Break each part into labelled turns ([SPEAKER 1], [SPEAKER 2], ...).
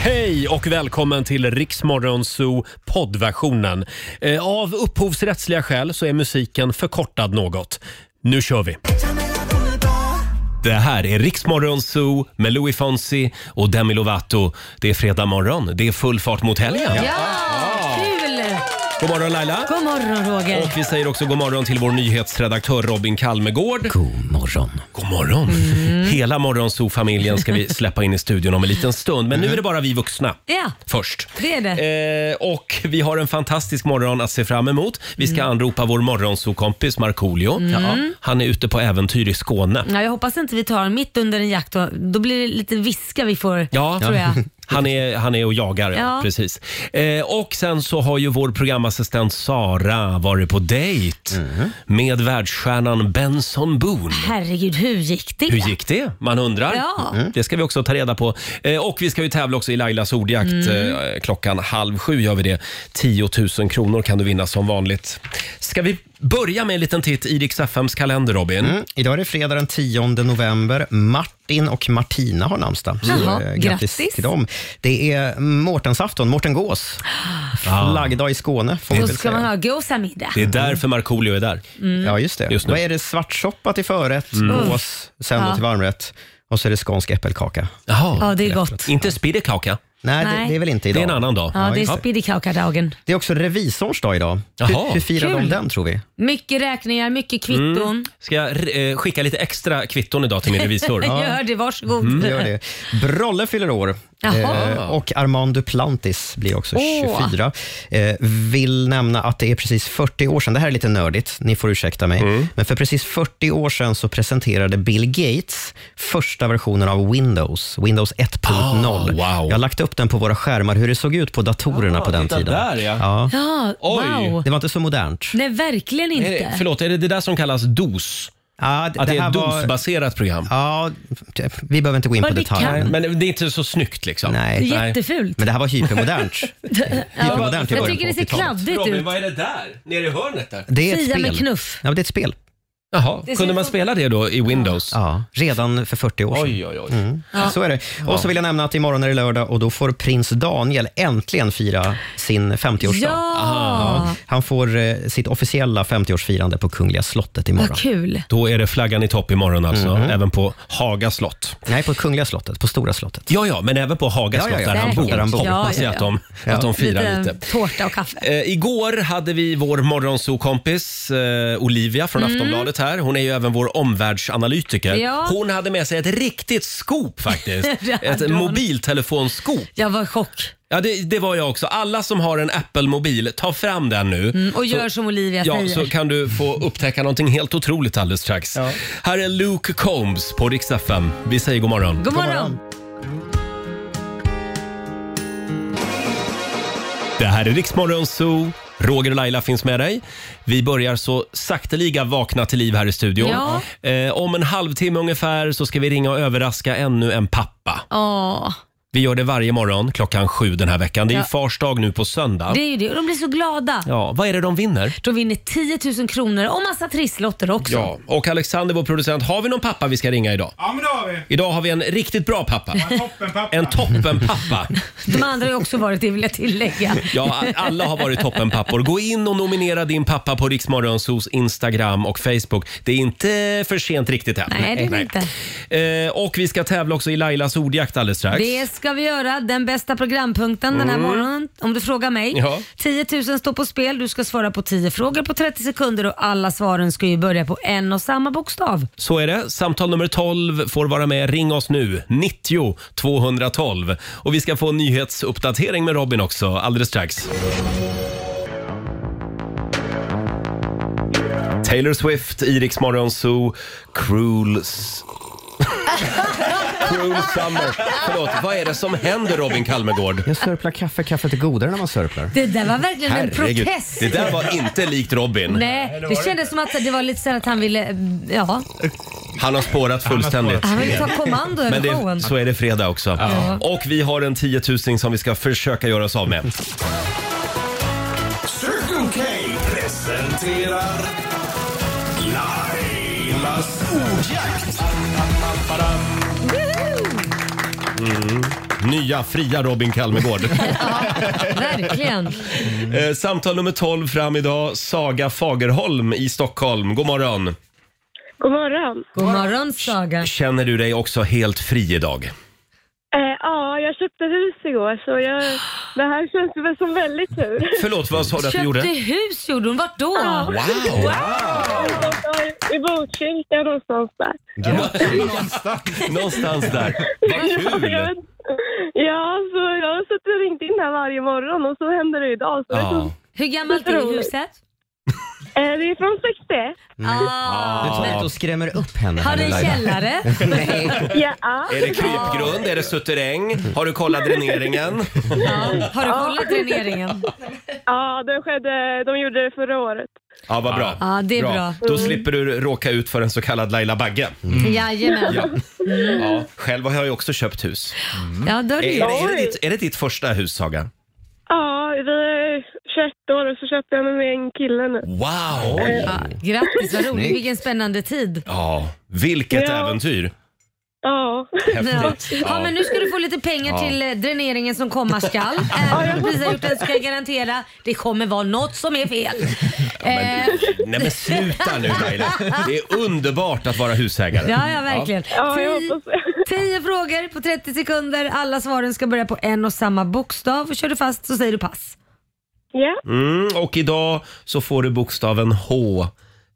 [SPEAKER 1] Hej och välkommen till Riksmorgon Zoo poddversionen. Eh, Av upphovsrättsliga skäl så är musiken förkortad något. Nu kör vi! Det här är Riksmorgon Zoo med Louis Fonsi och Demi Lovato. Det är fredag morgon, det är full fart mot helgen.
[SPEAKER 2] Ja, kul!
[SPEAKER 1] God morgon Laila!
[SPEAKER 2] God morgon Roger.
[SPEAKER 1] Ah. Och vi säger också god morgon till vår nyhetsredaktör Robin Kalmegård.
[SPEAKER 3] God morgon.
[SPEAKER 1] God morgon!
[SPEAKER 2] Mm.
[SPEAKER 1] Hela Morgonzoo-familjen ska vi släppa in i studion om en liten stund. Men nu är det bara vi vuxna
[SPEAKER 2] Mm. Ja,
[SPEAKER 1] först.
[SPEAKER 2] det är det.
[SPEAKER 1] Eh, och vi har en fantastisk morgon att se fram emot. Vi ska anropa vår morgonsokompis Markoolio. Mm. Ja, Han är ute på äventyr i Skåne.
[SPEAKER 2] Ja, jag hoppas inte vi tar den mitt under en jakt. Då, då blir det lite viska vi får,
[SPEAKER 1] Ja.
[SPEAKER 2] tror jag.
[SPEAKER 1] Han är, han är och jagar, ja.
[SPEAKER 2] Ja.
[SPEAKER 1] precis. Eh, och sen så har ju vår programassistent Sara varit på dejt med världsstjärnan Benson Boone.
[SPEAKER 2] Herregud, hur gick det?
[SPEAKER 1] Hur gick det? Man undrar. Mm.
[SPEAKER 2] Ja.
[SPEAKER 1] Det ska vi också ta reda på. Eh, Och vi ska ju tävla också i Lailas ordjakt.
[SPEAKER 2] Mm.
[SPEAKER 1] Eh, Klockan halv sju gör vi det. 10 000 kronor kan du vinna som vanligt. Ska vi börja med en liten titt i Rix FMs kalender, Robin?
[SPEAKER 3] Mm. Idag är det fredag den 10 november. Martin och Martina har namnsdag. Så,
[SPEAKER 2] Jaha,
[SPEAKER 3] eh,
[SPEAKER 2] grattis.
[SPEAKER 3] till dem. Det är Mårtensafton, Mårten Gås. Flaggdag i Skåne. Får vi
[SPEAKER 2] Då
[SPEAKER 3] väl
[SPEAKER 2] ska
[SPEAKER 3] säga.
[SPEAKER 2] man Mm. ha gåsamiddag.
[SPEAKER 1] Ah. Det är därför Markoolio är där.
[SPEAKER 3] Ja, just det.
[SPEAKER 1] Just nu. Mm.
[SPEAKER 3] Vad är det? Svartsoppa till förrätt, gås, sen då
[SPEAKER 2] Ja.
[SPEAKER 3] till varmrätt och så är det skånsk äppelkaka.
[SPEAKER 1] Jaha.
[SPEAKER 2] Ja, det är gott.
[SPEAKER 1] Inte spirrekaka.
[SPEAKER 3] Nej, Det,
[SPEAKER 2] Nej.
[SPEAKER 3] det är väl inte
[SPEAKER 1] Det
[SPEAKER 3] idag.
[SPEAKER 1] är en annan dag.
[SPEAKER 2] Ja, det är
[SPEAKER 3] just det.
[SPEAKER 2] speedykaka-dagen.
[SPEAKER 3] Det är också revisorns dag idag.
[SPEAKER 1] Jaha.
[SPEAKER 3] Hur, hur firar de
[SPEAKER 2] Kul.
[SPEAKER 3] den tror vi?
[SPEAKER 2] Mycket räkningar, mycket
[SPEAKER 1] Mm.
[SPEAKER 2] kvitton.
[SPEAKER 1] Ska jag eh, skicka lite extra kvitton idag till min revisor?
[SPEAKER 2] Gör det, varsågod.
[SPEAKER 3] Mm,
[SPEAKER 1] Mm.
[SPEAKER 3] Det gör det. Brolle fyller år.
[SPEAKER 2] Jaha.
[SPEAKER 3] Eh, och Armand Duplantis blir också
[SPEAKER 2] Åh.
[SPEAKER 3] 24. Eh, vill nämna att det är precis 40 år sedan, det här är lite nördigt, ni får ursäkta mig,
[SPEAKER 1] Mm.
[SPEAKER 3] men för precis 40 år sedan så presenterade Bill Gates första versionen av Windows, Windows 1.0.
[SPEAKER 1] Ah, wow.
[SPEAKER 3] Jag har lagt upp den på våra skärmar, hur det såg ut på datorerna
[SPEAKER 1] Ah,
[SPEAKER 3] på den
[SPEAKER 1] titta
[SPEAKER 3] tiden.
[SPEAKER 1] där, ja.
[SPEAKER 2] Ja,
[SPEAKER 1] Oj.
[SPEAKER 2] wow.
[SPEAKER 3] Det var inte så modernt.
[SPEAKER 2] Nej, verkligen
[SPEAKER 1] Är det,
[SPEAKER 2] inte.
[SPEAKER 1] förlåt, är det det där som kallas DOS?
[SPEAKER 3] Ja,
[SPEAKER 1] Att det, är
[SPEAKER 3] här
[SPEAKER 1] ett
[SPEAKER 3] var-
[SPEAKER 1] DOS-baserat program?
[SPEAKER 3] Ja, typ. vi behöver inte gå in
[SPEAKER 2] Vad
[SPEAKER 3] på
[SPEAKER 2] det
[SPEAKER 3] detaljer.
[SPEAKER 2] kan.
[SPEAKER 1] Men det är inte så snyggt liksom?
[SPEAKER 3] Nej.
[SPEAKER 2] Jättefult.
[SPEAKER 3] Men det här var hypermodernt. hypermodernt i
[SPEAKER 2] Jag
[SPEAKER 3] början
[SPEAKER 2] tycker
[SPEAKER 3] på
[SPEAKER 2] det ser
[SPEAKER 3] 80-talet.
[SPEAKER 2] kladdigt ut.
[SPEAKER 1] är det där? Nere i hörnet där?
[SPEAKER 3] Det är ett
[SPEAKER 2] Sia
[SPEAKER 3] spel.
[SPEAKER 2] med knuff.
[SPEAKER 3] Ja, men det är ett spel.
[SPEAKER 1] Jaha,
[SPEAKER 2] ser
[SPEAKER 1] kunde man
[SPEAKER 2] ut som-
[SPEAKER 1] spela det då i Windows?
[SPEAKER 3] Ja, redan för 40 år sedan. Mm.
[SPEAKER 1] Oj, oj, oj.
[SPEAKER 3] Så är det. Och så vill jag nämna att imorgon är det lördag och då får prins Daniel äntligen fira sin 50-årsdag.
[SPEAKER 2] Ja,
[SPEAKER 3] Han får eh, sitt officiella 50-årsfirande på Kungliga slottet imorgon. Mhm.
[SPEAKER 2] vad kul.
[SPEAKER 1] Då är det flaggan i topp imorgon alltså, även på Haga slott.
[SPEAKER 3] Nej, på Kungliga slottet, på Stora slottet.
[SPEAKER 1] Ja, ja, men även på Haga
[SPEAKER 3] Ja,
[SPEAKER 1] slott
[SPEAKER 3] ja, ja.
[SPEAKER 1] där han
[SPEAKER 2] Säkert.
[SPEAKER 1] bor.
[SPEAKER 3] Där han bor.
[SPEAKER 1] Hoppas
[SPEAKER 2] Ja, ja,
[SPEAKER 1] jag att de, att de firar lite.
[SPEAKER 2] tårta och kaffe.
[SPEAKER 1] Eh, igår hade vi vår morgonsokompis eh, Olivia från Aftonbladet här. Hon är ju även vår omvärldsanalytiker.
[SPEAKER 2] Mm. Ja.
[SPEAKER 1] Hon hade med sig ett riktigt scoop faktiskt.
[SPEAKER 2] Det hade
[SPEAKER 1] ett
[SPEAKER 2] hon.
[SPEAKER 1] mobiltelefonscoop.
[SPEAKER 2] Jag var i chock.
[SPEAKER 1] Ja, det, det var jag också. Alla som har en Apple-mobil, ta fram den nu.
[SPEAKER 2] Mm, Och gör som Olivia
[SPEAKER 1] Ja,
[SPEAKER 2] säger.
[SPEAKER 1] så kan du få upptäcka någonting helt otroligt alldeles strax. Här är Luke Combs på Rix FM. Vi säger god morgon.
[SPEAKER 2] God morgon!
[SPEAKER 1] Det här är Rix Morgon Zoo. Roger och Laila finns med dig. Vi börjar så sakteliga vakna till liv här i studion.
[SPEAKER 2] Ja.
[SPEAKER 1] Eh, om en halvtimme ungefär så ska vi ringa och överraska ännu en pappa.
[SPEAKER 2] Ja,
[SPEAKER 1] Vi gör det varje morgon klockan sju den här veckan. Det är ju
[SPEAKER 2] Ja.
[SPEAKER 1] fars dag nu på söndag.
[SPEAKER 2] det är ju det. Och de blir så glada.
[SPEAKER 1] Ja, vad är det de vinner?
[SPEAKER 2] De vinner 10 000 kronor och massa trisslotter också.
[SPEAKER 1] Ja, och Alexander, vår producent, har vi någon pappa vi ska ringa idag?
[SPEAKER 4] Ja men det har vi.
[SPEAKER 1] Idag har vi en riktigt bra pappa.
[SPEAKER 4] Toppenpappa.
[SPEAKER 1] En toppenpappa.
[SPEAKER 2] De andra har ju också varit det vill jag tillägga.
[SPEAKER 1] Ja, alla har varit toppenpappor. Gå in och nominera din pappa på Riksmorgonsos Instagram och Facebook. Det är inte för sent riktigt än.
[SPEAKER 2] Nej, det är det inte.
[SPEAKER 1] Eh, och vi ska tävla också i Lailas ordjakt alldeles strax.
[SPEAKER 2] Det ska vi göra. Den bästa programpunkten den här morgonen, om du frågar mig.
[SPEAKER 1] Mm. Ja.
[SPEAKER 2] 10 000 står på spel. Du ska svara på 10 frågor på 30 sekunder och alla svaren ska ju börja på en och samma bokstav.
[SPEAKER 1] Så är det. Samtal nummer 12 får vara med. Ring oss nu. 90 212. Och vi ska få en nyhetsuppdatering med Robin också alldeles strax. Taylor Swift, Iriks Zoo, Cruel... S- Cruel Summer. Förlåt, vad är det som händer Robin Kalmegård?
[SPEAKER 3] Jag sörplar kaffe. Kaffet är godare när man sörplar.
[SPEAKER 2] Det där var verkligen en
[SPEAKER 1] Herregud,
[SPEAKER 2] protest.
[SPEAKER 1] det där var inte likt Robin.
[SPEAKER 2] Nej, det kändes som att det var lite så här att han ville, eh, ja,
[SPEAKER 1] Han har spårat fullständigt.
[SPEAKER 2] han ville ta kommando över
[SPEAKER 1] Men
[SPEAKER 2] showen.
[SPEAKER 1] det, så är det fredag också.
[SPEAKER 2] Ja.
[SPEAKER 1] Och vi har en tiotusing som vi ska försöka göra oss av med.
[SPEAKER 5] Circle K presenterar Lailas ordjakt.
[SPEAKER 2] Woohoo!
[SPEAKER 1] Mm. Nya fria Robin Kalmegård.
[SPEAKER 2] Verkligen.
[SPEAKER 1] Eh, Samtal nummer 12 fram idag. Saga Fagerholm i Stockholm. God morgon.
[SPEAKER 6] God morgon.
[SPEAKER 2] God morgon Saga.
[SPEAKER 1] Känner du dig också helt fri idag?
[SPEAKER 6] Eh, ja, jag köpte hus igår så jag, det här känns det väl som väldigt tur.
[SPEAKER 1] Förlåt, vad sa du att du
[SPEAKER 2] Köpte
[SPEAKER 1] gjorde?
[SPEAKER 2] hus gjorde hon. Vart då?
[SPEAKER 1] Wow!
[SPEAKER 6] I Botkyrka någonstans där.
[SPEAKER 1] Någonstans där. Vad
[SPEAKER 6] Jag
[SPEAKER 1] kul!
[SPEAKER 6] vet- Ja, så jag har suttit och ringt in här varje morgon och så händer det idag. Så det, är
[SPEAKER 1] Ja.
[SPEAKER 6] så,
[SPEAKER 2] Hur gammalt är
[SPEAKER 6] Otroligt.
[SPEAKER 2] huset?
[SPEAKER 6] eh, det är från 61.
[SPEAKER 2] Ah.
[SPEAKER 3] Du tar inte och Mm. skrämmer upp henne.
[SPEAKER 2] Har
[SPEAKER 3] här nu,
[SPEAKER 2] den
[SPEAKER 3] Laila.
[SPEAKER 2] källare?
[SPEAKER 3] Nej.
[SPEAKER 6] Ja.
[SPEAKER 1] Är det krypgrund? Är det suterräng? Har du kollat dräneringen?
[SPEAKER 2] Ja. Har du kollat dräneringen?
[SPEAKER 6] ja, det skedde, de gjorde det förra året.
[SPEAKER 1] Ja, vad bra.
[SPEAKER 2] Ja, det är bra. Mm.
[SPEAKER 1] Då slipper du råka ut för en så kallad Laila Bagge.
[SPEAKER 2] Jajamän. Mm.
[SPEAKER 1] Ja. Ja. Själv har jag ju också köpt hus.
[SPEAKER 2] Ja, då är det
[SPEAKER 1] Är,
[SPEAKER 2] ju.
[SPEAKER 1] är, det, är, det ditt, är det ditt första hus, Saga?
[SPEAKER 6] Ja, vi är 21 år och så köpte jag mig med en kille nu.
[SPEAKER 1] Wow!
[SPEAKER 2] Ja, grattis, vad roligt.
[SPEAKER 3] Snyggt.
[SPEAKER 2] Vilken spännande tid.
[SPEAKER 1] Ja, vilket
[SPEAKER 6] Ja.
[SPEAKER 1] äventyr.
[SPEAKER 6] Ja.
[SPEAKER 2] Ja.
[SPEAKER 1] Häftigt.
[SPEAKER 2] Ja, men nu ska du få lite pengar till eh, dräneringen som komma skall. Även om du precis har gjort den ska jag garantera det kommer vara något som är fel. Eh,
[SPEAKER 1] Nej men sluta nu Laila. Det är underbart att vara husägare.
[SPEAKER 2] ja, ja, verkligen.
[SPEAKER 6] Ja, jag
[SPEAKER 2] Tio-
[SPEAKER 6] hoppas det.
[SPEAKER 2] Tio frågor på 30 sekunder. Alla svaren ska börja på en och samma bokstav. Kör du fast så säger du pass.
[SPEAKER 6] Ja,
[SPEAKER 1] Mm, och idag så får du bokstaven H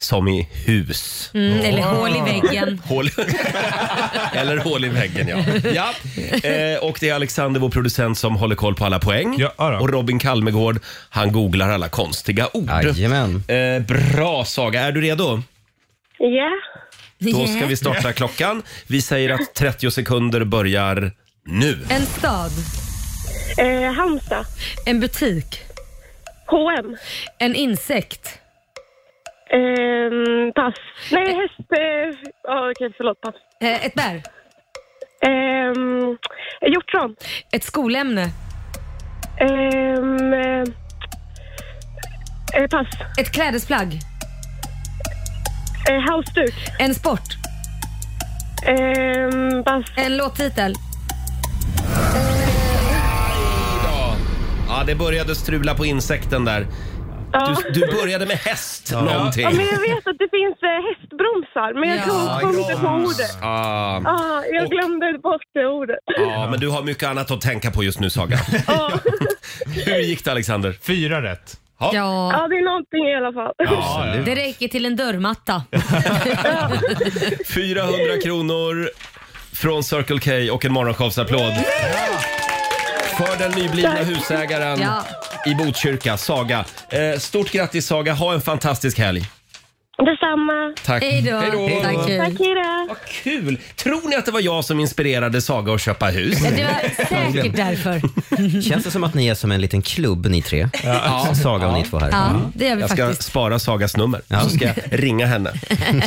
[SPEAKER 1] som i hus.
[SPEAKER 2] Mm, Eller hål i väggen.
[SPEAKER 1] Hål. Eller hål i väggen ja. ja. Eh, och det är Alexander, vår producent, som håller koll på alla poäng.
[SPEAKER 5] Ja, ja.
[SPEAKER 1] och Robin Kalmegård, han googlar alla konstiga ord.
[SPEAKER 3] Jajamän.
[SPEAKER 1] Eh, bra Saga, är du redo?
[SPEAKER 6] ja.
[SPEAKER 1] Då
[SPEAKER 2] Yeah.
[SPEAKER 1] ska vi starta klockan. Vi säger att 30 sekunder börjar nu.
[SPEAKER 2] En stad,
[SPEAKER 6] Eh, Halmstad.
[SPEAKER 2] en butik,
[SPEAKER 6] H&M.
[SPEAKER 2] en insekt,
[SPEAKER 6] Ehm, pass. Nej, häst... Eh, ja, Okej, förlåt. Pass.
[SPEAKER 2] eh, ett bär,
[SPEAKER 6] Ehm, hjortron.
[SPEAKER 2] ett skolämne,
[SPEAKER 6] Ehm, eh, eh, pass.
[SPEAKER 2] ett klädesplagg,
[SPEAKER 6] Eh, halsduk.
[SPEAKER 2] en sport,
[SPEAKER 6] Ehm, pass.
[SPEAKER 2] en låttitel.
[SPEAKER 1] Ja, det började strula på insekten där.
[SPEAKER 6] Ja.
[SPEAKER 1] Du, du började med häst någonting.
[SPEAKER 6] Ja, men jag vet att det finns eh, hästbromsar, men jag
[SPEAKER 2] Ja,
[SPEAKER 6] kom- kom inte på ordet.
[SPEAKER 1] Ah,
[SPEAKER 6] Ah, jag glömde bort det ordet.
[SPEAKER 1] ja, men du har mycket annat att tänka på just nu Saga.
[SPEAKER 6] Ja,
[SPEAKER 1] Hur gick det Alexander?
[SPEAKER 5] Fyra rätt.
[SPEAKER 2] Ja,
[SPEAKER 6] ja, det är någonting i alla fall.
[SPEAKER 5] Ja, ja.
[SPEAKER 2] det räcker till en dörrmatta.
[SPEAKER 1] 400 kronor från Circle K och en morgonshowsapplåd. För den nyblivna husägaren
[SPEAKER 2] Ja.
[SPEAKER 1] i Botkyrka, Saga. Eh, stort grattis Saga, ha en fantastisk helg.
[SPEAKER 6] Detsamma.
[SPEAKER 1] Tack.
[SPEAKER 2] Hej då. Tack, hej.
[SPEAKER 6] Tack, hej
[SPEAKER 1] Vad kul! Tror ni att det var jag som inspirerade Saga att köpa hus?
[SPEAKER 2] Det
[SPEAKER 1] Eh.
[SPEAKER 2] var säkert därför.
[SPEAKER 3] Känns det som att ni är som en liten klubb ni tre? Ja. Saga och ni två här. Mm.
[SPEAKER 2] Ja, det gör vi
[SPEAKER 1] Jag ska
[SPEAKER 2] faktiskt.
[SPEAKER 1] spara Sagas nummer, så ska jag ringa henne.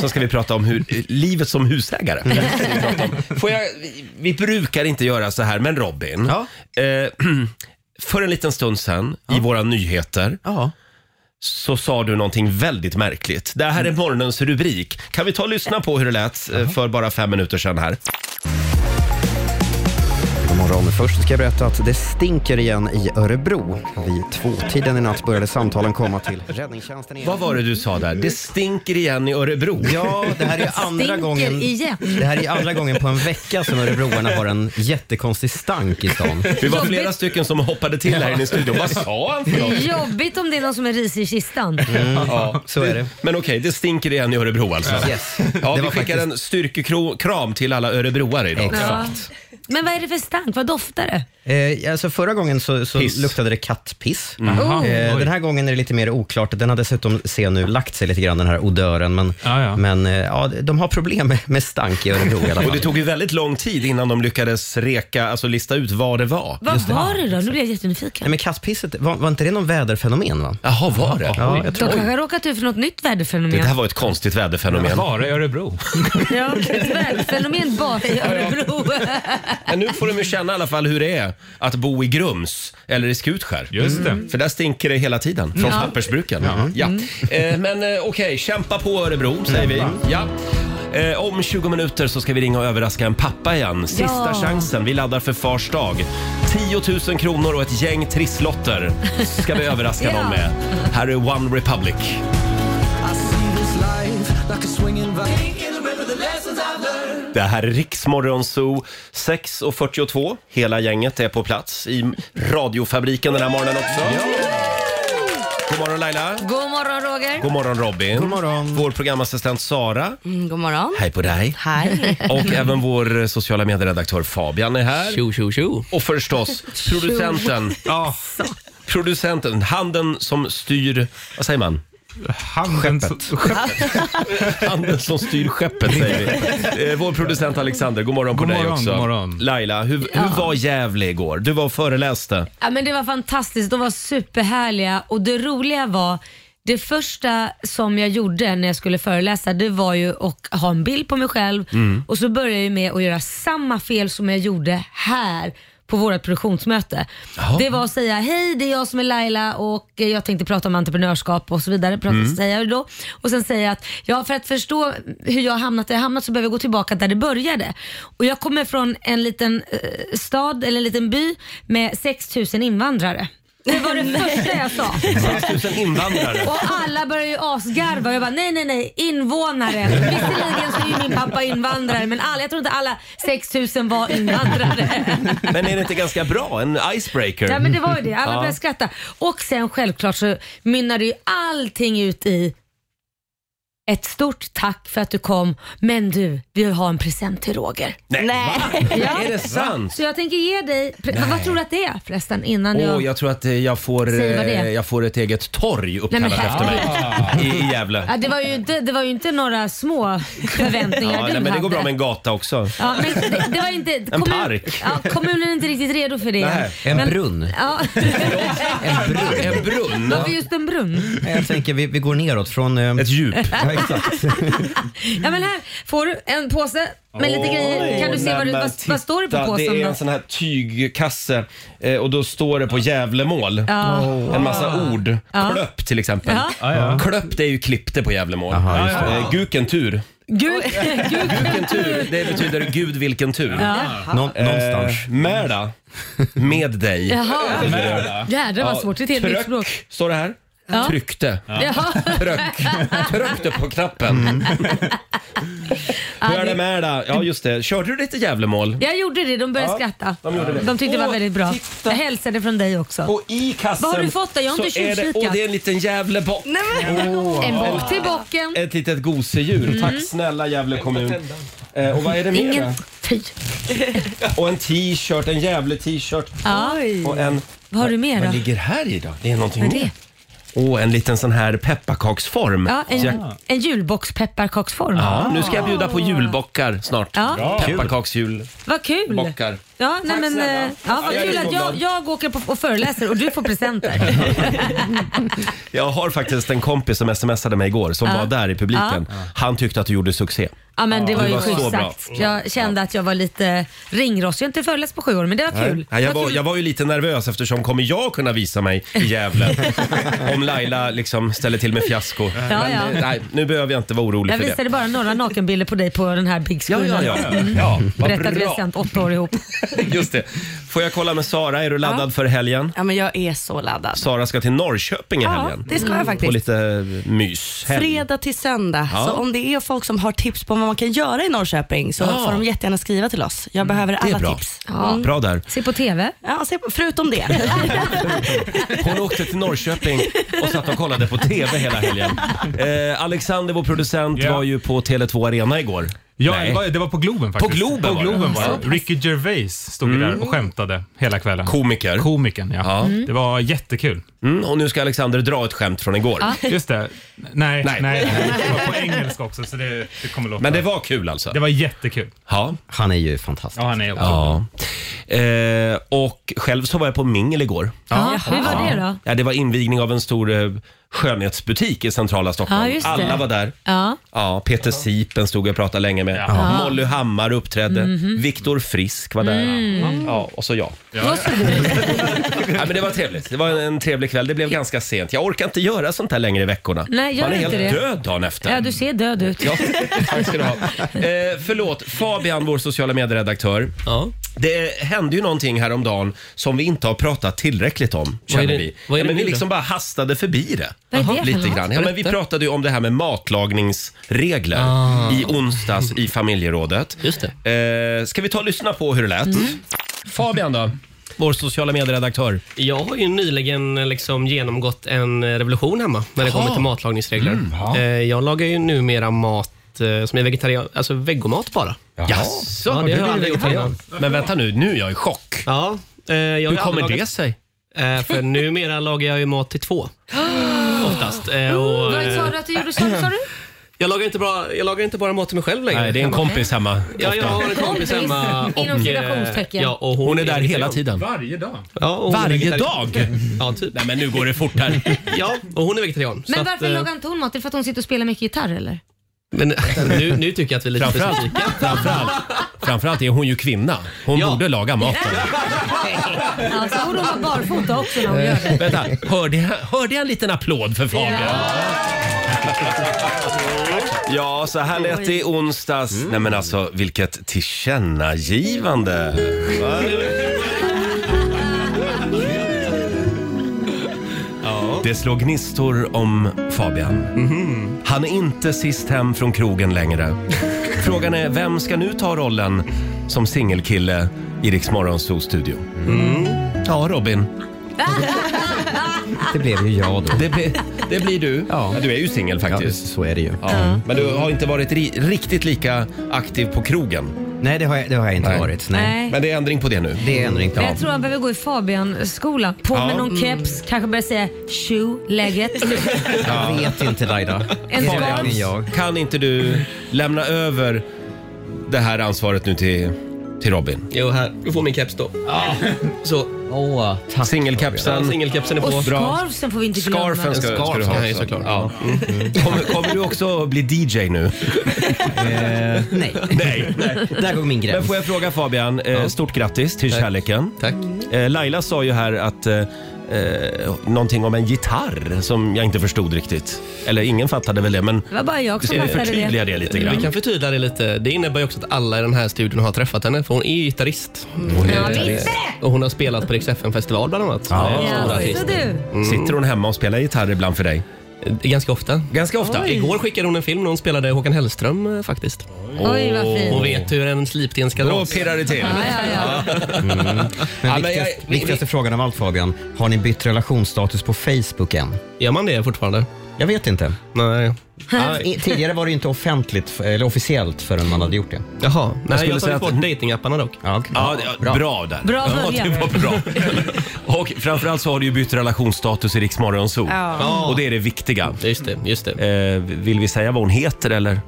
[SPEAKER 1] Så ska vi prata om hur, eh, livet som husägare. Ska vi prata om. Får jag, vi- vi brukar inte göra så här, men Robin.
[SPEAKER 3] Ja.
[SPEAKER 1] Eh, för en liten stund sedan, i våra nyheter,
[SPEAKER 3] Ja.
[SPEAKER 1] så sa du någonting väldigt märkligt. Det här är
[SPEAKER 3] Mm.
[SPEAKER 1] morgonens rubrik. Kan vi ta och lyssna på hur det lät eh, för bara fem minuter sedan här?
[SPEAKER 3] God morgon. Först ska jag berätta att det stinker igen i Örebro. Vid tvåtiden i natt började samtalen komma till räddningstjänsten. igen.
[SPEAKER 1] Vad var det du sa där? Det stinker igen i Örebro.
[SPEAKER 3] Ja, det här är ju andra
[SPEAKER 2] Stinker
[SPEAKER 3] gången.
[SPEAKER 2] igen.
[SPEAKER 3] Det här är ju andra gången på en vecka som örebroarna har en jättekonstig stank i stan.
[SPEAKER 1] Vi var
[SPEAKER 2] Jobbigt.
[SPEAKER 1] flera stycken som hoppade till här inne i studion. Vad sa han för
[SPEAKER 2] Det
[SPEAKER 1] något?
[SPEAKER 2] är jobbigt om det är någon som är risig i kistan.
[SPEAKER 3] Mm.
[SPEAKER 1] Ja,
[SPEAKER 3] Så är det.
[SPEAKER 1] Mm. Men okej, det stinker igen i Örebro alltså.
[SPEAKER 3] Yes.
[SPEAKER 1] Ja,
[SPEAKER 3] Det
[SPEAKER 1] vi
[SPEAKER 3] var
[SPEAKER 1] skickar en styrkekram till alla örebroare idag.
[SPEAKER 2] Ja. Men vad är det för stank? Vad doftar det?
[SPEAKER 3] Eh, alltså förra gången så, så
[SPEAKER 1] Piss. Mm.
[SPEAKER 3] luktade det kattpiss.
[SPEAKER 2] Oh.
[SPEAKER 3] Eh, den här gången är det lite mer oklart. Den har dessutom, ser nu, lagt sig lite grann den här odören. Men,
[SPEAKER 5] Ja, ja.
[SPEAKER 3] men eh, ja, de har problem med, med stank i Örebro i
[SPEAKER 1] Och
[SPEAKER 3] alla
[SPEAKER 1] det
[SPEAKER 3] fall.
[SPEAKER 1] tog ju väldigt lång tid innan de lyckades reka, alltså lista ut vad det var.
[SPEAKER 2] Vad var det då? Nu blir jag
[SPEAKER 3] Nej,
[SPEAKER 2] jättenyfiken.
[SPEAKER 3] men kattpisset, var, var inte det någon väderfenomen? Va?
[SPEAKER 1] Jaha, var det?
[SPEAKER 3] Ja, jag
[SPEAKER 2] De
[SPEAKER 3] tror
[SPEAKER 2] kanske har råkat ut för något nytt
[SPEAKER 1] Det
[SPEAKER 2] väderfenomen.
[SPEAKER 1] här var ett konstigt väderfenomen.
[SPEAKER 5] Bara i Örebro.
[SPEAKER 2] Ja, ett väderfenomen bara i Örebro.
[SPEAKER 1] Men nu får de ju känna i alla fall hur det är att bo i Grums eller i Skutskär.
[SPEAKER 5] Just det.
[SPEAKER 1] För där stinker det hela tiden från
[SPEAKER 2] Mm.
[SPEAKER 1] pappersbruken. Ja. Eh, men eh, okej, kämpa på Örebro säger vi. Ja. Eh, om 20 minuter så ska vi ringa och överraska en pappa igen. Sista
[SPEAKER 2] Ja.
[SPEAKER 1] chansen. Vi laddar för fars dag. 10 000 kronor och ett gäng trisslotter ska vi överraska
[SPEAKER 2] Ja.
[SPEAKER 1] någon med. Här är One Republic. Det här är Riksmorgon Zoo 6.42. Hela gänget är på plats i radiofabriken den här morgonen också. God morgon Laila.
[SPEAKER 2] God morgon Roger.
[SPEAKER 1] God morgon Robin.
[SPEAKER 3] God morgon.
[SPEAKER 1] Vår programassistent Sara.
[SPEAKER 7] Mm, god morgon.
[SPEAKER 1] Hej på dig.
[SPEAKER 7] Hej.
[SPEAKER 1] Och även vår eh, sociala medieredaktör Fabian är här.
[SPEAKER 8] Tjo, tjo, tjo.
[SPEAKER 1] Och förstås producenten. ja. Producenten, handen som styr, vad säger man?
[SPEAKER 8] Handen som-
[SPEAKER 1] Handen som styr skeppet säger vi. Eh, Vår producent Alexander, god morgon
[SPEAKER 8] God
[SPEAKER 1] på dig
[SPEAKER 8] morgon,
[SPEAKER 1] också.
[SPEAKER 8] god morgon.
[SPEAKER 1] Laila, hur, hur var Gävle igår? Du var och föreläste.
[SPEAKER 2] Ja, men det var fantastiskt, de var superhärliga och det roliga var det första som jag gjorde när jag skulle föreläsa det var ju att ha en bild på mig själv
[SPEAKER 3] Mm.
[SPEAKER 1] Mm.
[SPEAKER 9] Mm.
[SPEAKER 2] och så började jag ju med att göra samma fel som jag gjorde här på vårt produktionsmöte. Det var att säga hej det är jag som är Laila och eh, jag tänkte prata om entreprenörskap och så vidare. Prata, säger jag då. Och sen säger jag att ja, för att förstå hur jag har hamnat där jag hamnat så behöver jag gå tillbaka där det började. Och jag kommer från en liten eh, stad eller en liten by med 6000 invandrare. Det var det första jag sa.
[SPEAKER 1] 6000 invandrare.
[SPEAKER 2] Och alla började ju asgarva och jag bara nej nej nej invånare. Visserligen så är ju min pappa invandrare men alla, jag tror inte alla 6000 var invandrare.
[SPEAKER 1] Men är det inte ganska bra? En icebreaker?
[SPEAKER 2] Ja men det var ju det, alla
[SPEAKER 1] Ja.
[SPEAKER 2] började skratta. Och sen självklart så mynnade ju allting ut i ett stort tack för att du kom, men du, vi har en present till Roger.
[SPEAKER 1] Nej.
[SPEAKER 7] Nej.
[SPEAKER 2] Ja.
[SPEAKER 1] Är det sant?
[SPEAKER 2] Så jag tänker ge dig, pre- vad tror du att det är förresten innan
[SPEAKER 1] Åh,
[SPEAKER 2] jag...
[SPEAKER 1] jag tror att eh, jag får,
[SPEAKER 2] Säg vad det är.
[SPEAKER 1] eh, jag får ett eget torg uppkallat
[SPEAKER 2] Nej, men
[SPEAKER 1] efter mig i, i Gävle.
[SPEAKER 2] Ja, det, var ju inte, det var ju inte några små förväntningar
[SPEAKER 1] Ja,
[SPEAKER 2] du
[SPEAKER 1] nej, men det
[SPEAKER 2] hade.
[SPEAKER 1] går bra med en gata också.
[SPEAKER 2] Ja, men det, det var inte, en
[SPEAKER 1] park.
[SPEAKER 2] Ja, kommunen är inte riktigt redo för det.
[SPEAKER 1] Nej,
[SPEAKER 3] En
[SPEAKER 2] men,
[SPEAKER 3] brunn.
[SPEAKER 2] Ja.
[SPEAKER 1] En brunn. En brunn.
[SPEAKER 2] Varför just en brunn?
[SPEAKER 1] Mm.
[SPEAKER 3] Jag tänker vi, vi går neråt från... eh,
[SPEAKER 1] Ett djup.
[SPEAKER 3] Ja, exakt.
[SPEAKER 2] Ja, men här får du en påse med lite grejer. Kan du se vad, du,
[SPEAKER 1] Nej, men
[SPEAKER 2] vad, vad står det på
[SPEAKER 1] titta,
[SPEAKER 2] påsen?
[SPEAKER 1] Det är
[SPEAKER 2] då?
[SPEAKER 1] en sån här tygkasse eh, och då står det på Gävlemål. En massa ord. Klöpp till exempel.
[SPEAKER 2] Ja.
[SPEAKER 1] Klöpp det är ju klippte på Gävlemål.
[SPEAKER 3] Jaha, just
[SPEAKER 1] Eh, Guken tur.
[SPEAKER 2] Gud, gud,
[SPEAKER 1] Guken tur, det betyder gud vilken tur.
[SPEAKER 3] Nå, någonstans.
[SPEAKER 1] Eh, Märda, med dig.
[SPEAKER 2] jaha.
[SPEAKER 1] Märda.
[SPEAKER 2] Jädrar vad svårt, det är ett helt nytt språk.
[SPEAKER 1] Tryck, står det här.
[SPEAKER 2] Ja.
[SPEAKER 1] Tryckte.
[SPEAKER 2] Jaha.
[SPEAKER 1] Tryck. Tryckte på knappen.
[SPEAKER 3] Mm.
[SPEAKER 1] Hur är det med dig? Ja just det, körde du lite Gävlemål?
[SPEAKER 2] Jag gjorde det, de började skratta.
[SPEAKER 1] de gjorde det.
[SPEAKER 2] tyckte det var
[SPEAKER 1] Åh,
[SPEAKER 2] väldigt bra.
[SPEAKER 1] titta.
[SPEAKER 2] Jag hälsade från dig också.
[SPEAKER 1] Och i kassen
[SPEAKER 2] Vad har du fått då? Jag har inte
[SPEAKER 1] så är det,
[SPEAKER 2] tjuvkikat.
[SPEAKER 1] Och det är en liten Gävlebock.
[SPEAKER 2] En bock till bocken.
[SPEAKER 1] Ett litet gosedjur. Tack snälla Gävle kommun. Eh, och vad är det mer?
[SPEAKER 2] Mm. Ingen...
[SPEAKER 1] då?
[SPEAKER 2] Fy.
[SPEAKER 1] Och en t-shirt, en Gävle-t-shirt.
[SPEAKER 2] Ja.
[SPEAKER 1] Och en...
[SPEAKER 2] Vad har du mer
[SPEAKER 1] Vad
[SPEAKER 2] då?
[SPEAKER 1] ligger här i då? Det är någonting
[SPEAKER 2] Mm. Vad är det?
[SPEAKER 1] mer. Och en liten sån här pepparkaksform.
[SPEAKER 2] Ja,
[SPEAKER 1] Så
[SPEAKER 2] en,
[SPEAKER 1] jag,
[SPEAKER 2] en julbockspepparkaksform.
[SPEAKER 1] ja, nu ska jag bjuda på julbockar snart.
[SPEAKER 2] Ja.
[SPEAKER 1] Pepparkaksjul.
[SPEAKER 2] Vad kul!
[SPEAKER 1] Bockar.
[SPEAKER 2] Ja, nej, men, eh, ja, vad
[SPEAKER 1] Ja, jag
[SPEAKER 2] kul
[SPEAKER 1] är
[SPEAKER 2] att jag,
[SPEAKER 1] glad.
[SPEAKER 2] jag åker på och föreläser och du får presenter.
[SPEAKER 1] Jag har faktiskt en kompis som smsade mig igår som var där i publiken. Han tyckte att du gjorde succé.
[SPEAKER 2] Ja, men det var
[SPEAKER 1] Det
[SPEAKER 2] ju
[SPEAKER 1] var så
[SPEAKER 2] schysst
[SPEAKER 1] bra.
[SPEAKER 2] sagt. Jag kände att jag var lite ringrostig. Jag har inte föreläst på sju år, men det var kul.
[SPEAKER 1] Nej, jag,
[SPEAKER 2] Vad
[SPEAKER 1] var,
[SPEAKER 2] kul.
[SPEAKER 1] jag var ju lite nervös eftersom kommer jag kunna visa mig i Gävle om Laila liksom ställer till med fiasko. Men,
[SPEAKER 2] ja.
[SPEAKER 1] eh, Nej, nu behöver jag inte vara orolig
[SPEAKER 2] jag
[SPEAKER 1] för det.
[SPEAKER 2] visade bara några nakenbilder på dig på den här big
[SPEAKER 1] Ja,
[SPEAKER 2] screenen.
[SPEAKER 1] ja, ja. ja vad
[SPEAKER 2] Berättade att vi har
[SPEAKER 1] bra.
[SPEAKER 2] sänt åtta år ihop.
[SPEAKER 1] Just det. Får jag kolla med Sara, är du laddad för helgen?
[SPEAKER 7] Ja, men jag är så laddad.
[SPEAKER 1] Sara ska till Norrköping i
[SPEAKER 7] Ja,
[SPEAKER 1] helgen. Mm.
[SPEAKER 7] det ska jag
[SPEAKER 1] På
[SPEAKER 7] faktiskt.
[SPEAKER 1] lite eh, mys. Helg.
[SPEAKER 7] Fredag till söndag.
[SPEAKER 1] Ja.
[SPEAKER 7] Så om det är folk som har tips på vad man kan göra i Norrköping så
[SPEAKER 1] Ja. Mm,
[SPEAKER 7] får de jättegärna skriva till oss. Jag behöver
[SPEAKER 1] Det är
[SPEAKER 7] alla
[SPEAKER 1] bra.
[SPEAKER 7] tips. Mm.
[SPEAKER 1] Bra där.
[SPEAKER 2] Se på TV.
[SPEAKER 7] Ja, se på- förutom det.
[SPEAKER 1] Hon åkte till Norrköping och satt och kollade på TV hela helgen. Eh, Alexander, vår producent,
[SPEAKER 8] Ja.
[SPEAKER 1] var ju på Tele2 Arena igår.
[SPEAKER 8] Ja,
[SPEAKER 1] Nej.
[SPEAKER 8] det var- det var på Globen faktiskt.
[SPEAKER 1] På Globen var
[SPEAKER 8] på
[SPEAKER 1] det.
[SPEAKER 8] Globen var det. Ricky Gervais stod ju där och skämtade hela kvällen.
[SPEAKER 1] Komiker.
[SPEAKER 8] Komikern, ja.
[SPEAKER 1] Ja.
[SPEAKER 8] Det var jättekul.
[SPEAKER 1] Mm, och nu ska Alexander dra ett skämt från igår.
[SPEAKER 8] Just det. Nej,
[SPEAKER 1] Nej.
[SPEAKER 8] nej. nej. Det var på engelska också, så det, det kommer låta...
[SPEAKER 1] Men det var kul alltså?
[SPEAKER 8] det var jättekul.
[SPEAKER 1] Ja.
[SPEAKER 3] Han är ju fantastisk.
[SPEAKER 8] Ja, han är också.
[SPEAKER 1] ja. Eh, och själv så var jag på mingel igår.
[SPEAKER 2] Ja, hur var det då?
[SPEAKER 1] Ja, det var invigning av en stor eh, skönhetsbutik i centrala
[SPEAKER 2] Ja,
[SPEAKER 1] Stockholm.
[SPEAKER 2] just det.
[SPEAKER 1] Alla var där.
[SPEAKER 2] Ja.
[SPEAKER 1] Ja, Peter Sipen stod och pratade länge med. Molly Hammar uppträdde.
[SPEAKER 2] Mhm.
[SPEAKER 1] Viktor Frisk var där.
[SPEAKER 2] Mm.
[SPEAKER 1] Ja, och så jag.
[SPEAKER 2] Vad så du?
[SPEAKER 1] Ja, men det var trevligt. Det var en, en trevlig kväll. Det blev ganska sent. Jag orkar inte göra sånt här längre i veckorna.
[SPEAKER 2] Nej, gör
[SPEAKER 1] Man är
[SPEAKER 2] inte
[SPEAKER 1] helt
[SPEAKER 2] det.
[SPEAKER 1] död dagen efter.
[SPEAKER 2] Ja, du ser död ut.
[SPEAKER 1] Ja, tack ska du ha. Eh, förlåt, Fabian, vår sociala medieredaktör.
[SPEAKER 10] Ja.
[SPEAKER 1] Det hände ju någonting häromdagen som vi inte har pratat tillräckligt om, känner
[SPEAKER 10] det-
[SPEAKER 1] vi.
[SPEAKER 10] vad är det
[SPEAKER 1] ja, men
[SPEAKER 10] nu
[SPEAKER 1] vi
[SPEAKER 10] då?
[SPEAKER 1] liksom bara hastade förbi det.
[SPEAKER 2] Vad är det för
[SPEAKER 1] lite
[SPEAKER 2] något?
[SPEAKER 1] grann. Ja, men vi
[SPEAKER 10] Berätta. Ah.
[SPEAKER 1] pratade ju om det här med matlagningsregler i onsdags i familjerådet.
[SPEAKER 10] Just
[SPEAKER 1] Eh, ska vi ta och lyssna på hur det lät?
[SPEAKER 2] Mm.
[SPEAKER 1] Fabian då? Vår sociala medieredaktör.
[SPEAKER 10] Jag har ju nyligen eh, liksom genomgått en eh, revolution hemma när det kommer till matlagningsregler.
[SPEAKER 1] Mm,
[SPEAKER 10] Eh, Jag lagar ju numera mat eh, som är vegetarian, alltså vegomat bara.
[SPEAKER 1] Jaså,
[SPEAKER 10] Ja, det
[SPEAKER 1] du
[SPEAKER 10] har jag
[SPEAKER 1] blev
[SPEAKER 10] aldrig gjort
[SPEAKER 1] vegetarian.
[SPEAKER 10] innan.
[SPEAKER 1] Men vänta nu, nu är jag i chock.
[SPEAKER 10] Ja, eh, jag
[SPEAKER 1] Hur
[SPEAKER 10] har aldrig
[SPEAKER 1] kommer det
[SPEAKER 10] lagat-
[SPEAKER 1] sig?
[SPEAKER 10] Eh, För numera lagar jag ju mat till två. Oftast. Eh, Och,
[SPEAKER 2] Mm, Vad sa
[SPEAKER 10] eh,
[SPEAKER 2] du att du gjorde? Sa, sa du?
[SPEAKER 10] jag, lagar inte bara, jag lagar inte bara mat till mig själv längre.
[SPEAKER 1] Nej, det är en kompis hemma.
[SPEAKER 10] Ja, jag har en kompis
[SPEAKER 2] Kompis,
[SPEAKER 10] hemma. och,
[SPEAKER 2] inom
[SPEAKER 10] eh,
[SPEAKER 2] citationstecken.
[SPEAKER 10] ja, och hon,
[SPEAKER 1] Hon är där hela
[SPEAKER 10] vegetarian.
[SPEAKER 1] tiden.
[SPEAKER 11] Varje dag.
[SPEAKER 10] Ja, och hon är
[SPEAKER 1] Varje
[SPEAKER 10] vegetarian.
[SPEAKER 1] dag?
[SPEAKER 10] Ja, typ.
[SPEAKER 1] Nej men nu går det fort här.
[SPEAKER 10] Ja, och hon är vegetarian. så
[SPEAKER 2] Men
[SPEAKER 10] att,
[SPEAKER 2] varför
[SPEAKER 10] eh,
[SPEAKER 2] lagar inte hon mat? Är det för att hon sitter och spelar mycket gitarr eller?
[SPEAKER 10] Men nu, nu tycker jag att vi är lite
[SPEAKER 1] Framförallt,
[SPEAKER 10] specifika.
[SPEAKER 1] framförallt, framförallt är hon ju kvinna. Hon
[SPEAKER 10] Ja.
[SPEAKER 1] borde laga maten.
[SPEAKER 2] Alltså, borde hon vara barfota också när hon gör det?
[SPEAKER 1] Vänta, hörde jag, hörde jag en liten applåd för Fabian? Ja, så här lät det i onsdags. Nej men alltså, vilket tillkännagivande. Va? Det slog gnistor om Fabian. Han är inte sist hem från krogen längre. Frågan är, vem ska nu ta rollen som singelkille i Rix Morgonzoo-studio? Ja, Robin.
[SPEAKER 3] Det blev ju jag då.
[SPEAKER 1] Det, blir- det blir du.
[SPEAKER 3] Ja.
[SPEAKER 1] Du är ju singel
[SPEAKER 3] Ja,
[SPEAKER 1] faktiskt.
[SPEAKER 3] så är det ju. Mm.
[SPEAKER 1] Ja. Men du har inte varit ri- riktigt lika aktiv på krogen.
[SPEAKER 3] Nej, det har jag, det har jag inte
[SPEAKER 1] Nej.
[SPEAKER 3] varit. Nej.
[SPEAKER 1] Men det är ändring på det nu.
[SPEAKER 3] Det är ändring.
[SPEAKER 2] Men
[SPEAKER 3] Ja.
[SPEAKER 2] jag tror han behöver gå i Fabian-skolan. På
[SPEAKER 1] Eh, Ja.
[SPEAKER 2] med någon keps, kanske börja säga tjo-läget.
[SPEAKER 3] Jag vet inte Laila.
[SPEAKER 2] En
[SPEAKER 3] Det är
[SPEAKER 2] skål.
[SPEAKER 3] verkligen jag.
[SPEAKER 1] Kan inte du lämna över det här ansvaret nu till, till Robin?
[SPEAKER 10] Jo, här. Du får min keps då. Så,
[SPEAKER 3] Åh, tack.
[SPEAKER 10] ja,
[SPEAKER 1] Singelkepsen.
[SPEAKER 10] singelkepsen är på.
[SPEAKER 2] Och scarfsen får vi inte glömma.
[SPEAKER 1] Scarfen ska, ska du ha.
[SPEAKER 10] Nej, såklart.
[SPEAKER 1] Ja. Kommer, kommer du också bli DJ nu?
[SPEAKER 3] Eh, nej,
[SPEAKER 1] Nej. Nej.
[SPEAKER 3] där går min
[SPEAKER 1] Men
[SPEAKER 3] gräns.
[SPEAKER 1] får jag fråga Fabian, eh, stort grattis till kärleken.
[SPEAKER 10] Tack.
[SPEAKER 1] Eh, Laila sa ju här att eh, eh, någonting om en gitarr som jag inte förstod riktigt. Eller ingen fattade väl det, men
[SPEAKER 2] Det var bara jag som
[SPEAKER 1] ska vi
[SPEAKER 2] fattade det. Mm.
[SPEAKER 1] förtydliga det lite
[SPEAKER 10] Vi
[SPEAKER 1] grann? Mm.
[SPEAKER 10] kan förtydliga det lite. Det innebär ju också att alla i den här studion har träffat henne, för hon är ju gitarrist.
[SPEAKER 1] Mm.
[SPEAKER 2] Ja, visst
[SPEAKER 10] Och hon har spelat på Rix FM-festival bland annat. Ja.
[SPEAKER 2] ja,
[SPEAKER 10] artist.
[SPEAKER 2] så du.
[SPEAKER 1] Sitter hon hemma och spelar gitarr ibland för dig?
[SPEAKER 10] Ganska ofta.
[SPEAKER 1] Ganska ofta.
[SPEAKER 10] Igår skickade hon en film när hon spelade Håkan Hellström eh, faktiskt.
[SPEAKER 2] Oj, vad
[SPEAKER 10] Hon
[SPEAKER 2] fint.
[SPEAKER 10] vet hur en Mm. slipsten ska
[SPEAKER 1] Då
[SPEAKER 10] dras.
[SPEAKER 1] pirrar det till.
[SPEAKER 2] Ja, ja, ja.
[SPEAKER 1] Ja,
[SPEAKER 3] Men
[SPEAKER 1] men jag-
[SPEAKER 3] viktigast, Mm. viktigaste frågan av allt Fabian. Har ni bytt relationsstatus på Facebook än?
[SPEAKER 10] Gör man det fortfarande?
[SPEAKER 3] Jag vet inte.
[SPEAKER 10] Nej.
[SPEAKER 3] I- Tidigare var det ju inte offentligt, f- eller officiellt förrän man hade gjort det.
[SPEAKER 10] Jaha. Nej, jag,
[SPEAKER 1] skulle
[SPEAKER 10] jag
[SPEAKER 1] säga
[SPEAKER 10] tar
[SPEAKER 1] att-
[SPEAKER 10] bort datingapparna dock.
[SPEAKER 3] Ja, okej.
[SPEAKER 1] Ja, det- bra. där.
[SPEAKER 2] Bra
[SPEAKER 10] typ.
[SPEAKER 1] ja, typ
[SPEAKER 2] början.
[SPEAKER 1] det var bra. Och framförallt så har du ju bytt relationsstatus i Rix Morgonzoo.
[SPEAKER 10] Ja.
[SPEAKER 1] Och det är det viktiga.
[SPEAKER 10] Just det, just det.
[SPEAKER 1] Eh, vill vi säga vad hon heter eller?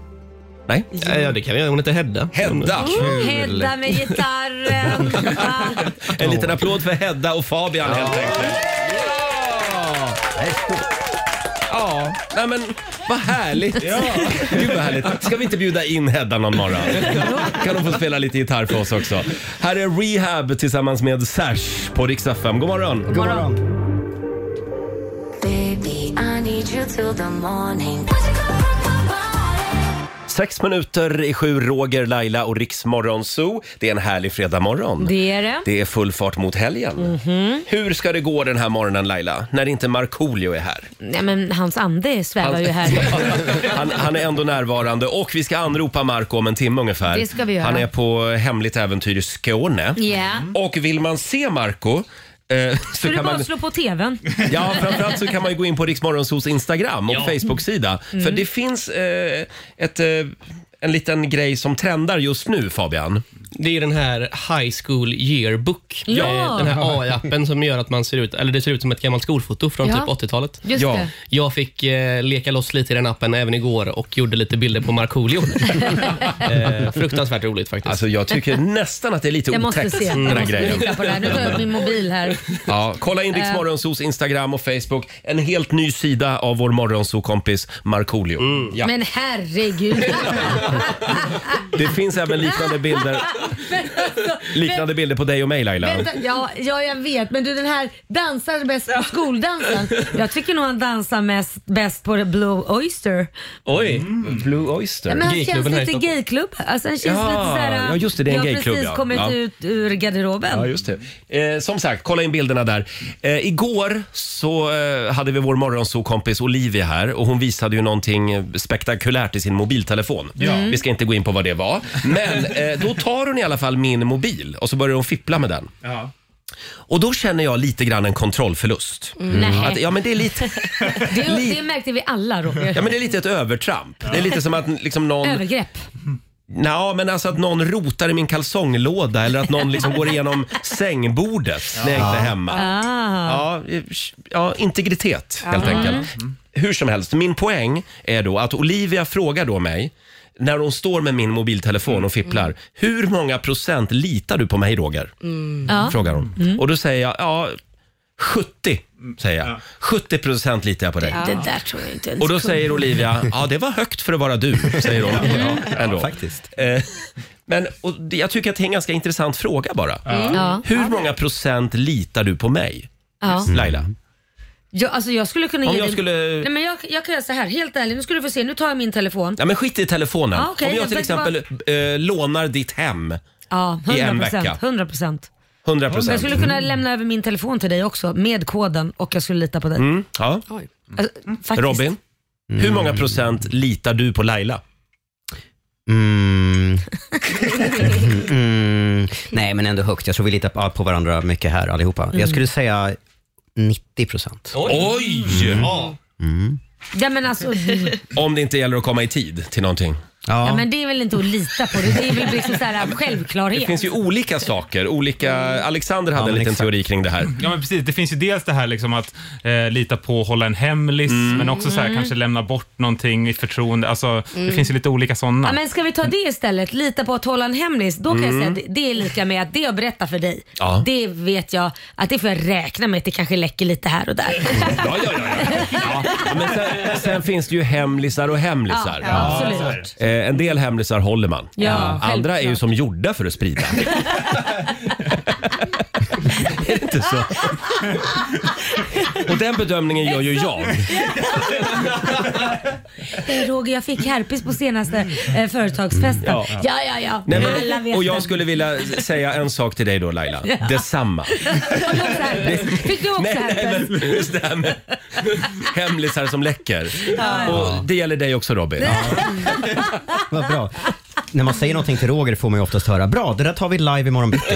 [SPEAKER 1] Nej?
[SPEAKER 10] Ja, ja, det kan vi göra. Hon heter Hedda.
[SPEAKER 1] Hedda!
[SPEAKER 2] Mm, Oh, Hedda med gitarren. Va?
[SPEAKER 1] En liten applåd för Hedda och Fabian helt enkelt. Ja, nej men vad härligt. Gud vad härligt. Ska vi inte bjuda in Hedda någon morgon? Kan hon få spela lite gitarr för oss också. Här är Rehab tillsammans med Sash på Rix FM. God morgon.
[SPEAKER 3] God morgon.
[SPEAKER 12] Baby, I need you till the morning.
[SPEAKER 1] Sex minuter i sju, Roger, Laila och Rix Morgon Zoo. Det är en härlig fredagmorgon.
[SPEAKER 2] Det är det.
[SPEAKER 1] Det är full fart mot helgen.
[SPEAKER 2] Mhm.
[SPEAKER 1] Hur ska det gå den här morgonen Laila, när inte Markoolio är här?
[SPEAKER 2] Nej, men hans ande svävar ju här.
[SPEAKER 1] han, han är ändå närvarande och vi ska anropa Marco om en timme ungefär.
[SPEAKER 2] Det ska vi göra.
[SPEAKER 1] Han är på hemligt äventyr i Skåne.
[SPEAKER 2] Ja.
[SPEAKER 1] Och vill man se Marco eh, så
[SPEAKER 2] Ska du
[SPEAKER 1] kan
[SPEAKER 2] bara
[SPEAKER 1] man,
[SPEAKER 2] slå på TVn?
[SPEAKER 1] ja, framförallt så kan man ju gå in på Riksmorgonsos Instagram och Facebook-sida. För
[SPEAKER 10] Mm.
[SPEAKER 1] det finns eh, ett, eh, en liten grej som trendar just nu, Fabian.
[SPEAKER 10] Det är ju den här High School Yearbook.
[SPEAKER 2] Ja.
[SPEAKER 10] Eh, Den här AI-appen som gör att man ser ut, eller det ser ut som ett gammalt skolfoto från
[SPEAKER 2] Ja.
[SPEAKER 10] typ 80-talet.
[SPEAKER 2] Just Ja. det.
[SPEAKER 10] Jag fick eh, leka loss lite i den appen även igår och gjorde lite bilder på Markoolio. eh, fruktansvärt roligt faktiskt.
[SPEAKER 1] Alltså jag tycker nästan att det är lite
[SPEAKER 2] Jag måste
[SPEAKER 1] otäckt
[SPEAKER 2] se. Jag
[SPEAKER 1] den här
[SPEAKER 2] måste
[SPEAKER 1] grejen.
[SPEAKER 2] titta på det här. Nu tar jag upp min mobil här.
[SPEAKER 1] Ja, kolla in Rix
[SPEAKER 2] Eh.
[SPEAKER 1] Morgonzos Instagram och Facebook. En helt ny sida av vår morgonsokompis Markoolio. Ja.
[SPEAKER 2] Men herregud.
[SPEAKER 1] Det finns även liknande bilder,
[SPEAKER 2] Men alltså,
[SPEAKER 1] liknande bilder på dig och mig Laila.
[SPEAKER 2] Vänta, ja, ja, jag vet. Men du, den här dansar bäst på skoldansen. Jag tycker nog han dansar mest, bäst på Blue Oyster.
[SPEAKER 1] Oj, Blue
[SPEAKER 2] Ja,
[SPEAKER 1] Oyster.
[SPEAKER 2] men han känns lite gayklubb. Alltså, han känns
[SPEAKER 1] Ja,
[SPEAKER 2] lite såhär,
[SPEAKER 1] ja, just det, det är en
[SPEAKER 2] jag har
[SPEAKER 1] gayklubb,
[SPEAKER 2] precis
[SPEAKER 1] ja.
[SPEAKER 2] kommit
[SPEAKER 1] Ja.
[SPEAKER 2] ut ur garderoben.
[SPEAKER 1] Ja, just det. Eh, som sagt, kolla in bilderna där. Eh, igår så eh, hade vi vår morgonsokompis Olivia här och hon visade ju någonting spektakulärt i sin mobiltelefon.
[SPEAKER 11] Ja. Mm.
[SPEAKER 1] Vi ska inte gå in på vad det var. Men eh, då tar hon i alla fall min mobil och så börjar hon fippla med den.
[SPEAKER 11] Ja.
[SPEAKER 1] Och då känner jag lite grann en kontrollförlust.
[SPEAKER 2] Mm. Nej.
[SPEAKER 1] Att, ja, men det är lite,
[SPEAKER 2] Det, det märkte vi alla Roger.
[SPEAKER 1] ja, men det är lite ett övertramp. Det är lite som att liksom någon...
[SPEAKER 2] Övergrepp.
[SPEAKER 1] Nja, men alltså att någon rotar i min kalsonglåda eller att någon liksom går igenom sängbordet när jag inte är hemma.
[SPEAKER 2] Ah.
[SPEAKER 1] Ja, eh, ja, integritet helt
[SPEAKER 2] Ja.
[SPEAKER 1] enkelt. Hur som helst, min poäng är då att Olivia frågar då mig när hon står med min mobiltelefon och fipplar. Hur många procent litar du på mig Roger?
[SPEAKER 7] Mm.
[SPEAKER 2] Mm. Ja.
[SPEAKER 1] Frågar hon. Och då säger jag, ja 70 säger jag. 70 procent litar jag på dig.
[SPEAKER 2] Det där tror jag inte ens
[SPEAKER 1] Och då
[SPEAKER 2] kunde.
[SPEAKER 1] säger Olivia, ja det var högt för att vara du, säger hon. Ja, ändå. faktiskt. Men och det- jag tycker att det är en ganska intressant fråga bara.
[SPEAKER 2] Mm. Ja.
[SPEAKER 1] Hur många procent litar du på mig?
[SPEAKER 2] Ja.
[SPEAKER 1] Laila?
[SPEAKER 2] Jag, alltså jag skulle kunna
[SPEAKER 1] Om
[SPEAKER 2] ge
[SPEAKER 1] jag
[SPEAKER 2] dig...
[SPEAKER 1] skulle-
[SPEAKER 2] Nej, men jag, jag kan göra så här, helt ärligt. Nu ska du få se. Nu tar jag min telefon.
[SPEAKER 1] Ja, men skit i telefonen.
[SPEAKER 2] Ja, Ah, okej,
[SPEAKER 1] Om jag
[SPEAKER 2] jag
[SPEAKER 1] till
[SPEAKER 2] tänkte
[SPEAKER 1] exempel eh, lånar ditt hem
[SPEAKER 2] Ja, 100%.
[SPEAKER 1] i en vecka.
[SPEAKER 2] 100 procent.
[SPEAKER 1] 100
[SPEAKER 2] Men Jag
[SPEAKER 1] procent. Mm.
[SPEAKER 2] skulle kunna lämna över min telefon till dig också med koden och jag skulle lita på dig.
[SPEAKER 1] Mm, ja.
[SPEAKER 2] Alltså, faktiskt.
[SPEAKER 1] Robin,
[SPEAKER 2] Mm.
[SPEAKER 1] hur många procent litar du på Laila?
[SPEAKER 3] Mm. mm. Nej, men ändå högt. Jag tror vi litar på- på varandra mycket här allihopa. Jag skulle säga 90 procent.
[SPEAKER 1] Oj!
[SPEAKER 10] Mm.
[SPEAKER 11] Mm.
[SPEAKER 1] Ja.
[SPEAKER 2] Ja, men alltså, ja,
[SPEAKER 1] Om det inte gäller att komma i tid till någonting.
[SPEAKER 3] Ja.
[SPEAKER 2] men det är väl inte att lita på. Det, det är väl liksom så här,
[SPEAKER 1] Det
[SPEAKER 2] självklarhet.
[SPEAKER 1] finns ju olika saker. Olika... Alexander hade en liten teori kring det här.
[SPEAKER 11] Ja, men precis. Det finns ju dels det här liksom att eh, lita på och hålla en hemlis,
[SPEAKER 1] Mm.
[SPEAKER 11] men också så här,
[SPEAKER 2] Mm.
[SPEAKER 11] kanske lämna bort någonting i förtroende. Alltså, Det finns ju lite olika sådana.
[SPEAKER 2] Ja, men ska vi ta det istället? Lita på att hålla en hemlis. Då kan jag säga att det- det är lika med att det jag berättar för dig,
[SPEAKER 1] Mm. Ja.
[SPEAKER 2] det vet jag att det får jag räkna med att det kanske läcker lite här och där.
[SPEAKER 1] Ja, ja, ja. ja. ja men sen, sen finns det ju hemlisar och hemlisar.
[SPEAKER 2] Absolut.
[SPEAKER 1] Eh, en del hemlisar håller man.
[SPEAKER 2] Ja,
[SPEAKER 1] Andra är ju
[SPEAKER 2] självklart.
[SPEAKER 1] som gjorda för att sprida. är det inte så? Och den bedömningen gör ju jag.
[SPEAKER 2] Hej Roger, jag fick herpes på senaste eh, företagsfesten. Ja,
[SPEAKER 1] Ja.
[SPEAKER 2] ja, ja.
[SPEAKER 1] Nej,
[SPEAKER 2] Alla
[SPEAKER 1] men,
[SPEAKER 2] vet
[SPEAKER 1] och jag
[SPEAKER 2] det.
[SPEAKER 1] skulle vilja säga en sak till dig då Laila.
[SPEAKER 2] Ja.
[SPEAKER 1] Detsamma.
[SPEAKER 2] Har du också herpes? Fick du också
[SPEAKER 1] Nej, nej,
[SPEAKER 2] herpes?
[SPEAKER 1] men just det här med hemlisar som läcker.
[SPEAKER 2] Ja.
[SPEAKER 1] Och det gäller dig också Robin.
[SPEAKER 3] Vad bra. När man säger någonting till Roger får man ju oftast höra bra, det där tar vi live imorgon bitti.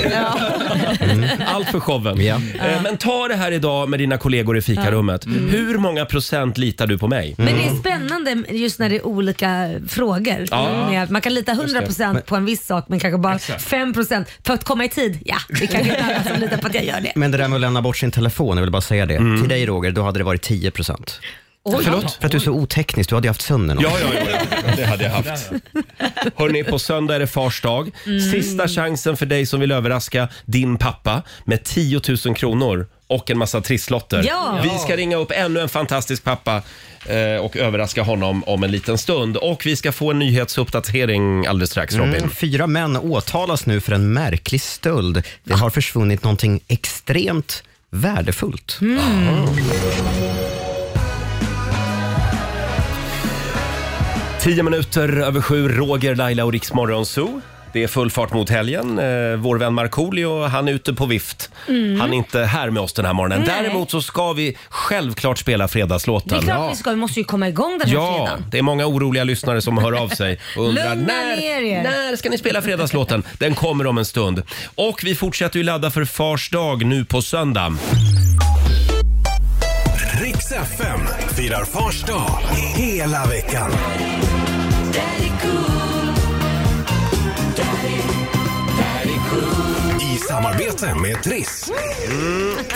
[SPEAKER 3] Mm.
[SPEAKER 1] Allt för showen.
[SPEAKER 3] Ja.
[SPEAKER 1] Eh, Men ta det här idag med dina kollegor i fikarummet. Hur många procent litar du på mig?
[SPEAKER 2] Mm. Men det är spännande just när det är olika frågor.
[SPEAKER 1] Ja.
[SPEAKER 2] Med att Man kan lita 100% på en viss sak men kanske bara 5% för att komma i tid. Ja, det kanske inte är alla som litar på att jag gör det.
[SPEAKER 3] Men det där med att lämna bort sin telefon, jag vill bara säga det.
[SPEAKER 1] Mm.
[SPEAKER 3] Till dig Roger, då hade det varit 10 procent.
[SPEAKER 2] Oj.
[SPEAKER 3] För att du är så oteknisk, du hade ju haft sönder någon.
[SPEAKER 1] Ja, ja, ja, ja. det hade jag haft. Hörni, på söndag är det fars dag. Sista chansen för dig som vill överraska din pappa med 10 000 kronor och en massa trisslotter.
[SPEAKER 2] Ja.
[SPEAKER 1] Vi ska ringa upp ännu en fantastisk pappa eh, och överraska honom om en liten stund. Och vi ska få en nyhetsuppdatering alldeles strax, Robin.
[SPEAKER 3] Mm, Fyra män åtalas nu för en märklig stöld. Det har försvunnit någonting extremt värdefullt.
[SPEAKER 2] Mm.
[SPEAKER 1] Tio minuter över sju, Roger, Laila och Riksmorgon Zoo. Det är full fart mot helgen. Eh, Vår vän Markoolio, han är ute på vift. Han är inte här med oss den här morgonen.
[SPEAKER 2] Mm. Nej.
[SPEAKER 1] Däremot så ska vi självklart spela
[SPEAKER 2] Det är
[SPEAKER 1] fredagslåten.
[SPEAKER 2] klart vi ska, vi måste ju komma igång den här
[SPEAKER 1] Ja,
[SPEAKER 2] fredagen.
[SPEAKER 1] det är många oroliga lyssnare som hör av sig och undrar
[SPEAKER 2] Lugna
[SPEAKER 1] när,
[SPEAKER 2] ner er."
[SPEAKER 1] när ska ni spela fredagslåten? Den kommer om en stund. Och vi fortsätter ju ladda för Fars dag nu på söndag.
[SPEAKER 8] Riks FM firar Fars dag hela veckan.
[SPEAKER 12] Daddy cool. Daddy, daddy
[SPEAKER 8] samarbete med Triss.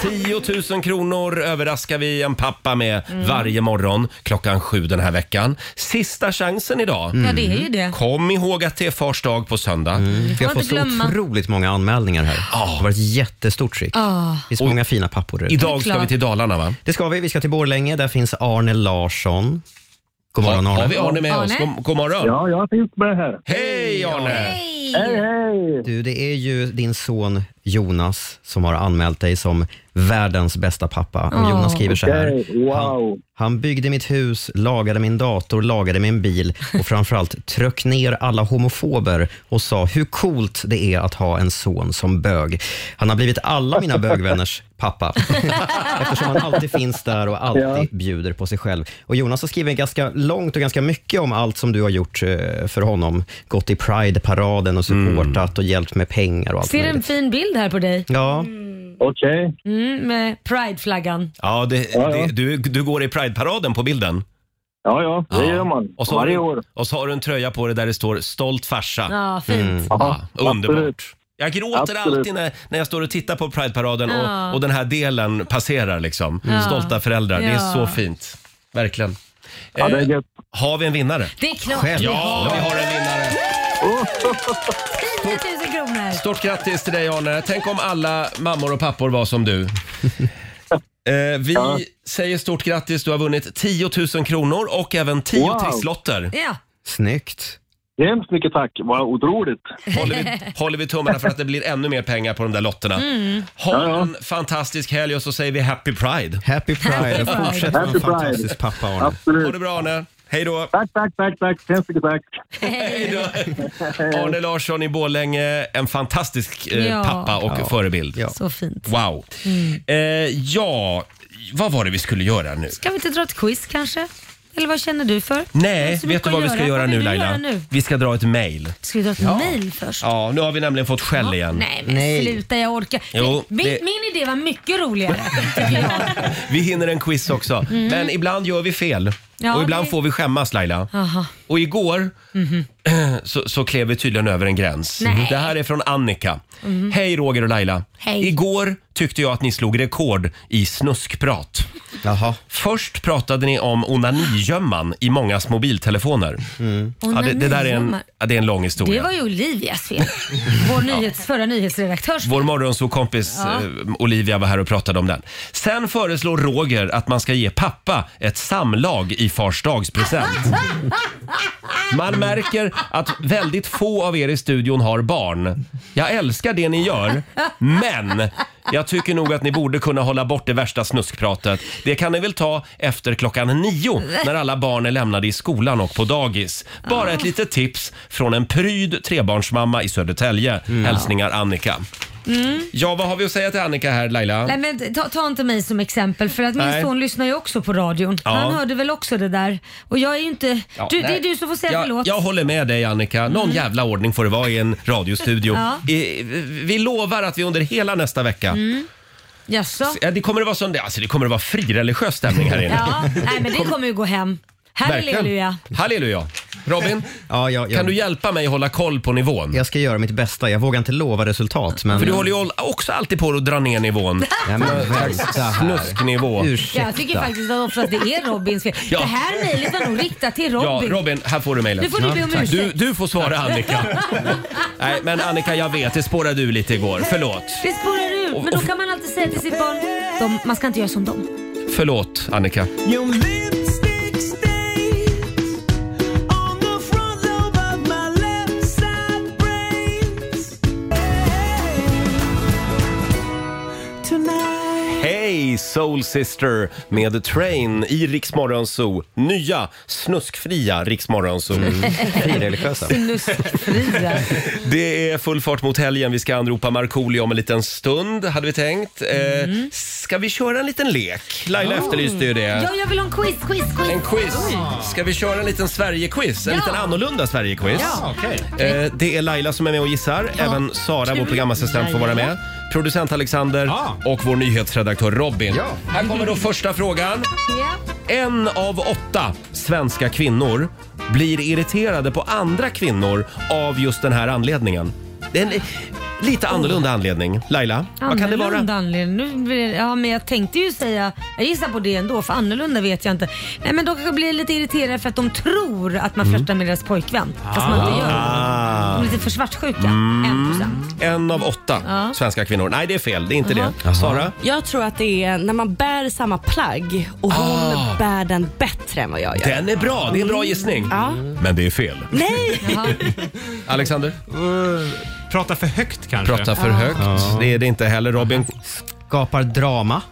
[SPEAKER 1] Mm, 10 000 kronor överraskar vi en pappa med varje morgon klockan sju den här veckan. Sista chansen idag.
[SPEAKER 2] Ja, det är ju det. Mm.
[SPEAKER 1] Kom ihåg att det är fars dag på söndag.
[SPEAKER 3] Vi
[SPEAKER 2] Får
[SPEAKER 3] har fått
[SPEAKER 2] inte
[SPEAKER 3] så
[SPEAKER 2] glömma.
[SPEAKER 3] otroligt många anmälningar här. Det har varit jättestort tryck.
[SPEAKER 2] Ah.
[SPEAKER 3] Det finns många fina pappor där ute.
[SPEAKER 1] Idag ska vi till Dalarna va?
[SPEAKER 3] Det ska vi. Vi ska till Borlänge. Där finns Arne Larsson. God morgon Arne.
[SPEAKER 1] Har vi Arne med
[SPEAKER 2] Arne?
[SPEAKER 1] oss? God, god morgon.
[SPEAKER 13] Ja, jag finns med här.
[SPEAKER 1] Hej Arne!
[SPEAKER 13] Hej, hej!
[SPEAKER 3] Du, det är ju din son Jonas som har anmält dig som världens bästa pappa. Och
[SPEAKER 13] Åh.
[SPEAKER 3] Jonas skriver så här.
[SPEAKER 13] Okej, wow.
[SPEAKER 3] Han byggde mitt hus, lagade min dator, lagade min bil och framförallt tryck ner alla homofober och sa hur coolt det är att ha en son som bög. Han har blivit alla mina bögvänners pappa eftersom han alltid finns där och alltid
[SPEAKER 13] Ja.
[SPEAKER 3] bjuder på sig själv. Och Jonas har skrivit ganska långt och ganska mycket om allt som du har gjort eh, för honom. Gått i Pride-paraden och supportat
[SPEAKER 13] Mm.
[SPEAKER 3] och hjälpt med pengar och allt
[SPEAKER 2] Ser en
[SPEAKER 3] möjligt.
[SPEAKER 2] fin bild här på dig.
[SPEAKER 3] Ja.
[SPEAKER 13] Okej.
[SPEAKER 2] Mm, med prideflaggan.
[SPEAKER 1] Ja, det, Det, du, du går i Pride-paraden på bilden.
[SPEAKER 13] Ja, ja, det gör man.
[SPEAKER 1] Och så, har
[SPEAKER 13] Varje
[SPEAKER 1] du,
[SPEAKER 13] år.
[SPEAKER 1] och så har du en tröja på dig där det står “Stolt farsa”.
[SPEAKER 2] Ja, fint. Mm.
[SPEAKER 1] Ja,
[SPEAKER 13] Jaha, absolut.
[SPEAKER 1] underbart. Jag gråter
[SPEAKER 13] Absolut.
[SPEAKER 1] alltid när, när jag står och tittar på Pride-paraden
[SPEAKER 2] Ja.
[SPEAKER 1] och, och den här delen passerar liksom.
[SPEAKER 2] Ja.
[SPEAKER 1] Stolta föräldrar. Det är
[SPEAKER 2] Ja.
[SPEAKER 1] så fint. Verkligen. Eh,
[SPEAKER 13] Ja, det är gött.
[SPEAKER 1] har vi en vinnare?
[SPEAKER 2] Det är klart
[SPEAKER 1] Själv.
[SPEAKER 2] vi
[SPEAKER 1] Ja, vi har en vinnare.
[SPEAKER 2] 10 000 kronor.
[SPEAKER 1] Stort grattis till dig Arne. Tänk om alla mammor och pappor var som du. Eh, vi säger stort grattis. Du har vunnit 10 000 kronor och även 10
[SPEAKER 13] Wow.
[SPEAKER 1] trisslotter.
[SPEAKER 2] Ja.
[SPEAKER 3] Snyggt.
[SPEAKER 13] Hemskt mycket tack. Vad otroligt.
[SPEAKER 1] Håller vi, håller vi tummarna för att det blir ännu mer pengar på de där lotterna.
[SPEAKER 2] Mm.
[SPEAKER 1] Ha en fantastisk helg och så säger vi Happy Pride.
[SPEAKER 3] Happy Pride och fortsätt vara en
[SPEAKER 13] Happy Pride.
[SPEAKER 3] fantastisk pappa Arne.
[SPEAKER 13] Absolut.
[SPEAKER 1] Ha det bra Arne. Hej då.
[SPEAKER 13] Tack, tack, tack, tack. Hemskt mycket tack.
[SPEAKER 1] Hej då. Arne Larsson i Borlänge, en fantastisk eh,
[SPEAKER 2] Ja.
[SPEAKER 1] pappa och
[SPEAKER 3] Ja.
[SPEAKER 1] förebild.
[SPEAKER 3] Ja.
[SPEAKER 2] Så fint.
[SPEAKER 1] Wow. Eh, ja, vad var det vi skulle göra nu?
[SPEAKER 2] Ska vi inte dra ett quiz kanske? Eller vad känner du för? Det är
[SPEAKER 1] Nej,
[SPEAKER 2] så
[SPEAKER 1] vet
[SPEAKER 2] mycket
[SPEAKER 1] du vad
[SPEAKER 2] att
[SPEAKER 1] vi ska göra
[SPEAKER 2] Vad vill
[SPEAKER 1] nu
[SPEAKER 2] du
[SPEAKER 1] Laila?
[SPEAKER 2] göra nu?
[SPEAKER 1] Vi ska dra ett mejl.
[SPEAKER 2] Ska vi dra ett mejl först?
[SPEAKER 1] Ja, nu har vi nämligen fått skäll igen.
[SPEAKER 2] Nej men
[SPEAKER 3] Nej.
[SPEAKER 2] sluta, jag orkar.
[SPEAKER 1] Jo,
[SPEAKER 2] min,
[SPEAKER 1] det-
[SPEAKER 2] min idé var mycket roligare. tycker jag.
[SPEAKER 1] Vi hinner en quiz också. Men ibland gör vi fel.
[SPEAKER 2] Mm. Ja,
[SPEAKER 1] och ibland
[SPEAKER 2] det-
[SPEAKER 1] får vi skämmas Laila.
[SPEAKER 2] Jaha.
[SPEAKER 1] Och igår så, så klev vi tydligen över en gräns. Mm.
[SPEAKER 2] Nej. Mhm.
[SPEAKER 1] Det här är från Annika. Hej Roger och Laila.
[SPEAKER 2] Hej.
[SPEAKER 1] Igår tyckte jag att ni slog rekord i snuskprat.
[SPEAKER 3] Jaha.
[SPEAKER 1] Först pratade ni om onanigömman i mångas mobiltelefoner. Ja, det, det där är en,
[SPEAKER 2] Mm. Onanigömmar.
[SPEAKER 1] ja, det är en lång
[SPEAKER 2] Det
[SPEAKER 1] historia.
[SPEAKER 2] var ju Olivias fel. Vår nyhets, förra nyhetsredaktörs fel.
[SPEAKER 1] Vår morgonsåkompis
[SPEAKER 2] Ja.
[SPEAKER 1] eh, Olivia var här och pratade om den. Sen föreslår Roger att man ska ge pappa ett samlag i fars dagspresent. Man märker att väldigt få av er i studion har barn. Jag älskar det ni gör, men jag tycker nog att ni borde kunna hålla bort det värsta snuskpratet. Det kan ni väl ta efter klockan nio när alla barn är lämnade i skolan och på dagis. Bara ett litet tips från en pryd trebarnsmamma i Södertälje. Hälsningar Annika.
[SPEAKER 2] Mm.
[SPEAKER 1] Ja, vad har vi att säga till Annika här Laila?
[SPEAKER 2] Nej, men ta, ta inte mig som exempel för att min
[SPEAKER 1] Nej.
[SPEAKER 2] son lyssnar ju också på radion.
[SPEAKER 1] Ja.
[SPEAKER 2] Han hörde väl också det där. Och jag är ju inte...
[SPEAKER 1] Ja,
[SPEAKER 2] du, det
[SPEAKER 1] nej.
[SPEAKER 2] är du som får säga
[SPEAKER 1] jag,
[SPEAKER 2] förlåt. Mm.
[SPEAKER 1] jag håller med dig Annika. Någon jävla ordning får det vara i en radiostudio.
[SPEAKER 2] Ja. Mm.
[SPEAKER 1] I, vi lovar att vi under hela nästa vecka
[SPEAKER 2] Jaså?
[SPEAKER 1] Ja, det kommer att vara sån, alltså det kommer att vara frireligiös stämning här inne.
[SPEAKER 2] Ja, nej men det kommer ju gå hem. Halleluja.
[SPEAKER 1] Halleluja. Robin,
[SPEAKER 3] Ja, jag, jag,
[SPEAKER 1] kan du hjälpa mig hålla koll på nivån?
[SPEAKER 3] jag ska göra mitt bästa. Jag vågar inte lova resultat. Men...
[SPEAKER 1] För du håller ju all- också alltid på att dra ner nivån.
[SPEAKER 3] Nej, men vänta här.
[SPEAKER 1] Snusknivå.
[SPEAKER 3] Ursäkta.
[SPEAKER 2] Jag tycker faktiskt att oftast det är Robins fel.
[SPEAKER 1] Ja.
[SPEAKER 2] Det här mejlet var nog riktat till
[SPEAKER 1] Ja,
[SPEAKER 2] Robin.
[SPEAKER 1] Robin, här får du mejlet.
[SPEAKER 2] Nu får du be om
[SPEAKER 1] Tack. du,
[SPEAKER 2] ursäkt.
[SPEAKER 1] du får svara Annika. Nej, men Annika, jag vet, det spårade du lite igår. Förlåt.
[SPEAKER 2] Det spårar ur. Men då kan man alltid säga till sitt barn, de, man ska inte göra som dem.
[SPEAKER 1] Förlåt, Annika. Hej Soul Sister med Train i Rix Morgon Zoo. Nya snuskfria Rix Morgon Zoo.
[SPEAKER 2] Mm.
[SPEAKER 3] Frireligiösa.
[SPEAKER 2] Nuskfria.
[SPEAKER 1] Det är full fart mot helgen. Vi ska anropa Markoolio om en liten stund, hade vi tänkt.
[SPEAKER 2] Mm.
[SPEAKER 1] Eh, ska vi köra en liten lek? Laila efterlyste ju det.
[SPEAKER 2] Ja, jag vill ha en quiz, quiz, quiz.
[SPEAKER 1] En quiz. Ska vi köra en liten Sverige-quiz? En
[SPEAKER 2] Ja.
[SPEAKER 1] liten annorlunda Sverige-quiz.
[SPEAKER 2] Ja.
[SPEAKER 1] Eh, det är Laila som är med och gissar. Även Sara, vår programassistent, får vara med. Producent Alexander och vår nyhetsredaktör Robin. Här kommer då första frågan.
[SPEAKER 2] Ja.
[SPEAKER 1] En av åtta svenska kvinnor blir irriterade på andra kvinnor av just den här anledningen. Den, Lite annorlunda anledning. Laila, vad kan det vara?
[SPEAKER 2] Annorlunda anledning. Nu, blir det- ja, men jag tänkte ju säga, jag gissar på det ändå för annorlunda vet jag inte. Nej men de kanske blir lite irriterade för att de tror att man
[SPEAKER 1] Mm.
[SPEAKER 2] flörtar med deras pojkvän. Fast man inte gör det. De
[SPEAKER 1] Ah.
[SPEAKER 2] är lite för svartsjuka.
[SPEAKER 1] Mm. En av åtta
[SPEAKER 7] Ja.
[SPEAKER 1] svenska kvinnor. Nej, det är fel. Det är inte
[SPEAKER 7] Jaha.
[SPEAKER 1] det. Sara?
[SPEAKER 7] Jag tror att det är när man bär samma plagg och hon bär den bättre än vad jag gör.
[SPEAKER 1] Ah. Den är bra. Det är en bra
[SPEAKER 7] Mm.
[SPEAKER 1] gissning.
[SPEAKER 7] Ja.
[SPEAKER 1] Men det är fel.
[SPEAKER 7] Nej!
[SPEAKER 1] Alexander?
[SPEAKER 11] Eh, Prata för högt kanske.
[SPEAKER 1] Prata för högt. Det är det inte heller. Robin? Skapar drama.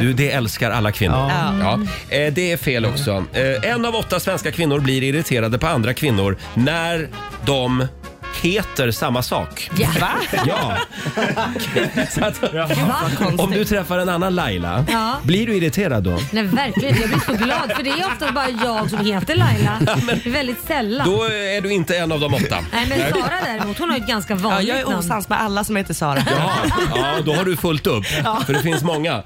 [SPEAKER 1] du, det älskar alla kvinnor.
[SPEAKER 3] Ja.
[SPEAKER 1] Ja. Eh, Det är fel också. Eh, En av åtta svenska kvinnor blir irriterade på andra kvinnor när de heter samma sak.
[SPEAKER 2] Ja.
[SPEAKER 1] Ja. Så att, om du träffar en annan Laila,
[SPEAKER 2] Ja.
[SPEAKER 1] blir du irriterad då?
[SPEAKER 2] Nej verkligen, jag blir så glad för det är ofta bara jag som heter Laila. Det är väldigt sällan.
[SPEAKER 1] Då är du inte en av de åtta.
[SPEAKER 2] Nej men Sara däremot, hon har ju ett ganska vanligt
[SPEAKER 7] jag är
[SPEAKER 2] namn.
[SPEAKER 7] osams med alla som heter Sara.
[SPEAKER 1] Ja, då har du fullt upp.
[SPEAKER 7] Ja.
[SPEAKER 1] För det finns många.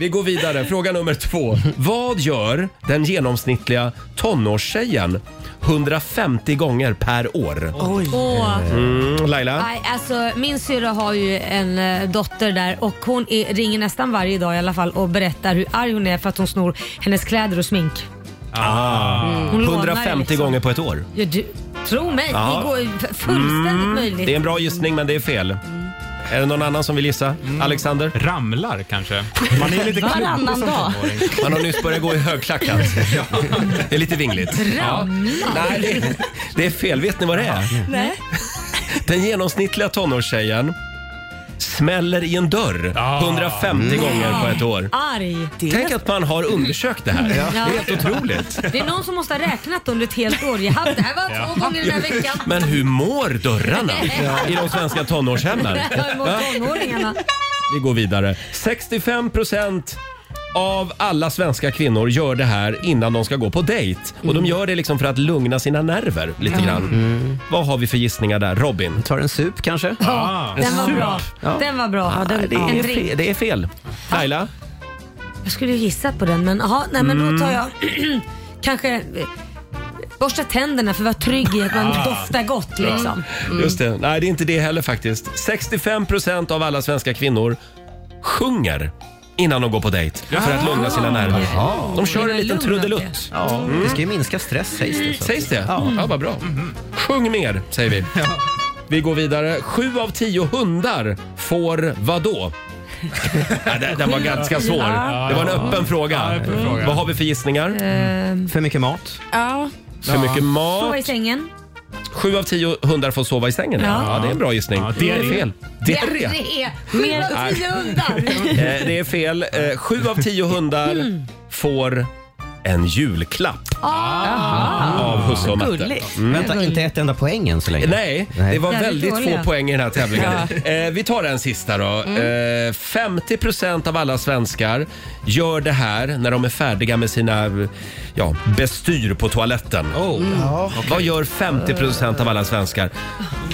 [SPEAKER 1] Vi går vidare. Fråga nummer två. Vad gör den genomsnittliga tonårstjejen 150 gånger per år?
[SPEAKER 2] Oj. Åh.
[SPEAKER 1] Mm, Laila?
[SPEAKER 2] Nej, alltså, min syrra har ju en eh, dotter där och hon är, ringer nästan varje dag i alla fall och berättar hur arg hon är för att hon snor hennes kläder och smink.
[SPEAKER 1] Ah.
[SPEAKER 2] Hon lånar
[SPEAKER 1] 150
[SPEAKER 2] liksom.
[SPEAKER 1] gånger på ett år.
[SPEAKER 2] Ja, du, tro mig,
[SPEAKER 1] Ja. Mm,
[SPEAKER 2] det går ju f- fullständigt möjligt.
[SPEAKER 1] Det är en bra gissning, men det är fel. Är det någon annan som vill gissa?
[SPEAKER 2] Mm.
[SPEAKER 1] Alexander? Ramlar kanske.
[SPEAKER 11] Man är lite
[SPEAKER 7] Varannan klumpig som dag. tonåring.
[SPEAKER 1] Man har nyss börjat gå i högklackat. Det är lite vingligt. Ja. Nej, det, det är fel. Vet ni vad det är?
[SPEAKER 7] Nej.
[SPEAKER 1] Den genomsnittliga tonårstjejen smäller i en dörr 150 gånger på ett år.
[SPEAKER 2] Ah. Arg.
[SPEAKER 1] Tänk att man har undersökt det här.
[SPEAKER 2] Ja.
[SPEAKER 1] Det är helt otroligt.
[SPEAKER 2] Det är någon som måste ha räknat under ett helt år. Jag hade, det här var två gånger den här veckan.
[SPEAKER 1] Men hur mår dörrarna i de svenska tonårshemmen?
[SPEAKER 2] Jag mot
[SPEAKER 1] Va?
[SPEAKER 2] tonåringarna.
[SPEAKER 1] Vi går vidare. 65 procent av alla svenska kvinnor gör det här innan de ska gå på dejt. Och de gör det liksom för att lugna sina nerver lite
[SPEAKER 2] Mm. Ja.
[SPEAKER 1] grann. Vad har vi för gissningar där? Robin? Mm. Ah. Tar en sup kanske?
[SPEAKER 2] Ja, den var bra. Den var bra.
[SPEAKER 1] Nej, det,
[SPEAKER 2] En
[SPEAKER 1] är
[SPEAKER 2] drink.
[SPEAKER 1] fel, det är fel. Laila?
[SPEAKER 2] Jag skulle ju gissat på den men, aha, nej, men
[SPEAKER 1] Mm.
[SPEAKER 2] då tar jag kanske eh, borsta tänderna för att vara trygg i att man
[SPEAKER 1] Ah.
[SPEAKER 2] doftar gott. Liksom. Mm.
[SPEAKER 1] Just det. Nej, det är inte det heller faktiskt. 65 procent av alla svenska kvinnor sjunger innan de går på dejt för att lugna sina nerver. De kör en liten trudelutt.
[SPEAKER 3] Ja, det ska ju minska stress sägs det. så.
[SPEAKER 1] Sägs det?
[SPEAKER 3] Ja.
[SPEAKER 1] Ja, vad bra. Sjung mer, säger vi. Vi går vidare. Sju av tio hundar får vad då? ja, den, den var ganska svår.
[SPEAKER 7] Ja.
[SPEAKER 1] Det var en öppen fråga. Vad har vi för gissningar?
[SPEAKER 2] Ehm.
[SPEAKER 1] För mycket mat.
[SPEAKER 7] Ja.
[SPEAKER 1] För mycket mat.
[SPEAKER 2] Sova i sängen.
[SPEAKER 1] Sju av tio hundar får sova i sängen. Ja,
[SPEAKER 2] Ja.
[SPEAKER 1] det är en bra gissning. det
[SPEAKER 2] Mm.
[SPEAKER 1] är fel. Det är det.
[SPEAKER 2] Mer
[SPEAKER 1] Nej.
[SPEAKER 2] än tio hundar.
[SPEAKER 1] Eh, Det är fel. Eh, Sju av tio hundar får en julklapp
[SPEAKER 2] Ah.
[SPEAKER 1] av husse och matte. Mm.
[SPEAKER 3] Gulligt. Vänta, inte ett enda poäng än så länge.
[SPEAKER 1] Nej, det var
[SPEAKER 3] Väldigt
[SPEAKER 1] väldigt
[SPEAKER 3] dåliga.
[SPEAKER 1] få poäng i den här tävlingen. Eh, vi tar en sista då.
[SPEAKER 7] Mm.
[SPEAKER 1] Eh, 50 procent av alla svenskar gör det här när de är färdiga med sina ja, bestyr på toaletten.
[SPEAKER 7] Mm. Ja.
[SPEAKER 1] Vad gör 50 procent av alla svenskar?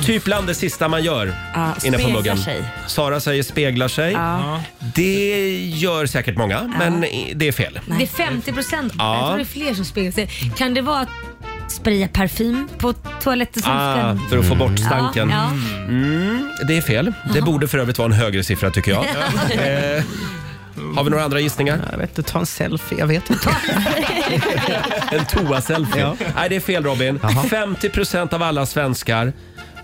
[SPEAKER 1] Typ bland det sista man gör
[SPEAKER 7] Ja,
[SPEAKER 1] inne på
[SPEAKER 7] speglar
[SPEAKER 1] muggen.
[SPEAKER 7] sig.
[SPEAKER 1] Sara säger speglar sig.
[SPEAKER 7] Ja.
[SPEAKER 1] Det gör säkert många, men i- det är fel.
[SPEAKER 2] Det är 50 procent.
[SPEAKER 1] Ja.
[SPEAKER 2] Jag tror det är fler som speglar sig. Kan det vara att spraya parfym på toaletten som
[SPEAKER 1] Ah,
[SPEAKER 2] ska...
[SPEAKER 1] för att få bort stanken.
[SPEAKER 2] Ja,
[SPEAKER 1] Mm, det är fel. Det borde för övrigt vara en högre siffra tycker jag. eh, har vi några andra gissningar? Jag vet inte, ta en selfie. Jag vet inte. en toa-selfie. Nej, det är fel Robin. 50 procent av alla svenskar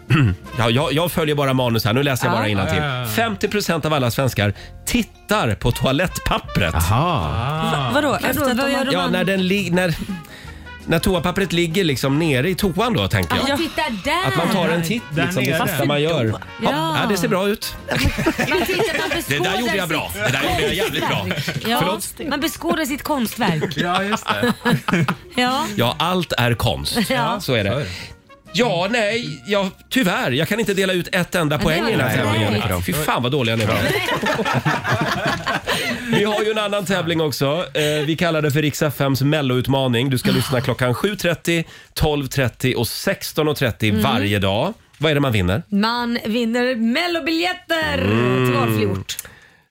[SPEAKER 1] Ja, jag, jag följer bara manus här, nu läser jag
[SPEAKER 7] Ja.
[SPEAKER 1] bara innantill.
[SPEAKER 7] Ja, ja, ja.
[SPEAKER 1] 50% av alla svenskar tittar på toalettpappret.
[SPEAKER 7] Va- vadå? Vadå? Efter att Vad de gör har- de
[SPEAKER 1] ja,
[SPEAKER 7] andra?
[SPEAKER 1] när, den li- när, när toapappret ligger liksom nere i toan då, tänker
[SPEAKER 7] Ah,
[SPEAKER 1] jag.
[SPEAKER 2] ja. Titta där!
[SPEAKER 1] Att man tar en titt liksom, det sista man gör. Ja.
[SPEAKER 2] Ja.
[SPEAKER 1] Ja, det ser bra ut.
[SPEAKER 2] Man tittar, man
[SPEAKER 1] Det där gjorde
[SPEAKER 2] beskådar
[SPEAKER 1] jag bra.
[SPEAKER 2] sitt
[SPEAKER 1] Det där gjorde jag jävligt bra.
[SPEAKER 2] Ja,
[SPEAKER 1] Förlåt?
[SPEAKER 2] Man beskådar sitt konstverk.
[SPEAKER 1] Ja, just det.
[SPEAKER 2] Ja.
[SPEAKER 1] Ja, allt är konst.
[SPEAKER 2] Ja.
[SPEAKER 1] Så är det. Ja, nej, ja, tyvärr. Jag kan inte dela ut ett enda
[SPEAKER 5] Ja,
[SPEAKER 1] poäng
[SPEAKER 5] det
[SPEAKER 1] i den här
[SPEAKER 5] var
[SPEAKER 1] tävlingen.
[SPEAKER 5] tråkigt.
[SPEAKER 1] Fy fan vad dåliga ni var. Vi har ju en annan tävling också. Eh, Vi kallar det för Rix FMs melloutmaning. Du ska lyssna klockan 7.30, 12.30 och 16.30
[SPEAKER 2] Mm.
[SPEAKER 1] varje dag. Vad är det man vinner?
[SPEAKER 2] Man vinner mellobiljetter
[SPEAKER 1] Mm.
[SPEAKER 2] till valfri ort.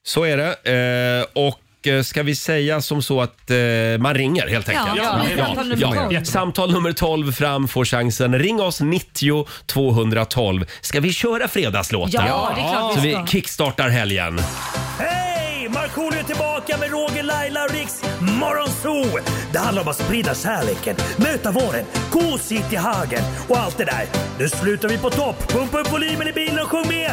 [SPEAKER 1] Så är det. Eh, och Och eh, ska vi säga som så att eh, man ringer helt
[SPEAKER 5] Ja,
[SPEAKER 1] enkelt?
[SPEAKER 5] ja, det är samtal nummer tolv.
[SPEAKER 1] Samtal nummer 12 fram får chansen. Ring oss 90 212. Ska vi köra fredagslåten?
[SPEAKER 14] Ja, det är klart
[SPEAKER 1] Så
[SPEAKER 14] vi
[SPEAKER 1] vi
[SPEAKER 14] ska.
[SPEAKER 1] kickstartar helgen.
[SPEAKER 14] Hej! Markoolio är tillbaka med Roger, Laila och Riks Morgonzoo! Det handlar om att sprida kärleken, möta våren, gosigt i hagen och allt det där. Nu slutar vi på topp! Pumpa upp volymen i bilen och sjung med!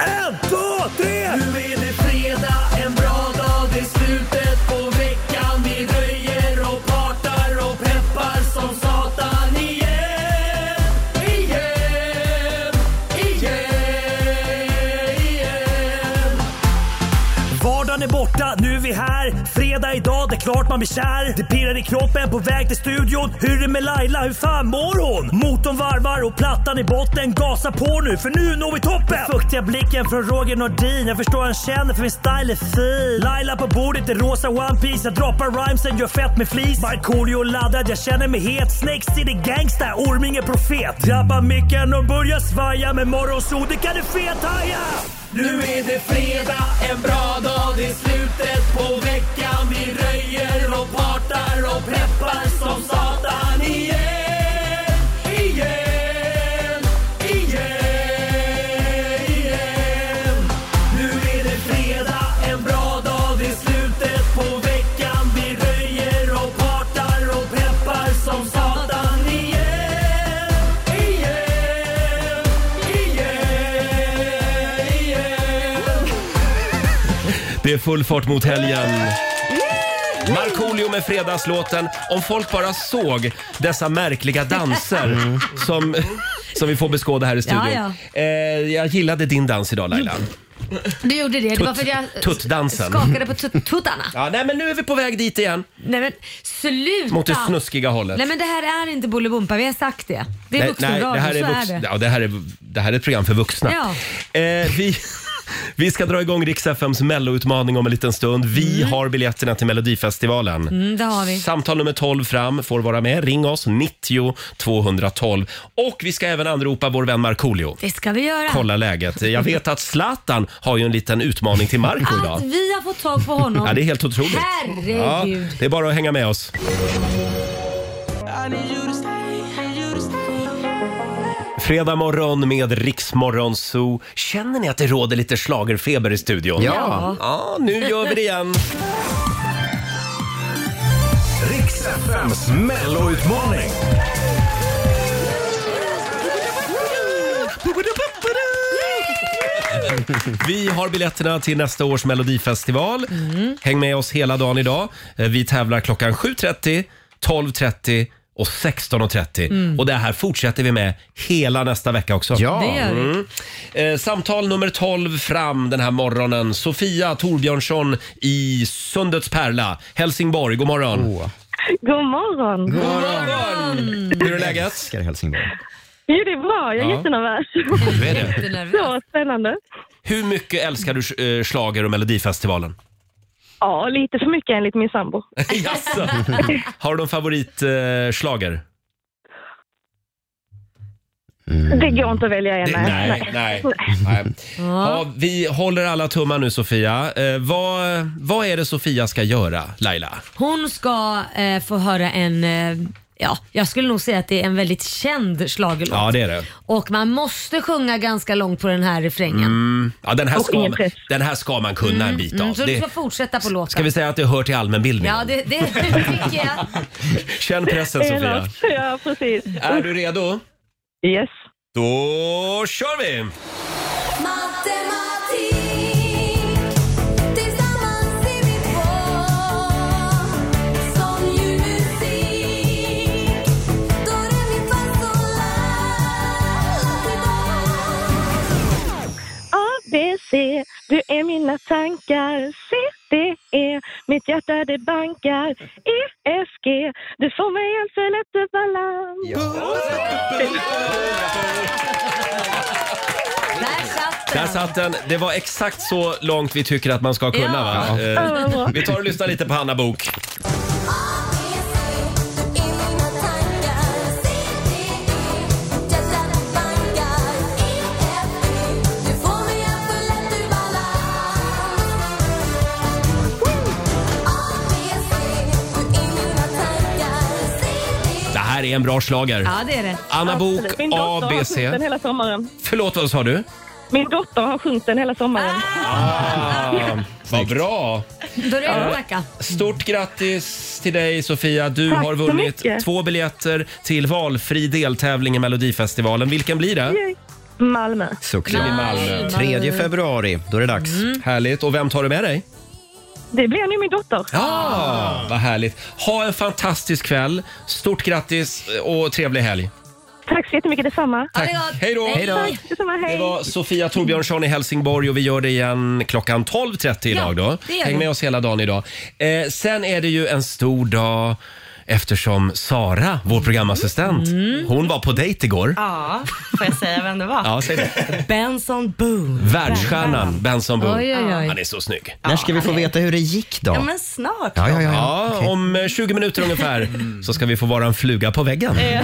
[SPEAKER 14] En, två, tre! Nu är det fredag, en bra dag, det är slutet på veckan. Vi röjer och partar och peppar som satan igen, igen, igen, igen. Vardagen är borta, nu är vi här. Fredag idag, det är klart man blir kär. Det pirrar i kroppen på väg till studion. Hur är det med Laila, hur fan mår hon? Motorn varvar och plattan i botten. Gasa på nu, för nu når vi toppen! Den fuktiga blicken från Roger Nordin. Jag förstår han känner, för min style är fin. Laila på bordet i rosa One Piece Jag droppar rhymesen, gör fett med flis. Markoolio laddad, jag känner mig het. Snake City gangsta, Orming är profet. Drabbar micken och börjar svaja. Med morgonsol, det kan du fethaja! Nu är det fredag, en bra dag, det är slutet på veckan Vi röjer och partar och peppar som satan igen, igen, igen, igen Nu är det fredag, en bra dag, det är slutet på veckan Vi röjer och partar och peppar som satan igen, igen, igen, igen
[SPEAKER 1] Det är full fart mot helgen. Markoolio med fredagslåten. Om folk bara såg dessa märkliga danser som, som vi får beskåda här i studion.
[SPEAKER 2] Ja,
[SPEAKER 1] Eh, jag gillade din dans idag Laila.
[SPEAKER 2] Du gjorde det. Det var
[SPEAKER 1] Tutt-
[SPEAKER 2] för att jag
[SPEAKER 1] tuttdansen.
[SPEAKER 2] skakade på tut- tuttarna.
[SPEAKER 1] Ja, nej, men nu är vi på väg dit igen.
[SPEAKER 2] Nej men sluta!
[SPEAKER 1] Mot det snuskiga hållet.
[SPEAKER 2] Nej men det här är inte Bolibompa, vi har sagt det. Det är
[SPEAKER 1] Nej, nej,
[SPEAKER 2] vuxenradio,
[SPEAKER 1] det här är
[SPEAKER 2] så
[SPEAKER 1] vux-
[SPEAKER 2] är det.
[SPEAKER 1] Ja, det, här är, det här är ett program för vuxna.
[SPEAKER 2] Ja.
[SPEAKER 1] Eh, vi, vi ska dra igång Rix FMs melloutmaning om en liten stund. Vi har biljetterna till Melodifestivalen.
[SPEAKER 2] Mm, det har vi.
[SPEAKER 1] Samtal nummer 12 fram får vara med. Ring oss, 90 212. Och vi ska även anropa vår vän Markoolio.
[SPEAKER 2] Det ska vi göra.
[SPEAKER 1] Kolla läget. Jag vet att Zlatan har ju en liten utmaning till Marco
[SPEAKER 2] Att
[SPEAKER 1] idag.
[SPEAKER 2] vi har fått tag på honom.
[SPEAKER 1] Ja, det är helt otroligt. Ja,
[SPEAKER 2] Herregud.
[SPEAKER 1] det är bara att hänga med oss. Fredag morgon med Riksmorgon Zoo. Känner ni att det råder lite schlagerfeber i studion?
[SPEAKER 14] Ja.
[SPEAKER 1] Ja, nu gör vi det igen.
[SPEAKER 8] Riks FMs melloutmaning.
[SPEAKER 1] Vi har biljetterna till nästa års Melodifestival.
[SPEAKER 14] Mm.
[SPEAKER 1] Häng med oss hela dagen idag. Eh, Vi tävlar klockan 7.30, 12.30 och 16.30.
[SPEAKER 14] Mm.
[SPEAKER 1] Och det här fortsätter vi med hela nästa vecka också.
[SPEAKER 14] Ja. Det gör vi.
[SPEAKER 1] Eh, Samtal nummer 12 fram den här morgonen. Sofia Torbjörnsson i Sundets pärla, Helsingborg. God morgon.
[SPEAKER 6] God morgon!
[SPEAKER 1] God morgon! Hur är läget?
[SPEAKER 3] Älskar Helsingborg.
[SPEAKER 6] Jo, det är bra. Jag är
[SPEAKER 1] Ja.
[SPEAKER 6] jättenervös.
[SPEAKER 1] Du är det.
[SPEAKER 6] Så spännande.
[SPEAKER 1] Hur mycket älskar du eh, schlager och Melodifestivalen?
[SPEAKER 6] Ja, lite för mycket enligt min sambo.
[SPEAKER 1] Jaså? Har du någon favoritschlager? Eh, schlager?
[SPEAKER 6] Det går inte att välja en.
[SPEAKER 1] nej, nej. nej. Ja, vi håller alla tummar nu Sofia. Eh, vad, vad är det Sofia ska göra, Laila?
[SPEAKER 2] Hon ska eh, få höra en, eh, ja jag skulle nog säga att det är en väldigt känd schlagerlåt.
[SPEAKER 1] Ja, det är det.
[SPEAKER 2] Och man måste sjunga ganska långt på den här refrängen.
[SPEAKER 1] Mm. Ja, den, här
[SPEAKER 2] Och
[SPEAKER 1] ska,
[SPEAKER 2] ingen press.
[SPEAKER 1] den här ska man kunna en bit
[SPEAKER 2] Mm,
[SPEAKER 1] av.
[SPEAKER 2] så du
[SPEAKER 1] Det,
[SPEAKER 2] ska fortsätta på låten.
[SPEAKER 1] ska vi säga att det hör till allmänbildningen?
[SPEAKER 2] Ja, det, det tycker jag.
[SPEAKER 1] Känn pressen Sofia.
[SPEAKER 6] Ja, precis.
[SPEAKER 1] Är du redo?
[SPEAKER 6] Yes.
[SPEAKER 1] Då kör vi!
[SPEAKER 6] A, B, C, du är mina tankar. C, D, E, mitt hjärta det bankar. E, F, G, du får mig en så lätt ur balans.
[SPEAKER 1] Där satt den. Det var exakt så långt vi tycker att man ska kunna.
[SPEAKER 14] Ja.
[SPEAKER 1] Va?
[SPEAKER 14] Ja. Ja, vad bra.
[SPEAKER 1] Eh, vi tar och lyssnar lite på Hanna Bok. är en bra schlager.
[SPEAKER 2] Ja, det är det.
[SPEAKER 1] Anna Bok,
[SPEAKER 2] Absolut.
[SPEAKER 6] Min dotter har
[SPEAKER 1] ABC.
[SPEAKER 6] sjungit den hela sommaren.
[SPEAKER 1] Förlåt, vad sa du?
[SPEAKER 6] Min dotter har sjungit den hela sommaren.
[SPEAKER 1] Ah, vad bra!
[SPEAKER 2] Då är det att tacka.
[SPEAKER 1] Stort grattis till dig Sofia. Du
[SPEAKER 6] Tack
[SPEAKER 1] har
[SPEAKER 6] så
[SPEAKER 1] vunnit
[SPEAKER 6] mycket.
[SPEAKER 1] två biljetter till valfri deltävling i Melodifestivalen. Vilken blir det?
[SPEAKER 6] Yay. Malmö.
[SPEAKER 1] Såklart. I Malmö.
[SPEAKER 6] 3
[SPEAKER 1] februari, då är det dags. Härligt. Och vem tar du med dig?
[SPEAKER 6] Det blir nu min dotter.
[SPEAKER 1] Ah, vad härligt. Ha en fantastisk kväll. Stort grattis och trevlig helg.
[SPEAKER 6] Tack så jättemycket detsamma.
[SPEAKER 1] Tack. Hej då. Hej då.
[SPEAKER 6] Tack detsamma, hej.
[SPEAKER 1] Det var Sofia Torbjörnsson i Helsingborg och vi gör det igen klockan 12.30 idag då.
[SPEAKER 6] det gör
[SPEAKER 1] Häng
[SPEAKER 6] vi.
[SPEAKER 1] med oss hela dagen idag. Eh, sen är det ju en stor dag eftersom Sara, vår programassistent,
[SPEAKER 7] Mm.
[SPEAKER 1] hon var på dejt igår.
[SPEAKER 7] Ja, får jag säga vem det var?
[SPEAKER 1] Ja, säg det.
[SPEAKER 7] Benson Boone.
[SPEAKER 1] Världsstjärnan Benson Boone.
[SPEAKER 7] Oj, oj, oj.
[SPEAKER 1] Han är så snygg.
[SPEAKER 3] När ska vi få veta hur det gick då?
[SPEAKER 7] Ja, men snart.
[SPEAKER 1] Ja, ja, ja.
[SPEAKER 3] Okej.
[SPEAKER 1] om eh, 20 minuter ungefär så ska vi få vara en fluga på väggen.
[SPEAKER 7] Ja.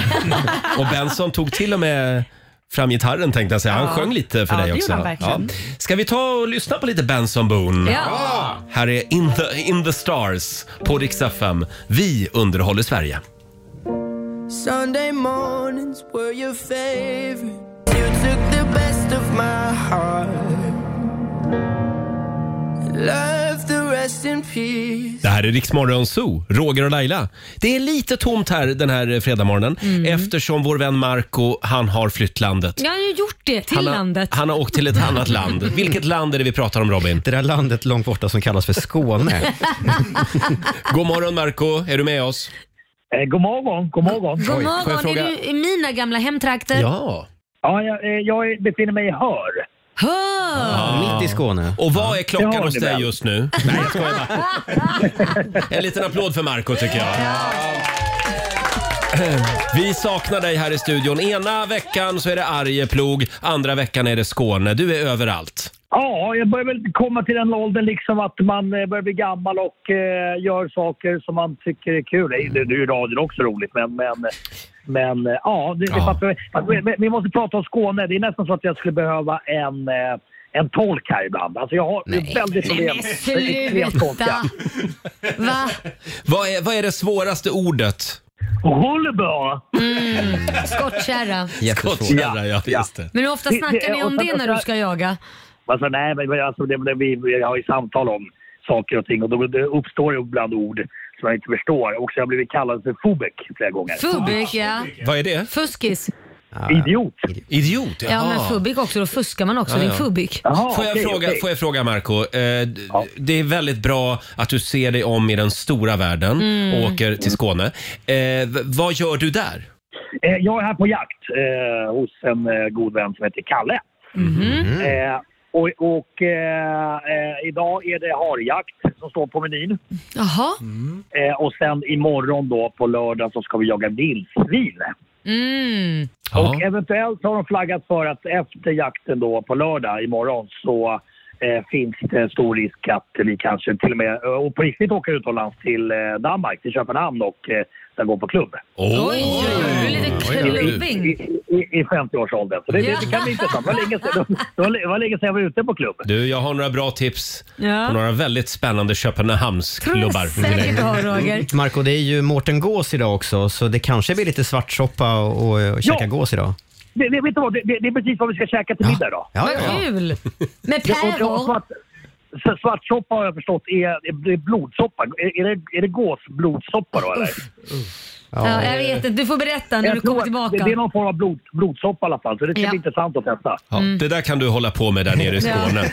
[SPEAKER 1] Och Benson tog till och med fram gitarren tänkte jag säga. Han
[SPEAKER 7] Ja.
[SPEAKER 1] sjöng lite för
[SPEAKER 7] Ja,
[SPEAKER 1] dig
[SPEAKER 7] det
[SPEAKER 1] också.
[SPEAKER 7] gjorde han verkligen.
[SPEAKER 1] Ska vi ta och lyssna på lite Benson Boone?
[SPEAKER 7] Ja. Ja.
[SPEAKER 1] Här är In the, In the Stars på Rix FM. Vi underhåller Sverige.
[SPEAKER 15] Sunday mornings were your favorite. You took the best of my heart. Love the rest in peace.
[SPEAKER 1] Det här är Rix Morgon Zoo, Roger och Laila. Det är lite tomt här den här fredagsmorgonen
[SPEAKER 7] Mm.
[SPEAKER 1] eftersom vår vän Marco han har flytt landet.
[SPEAKER 2] Jag har ju gjort det till
[SPEAKER 1] han,
[SPEAKER 2] landet.
[SPEAKER 1] Har, han har åkt till ett annat land. Vilket land är det vi pratar om Robin?
[SPEAKER 3] Det där landet långt borta som kallas för Skåne.
[SPEAKER 1] God morgon Marco, är du med oss?
[SPEAKER 16] Eh, god morgon, god morgon.
[SPEAKER 2] God morgon, är du i mina gamla hemtrakter?
[SPEAKER 16] Ja, jag, eh, jag befinner mig i Hör.
[SPEAKER 2] Hör!
[SPEAKER 1] Ah, mitt i
[SPEAKER 3] Skåne.
[SPEAKER 1] Och vad är
[SPEAKER 16] Det
[SPEAKER 1] klockan
[SPEAKER 16] har
[SPEAKER 1] hos
[SPEAKER 16] ni
[SPEAKER 1] dig
[SPEAKER 16] väl?
[SPEAKER 1] just nu? Nej, jag skojar bara. En liten applåd för Marco tycker jag. Vi saknar dig här i studion. Ena veckan så är det Arjeplog, andra veckan är det Skåne. Du är överallt.
[SPEAKER 16] Ja, jag börjar väl komma till den åldern liksom att man eh, börjar bli gammal och eh, gör saker som man tycker är kul. Det är- Det, det är ju radion också roligt, men, men, men eh, ja. Det, det,
[SPEAKER 13] Ja.
[SPEAKER 16] Fast, fast, vi- vi, vi måste prata om Skåne. Det är nästan så att jag skulle behöva en, eh, en tolk här ibland. Alltså jag har väldigt problem.
[SPEAKER 2] Nej, men
[SPEAKER 16] Extremt
[SPEAKER 2] sluta.
[SPEAKER 16] konstiga.
[SPEAKER 2] Va?
[SPEAKER 1] Vad är, vad är det svåraste ordet?
[SPEAKER 16] Hållbar.
[SPEAKER 2] Mm, skottkärra.
[SPEAKER 1] Skottkärra, ja. Just det.
[SPEAKER 2] Men hur ofta
[SPEAKER 16] Det-
[SPEAKER 2] snackar
[SPEAKER 16] det-
[SPEAKER 2] ni om
[SPEAKER 16] och sen-
[SPEAKER 2] det när du ska jaga?
[SPEAKER 16] Alltså, nej, men men alltså, det, det, vi, vi har ju samtal om saker och ting och då det uppstår ju ibland ord som jag inte förstår. Och så har jag blivit kallad för fobek flera gånger.
[SPEAKER 2] Fubbik, ja.
[SPEAKER 1] Vad är det? Ah.
[SPEAKER 2] Fuskis.
[SPEAKER 16] Idiot.
[SPEAKER 1] Idiot,
[SPEAKER 2] Ja,
[SPEAKER 1] jaha.
[SPEAKER 2] men fubbik också. Då fuskar man också.
[SPEAKER 1] Ja,
[SPEAKER 2] Det är
[SPEAKER 1] ja.
[SPEAKER 2] fubbik.
[SPEAKER 1] får, jag fråga, får jag fråga Marco, eh, d- det är väldigt bra att du ser dig om i den stora världen
[SPEAKER 16] Mm.
[SPEAKER 1] och åker till Skåne. Eh, v- vad gör du där?
[SPEAKER 16] Eh, jag är här på jakt eh, hos en eh, god vän som heter Kalle. Eh, och och eh, eh, idag är det harjakt som står på menyn.
[SPEAKER 2] Jaha.
[SPEAKER 16] Eh, och sen imorgon då på lördag så ska vi jaga vildsvin.
[SPEAKER 2] Mm.
[SPEAKER 16] Och eventuellt har de flaggat för att efter jakten då på lördag imorgon så eh, finns det en stor risk att vi kanske till och med eh, och på riktigt åker utomlands till eh, Danmark, till Köpenhamn och eh, sen går på klubb.
[SPEAKER 2] Oj, oj, oj. Du är lite klubbing.
[SPEAKER 16] I, i, i 50-årsåldern. Så det, det, det kan bli intressant. Det var länge sedan- det var- det var länge sedan jag var ute på klubb.
[SPEAKER 1] Du, jag har några bra tips
[SPEAKER 2] Ja.
[SPEAKER 1] på några väldigt spännande Köpenhamnsklubbar.
[SPEAKER 2] Tror jag säkert du har, Roger.
[SPEAKER 3] Mm. Marco, det är ju Mårten Gås idag också, så det kanske blir lite svartsoppa och, och käka
[SPEAKER 16] Ja.
[SPEAKER 3] gås idag.
[SPEAKER 16] Det, det, vet du vad? Det, det, det är precis vad vi ska käka till middag idag.
[SPEAKER 3] Ja,
[SPEAKER 2] Vad kul! Med
[SPEAKER 16] Ja, och- och
[SPEAKER 2] päron.
[SPEAKER 16] svart- s- Svartsoppa har jag förstått är, är, är blodsoppa. Är, är det, är det gåsblodsoppa då eller?
[SPEAKER 2] Ja, jag vet inte. Du får berätta när
[SPEAKER 16] Jag
[SPEAKER 2] du
[SPEAKER 16] tror
[SPEAKER 2] kommer
[SPEAKER 16] att Det, det är
[SPEAKER 2] tillbaka.
[SPEAKER 16] någon form av blod, blodsoppa i alla fall, så det ska
[SPEAKER 2] Ja.
[SPEAKER 16] bli intressant att testa.
[SPEAKER 1] Ja,
[SPEAKER 2] Mm.
[SPEAKER 1] Det där kan du hålla på med där nere i
[SPEAKER 16] Ja.
[SPEAKER 1] Skåne.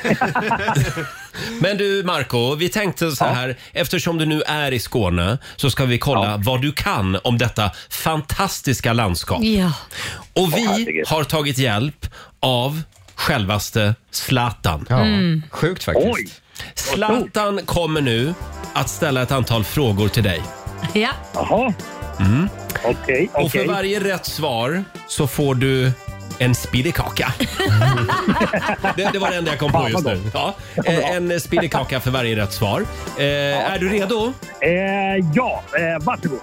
[SPEAKER 1] Men du Marco, vi tänkte så här. Eftersom du nu är i Skåne så ska vi kolla vad du kan om detta fantastiska landskap.
[SPEAKER 2] Ja.
[SPEAKER 1] Och vi har tagit hjälp av självaste Zlatan.
[SPEAKER 2] Ja, Mm.
[SPEAKER 1] Sjukt
[SPEAKER 2] faktiskt. Oj.
[SPEAKER 1] Zlatan kommer nu att ställa ett antal frågor till dig.
[SPEAKER 2] ja.
[SPEAKER 16] Jaha.
[SPEAKER 1] Mm.
[SPEAKER 16] Okej,
[SPEAKER 1] Och för
[SPEAKER 16] okej.
[SPEAKER 1] varje rätt svar så får du en speedykaka. det, det var det enda jag kom på just nu. Ja, eh, en speedykaka för varje rätt svar. Eh, Är du redo?
[SPEAKER 16] ja, eh, varsågod.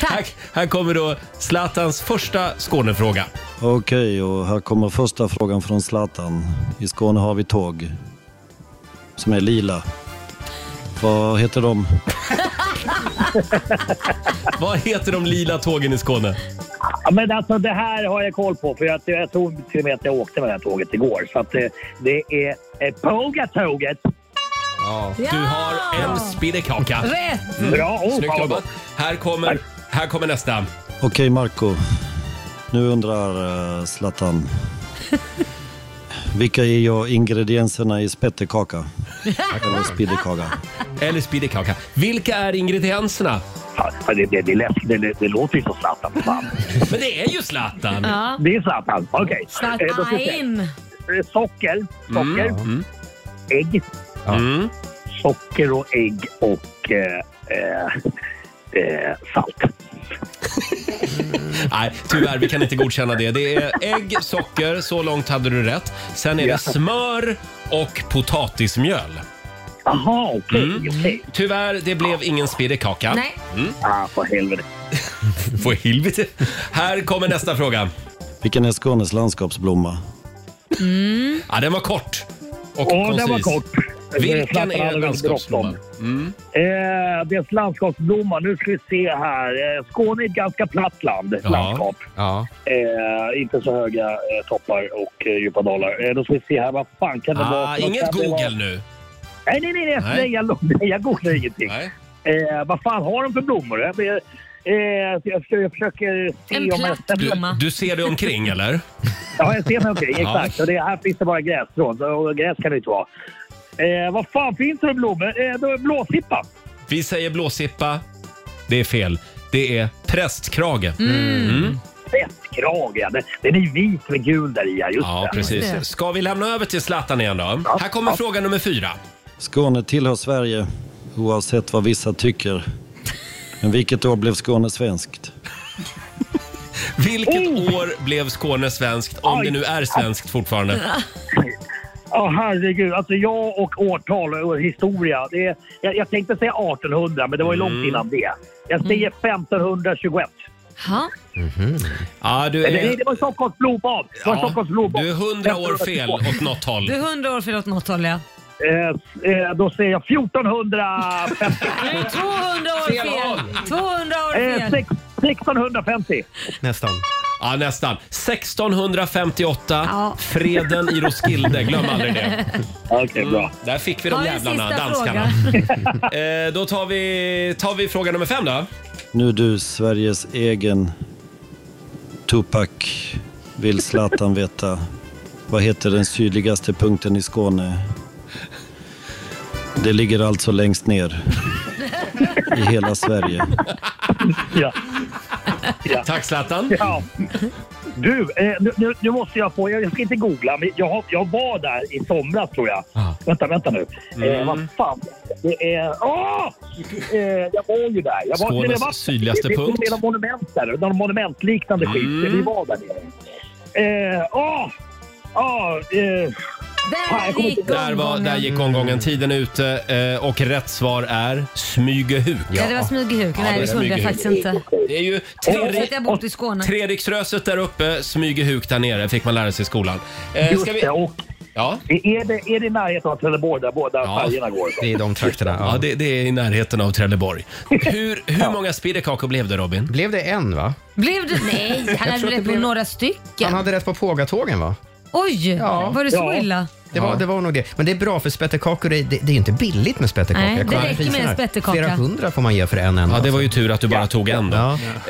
[SPEAKER 1] Tack. Här kommer då Zlatans första Skånefråga.
[SPEAKER 17] Okej, och här kommer första frågan från Zlatan. I Skåne har vi tåg som är lila. Vad heter de?
[SPEAKER 1] Vad heter de lila tågen i Skåne?
[SPEAKER 16] Ja, men alltså, det här har jag koll på, för jag, jag tror till och med att jag åkte med det här tåget igår. Så att det, det är eh, Pågatåget.
[SPEAKER 1] Du har en spinnekaka.
[SPEAKER 16] Rätt!
[SPEAKER 1] Mm.
[SPEAKER 16] Bra, oh,
[SPEAKER 1] Snyggt
[SPEAKER 16] fan vad
[SPEAKER 1] jobbat. Här kommer, här kommer nästa.
[SPEAKER 17] Okej, Marco. Nu undrar eh, Zlatan. Vilka är jag ingredienserna i spettekaka? Eller spiddekaka?
[SPEAKER 1] Eller spiddekaka. Vilka är ingredienserna?
[SPEAKER 16] det, det, det, läskigt. det, det, det låter ju som Zlatan. Fan.
[SPEAKER 1] Men det är ju Zlatan.
[SPEAKER 2] Ja.
[SPEAKER 16] Det är Zlatan. Okej.
[SPEAKER 2] Zlatan.
[SPEAKER 16] Eh, då ska vi se. Eh, Socker. Socker.
[SPEAKER 1] Mm. Mm.
[SPEAKER 16] Ägg.
[SPEAKER 1] Mm.
[SPEAKER 16] Socker och ägg och eh, eh, eh, salt.
[SPEAKER 1] Nej, tyvärr, vi kan inte godkänna det. Det är ägg, socker, så långt hade du rätt. Sen är det smör och potatismjöl. Mm.
[SPEAKER 16] Jaha, okej.
[SPEAKER 1] Tyvärr, det blev ingen spiddekaka.
[SPEAKER 2] Nej.
[SPEAKER 1] Mm.
[SPEAKER 16] Ah, för helvete.
[SPEAKER 1] för helvete. Här kommer nästa fråga.
[SPEAKER 17] Vilken är Skånes landskapsblomma?
[SPEAKER 2] Mm.
[SPEAKER 1] Ja, den var kort. Och
[SPEAKER 16] Åh,
[SPEAKER 1] koncis.
[SPEAKER 16] den var kort.
[SPEAKER 1] Vilken
[SPEAKER 16] Zlatan hade
[SPEAKER 1] är
[SPEAKER 16] väl
[SPEAKER 1] landskapsblomman? Mm.
[SPEAKER 16] Eh, det är landskapsblomma. Nu ska vi se här. Eh, Skåne är ett ganska platt land. Landskap.
[SPEAKER 1] Ja.
[SPEAKER 16] Eh, inte så höga eh, toppar och eh, djupa dalar. Eh, då ska vi se här. Vad fan kan det vara?
[SPEAKER 1] Ah,
[SPEAKER 16] Vad kan
[SPEAKER 1] inget
[SPEAKER 16] det vara?
[SPEAKER 1] Google nu.
[SPEAKER 16] Nej, nej, nej. nej.
[SPEAKER 1] Nej.
[SPEAKER 16] nej jag, nej, jag googlar ingenting. Eh, vad fan har de för blommor? Jag, blir- eh, jag, försöker- jag försöker se
[SPEAKER 2] En
[SPEAKER 16] om jag
[SPEAKER 2] platt blomma.
[SPEAKER 1] Du ser dig omkring, eller?
[SPEAKER 16] Ja, jag ser mig omkring.
[SPEAKER 1] Ja.
[SPEAKER 16] Exakt. Och det, här finns det bara grässtrån. Och gräs kan det inte vara. Eh, vad fan finns det för blommor? Eh, då är det blåsippa.
[SPEAKER 1] Vi säger blåsippa. Det är fel. Det är prästkrage.
[SPEAKER 16] Mm.
[SPEAKER 1] Mm.
[SPEAKER 16] Prästkrage, ja. Den, den är vit med gul där i. ja. Just
[SPEAKER 1] Ja,
[SPEAKER 16] det.
[SPEAKER 1] precis. Ska vi lämna över till Zlatan igen då? Här kommer fråga nummer fyra.
[SPEAKER 17] Skåne tillhör Sverige, oavsett vad vissa tycker. Men vilket år blev Skåne svenskt?
[SPEAKER 1] Vilket år blev Skåne svenskt? Om det nu är svenskt fortfarande.
[SPEAKER 16] Ja, herregud. Alltså jag och årtal och historia. Det är, jag, jag tänkte säga 1800, men det var ju
[SPEAKER 1] Mm.
[SPEAKER 16] långt innan det. Jag säger 1521.
[SPEAKER 2] Mm. Ha?
[SPEAKER 1] Ja, du
[SPEAKER 16] Nej,
[SPEAKER 1] är...
[SPEAKER 16] det var Stockholms blodbad. Det var
[SPEAKER 1] Ja,
[SPEAKER 16] Stockholms blodbad.
[SPEAKER 1] Du är hundra år fel åt något håll.
[SPEAKER 2] Du är hundra år fel åt något håll ja.
[SPEAKER 16] Eh, eh, då säger jag 1450.
[SPEAKER 2] Du är 200 år fel. 200 år
[SPEAKER 16] Eh,
[SPEAKER 2] fel.
[SPEAKER 16] sex- 1650.
[SPEAKER 1] Nästan. Ja, nästan. 1658,
[SPEAKER 2] Ja.
[SPEAKER 1] freden i Roskilde. Glöm aldrig det. Mm.
[SPEAKER 16] Okej, bra.
[SPEAKER 1] Där fick vi de
[SPEAKER 2] Ta en
[SPEAKER 1] jävlarna,
[SPEAKER 2] sista
[SPEAKER 1] danskarna. eh, då tar vi, tar vi fråga nummer fem då.
[SPEAKER 17] Nu du, Sveriges egen Tupac, vill Zlatan veta. Vad heter den sydligaste punkten i Skåne? Det ligger alltså längst ner i hela Sverige.
[SPEAKER 16] Ja.
[SPEAKER 1] Tack Zlatan.
[SPEAKER 16] Ja. Du, eh, nu, nu, nu måste jag få... Jag, jag ska inte googla, men jag, har- jag var där i somras tror jag. Vänta, vänta nu. Eh,
[SPEAKER 1] Ah. Mm.
[SPEAKER 16] vad fan. Det är... Åh! Eh, jag var ju där. Jag var,
[SPEAKER 1] Skånes
[SPEAKER 16] det var-
[SPEAKER 1] sydligaste
[SPEAKER 16] det,
[SPEAKER 1] punkt.
[SPEAKER 16] Det, det är några monument där. Någon monumentliknande skit.
[SPEAKER 1] Mm.
[SPEAKER 16] Vi var där nere. Eh, Åh! Åh! Eh, fan, jag kommer inte-
[SPEAKER 1] Där, var, där gick omgången. Tiden är ute eh, och rätt svar är Smygehuk.
[SPEAKER 2] Ja, det var Smygehuk.
[SPEAKER 1] Ja,
[SPEAKER 2] Nej,
[SPEAKER 1] det
[SPEAKER 2] det
[SPEAKER 1] är
[SPEAKER 2] kunde jag
[SPEAKER 1] Smygehuk.
[SPEAKER 2] faktiskt inte.
[SPEAKER 1] Det är ju
[SPEAKER 2] Trots att jag
[SPEAKER 1] Tre-
[SPEAKER 2] bott i Skåne.
[SPEAKER 1] Treriksröset där uppe, Smygehuk där nere fick man lära sig i skolan. Eh,
[SPEAKER 16] Just
[SPEAKER 1] ska vi...
[SPEAKER 16] det, och
[SPEAKER 1] Ja.
[SPEAKER 16] är det, är det i närheten av Trelleborg där båda färgerna går?
[SPEAKER 1] Det är de trakterna. Ja, det, det är i närheten av Trelleborg. Hur, hur många spiddekakor blev det Robin?
[SPEAKER 3] Blev det en va?
[SPEAKER 2] Blev du? Nej, han hade
[SPEAKER 3] tror att
[SPEAKER 2] rätt
[SPEAKER 3] det
[SPEAKER 2] på
[SPEAKER 3] blev-
[SPEAKER 2] några stycken.
[SPEAKER 3] Han hade rätt på Pågatågen va?
[SPEAKER 2] Oj, var det så illa?
[SPEAKER 3] Det var, det var nog det. Men det är bra för spettekakor. Det, det, det är ju inte billigt med spettekaka.
[SPEAKER 2] Nej,
[SPEAKER 3] Jag
[SPEAKER 2] det
[SPEAKER 3] kollar
[SPEAKER 2] räcker med en
[SPEAKER 3] priserna här.
[SPEAKER 2] spettekaka.
[SPEAKER 3] Flera hundra får man ge för en enda. alltså.
[SPEAKER 1] Ja, det var ju tur att du bara tog en då.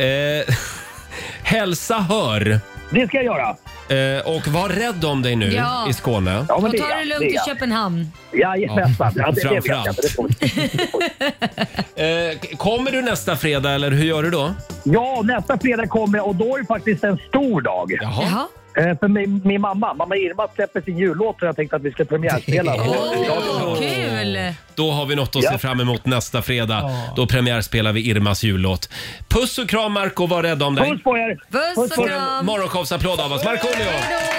[SPEAKER 1] Eh, hälsa hör.
[SPEAKER 16] Det ska jag göra.
[SPEAKER 1] Eh, och var rädd om dig nu
[SPEAKER 2] Ja.
[SPEAKER 1] i Skåne.
[SPEAKER 16] Ja, men
[SPEAKER 2] Och
[SPEAKER 16] det
[SPEAKER 2] ta
[SPEAKER 16] är
[SPEAKER 2] det
[SPEAKER 16] jag,
[SPEAKER 2] lugnt
[SPEAKER 16] det är
[SPEAKER 2] i
[SPEAKER 16] jag.
[SPEAKER 2] Köpenhamn.
[SPEAKER 16] Jajamensan. Ja, det- det vet jag, men det
[SPEAKER 1] Framförallt. eh, kommer du nästa fredag eller hur gör du då?
[SPEAKER 16] Ja, nästa fredag kommer jag och då är det faktiskt en stor dag.
[SPEAKER 1] Jaha.
[SPEAKER 16] Eh, För min, min mamma, mamma Irma släpper sin jullåt och jag tänkte att vi skulle premiärspela.
[SPEAKER 2] Åh, kul!
[SPEAKER 1] Då har vi något att se fram emot nästa fredag. Då premiärspelar vi Irmas jullåt. Puss och kram Marco, var rädd om dig.
[SPEAKER 16] Puss på er!
[SPEAKER 2] Puss och
[SPEAKER 1] Får en
[SPEAKER 2] kram!
[SPEAKER 1] morgonshowsapplåd av oss. Markoolio!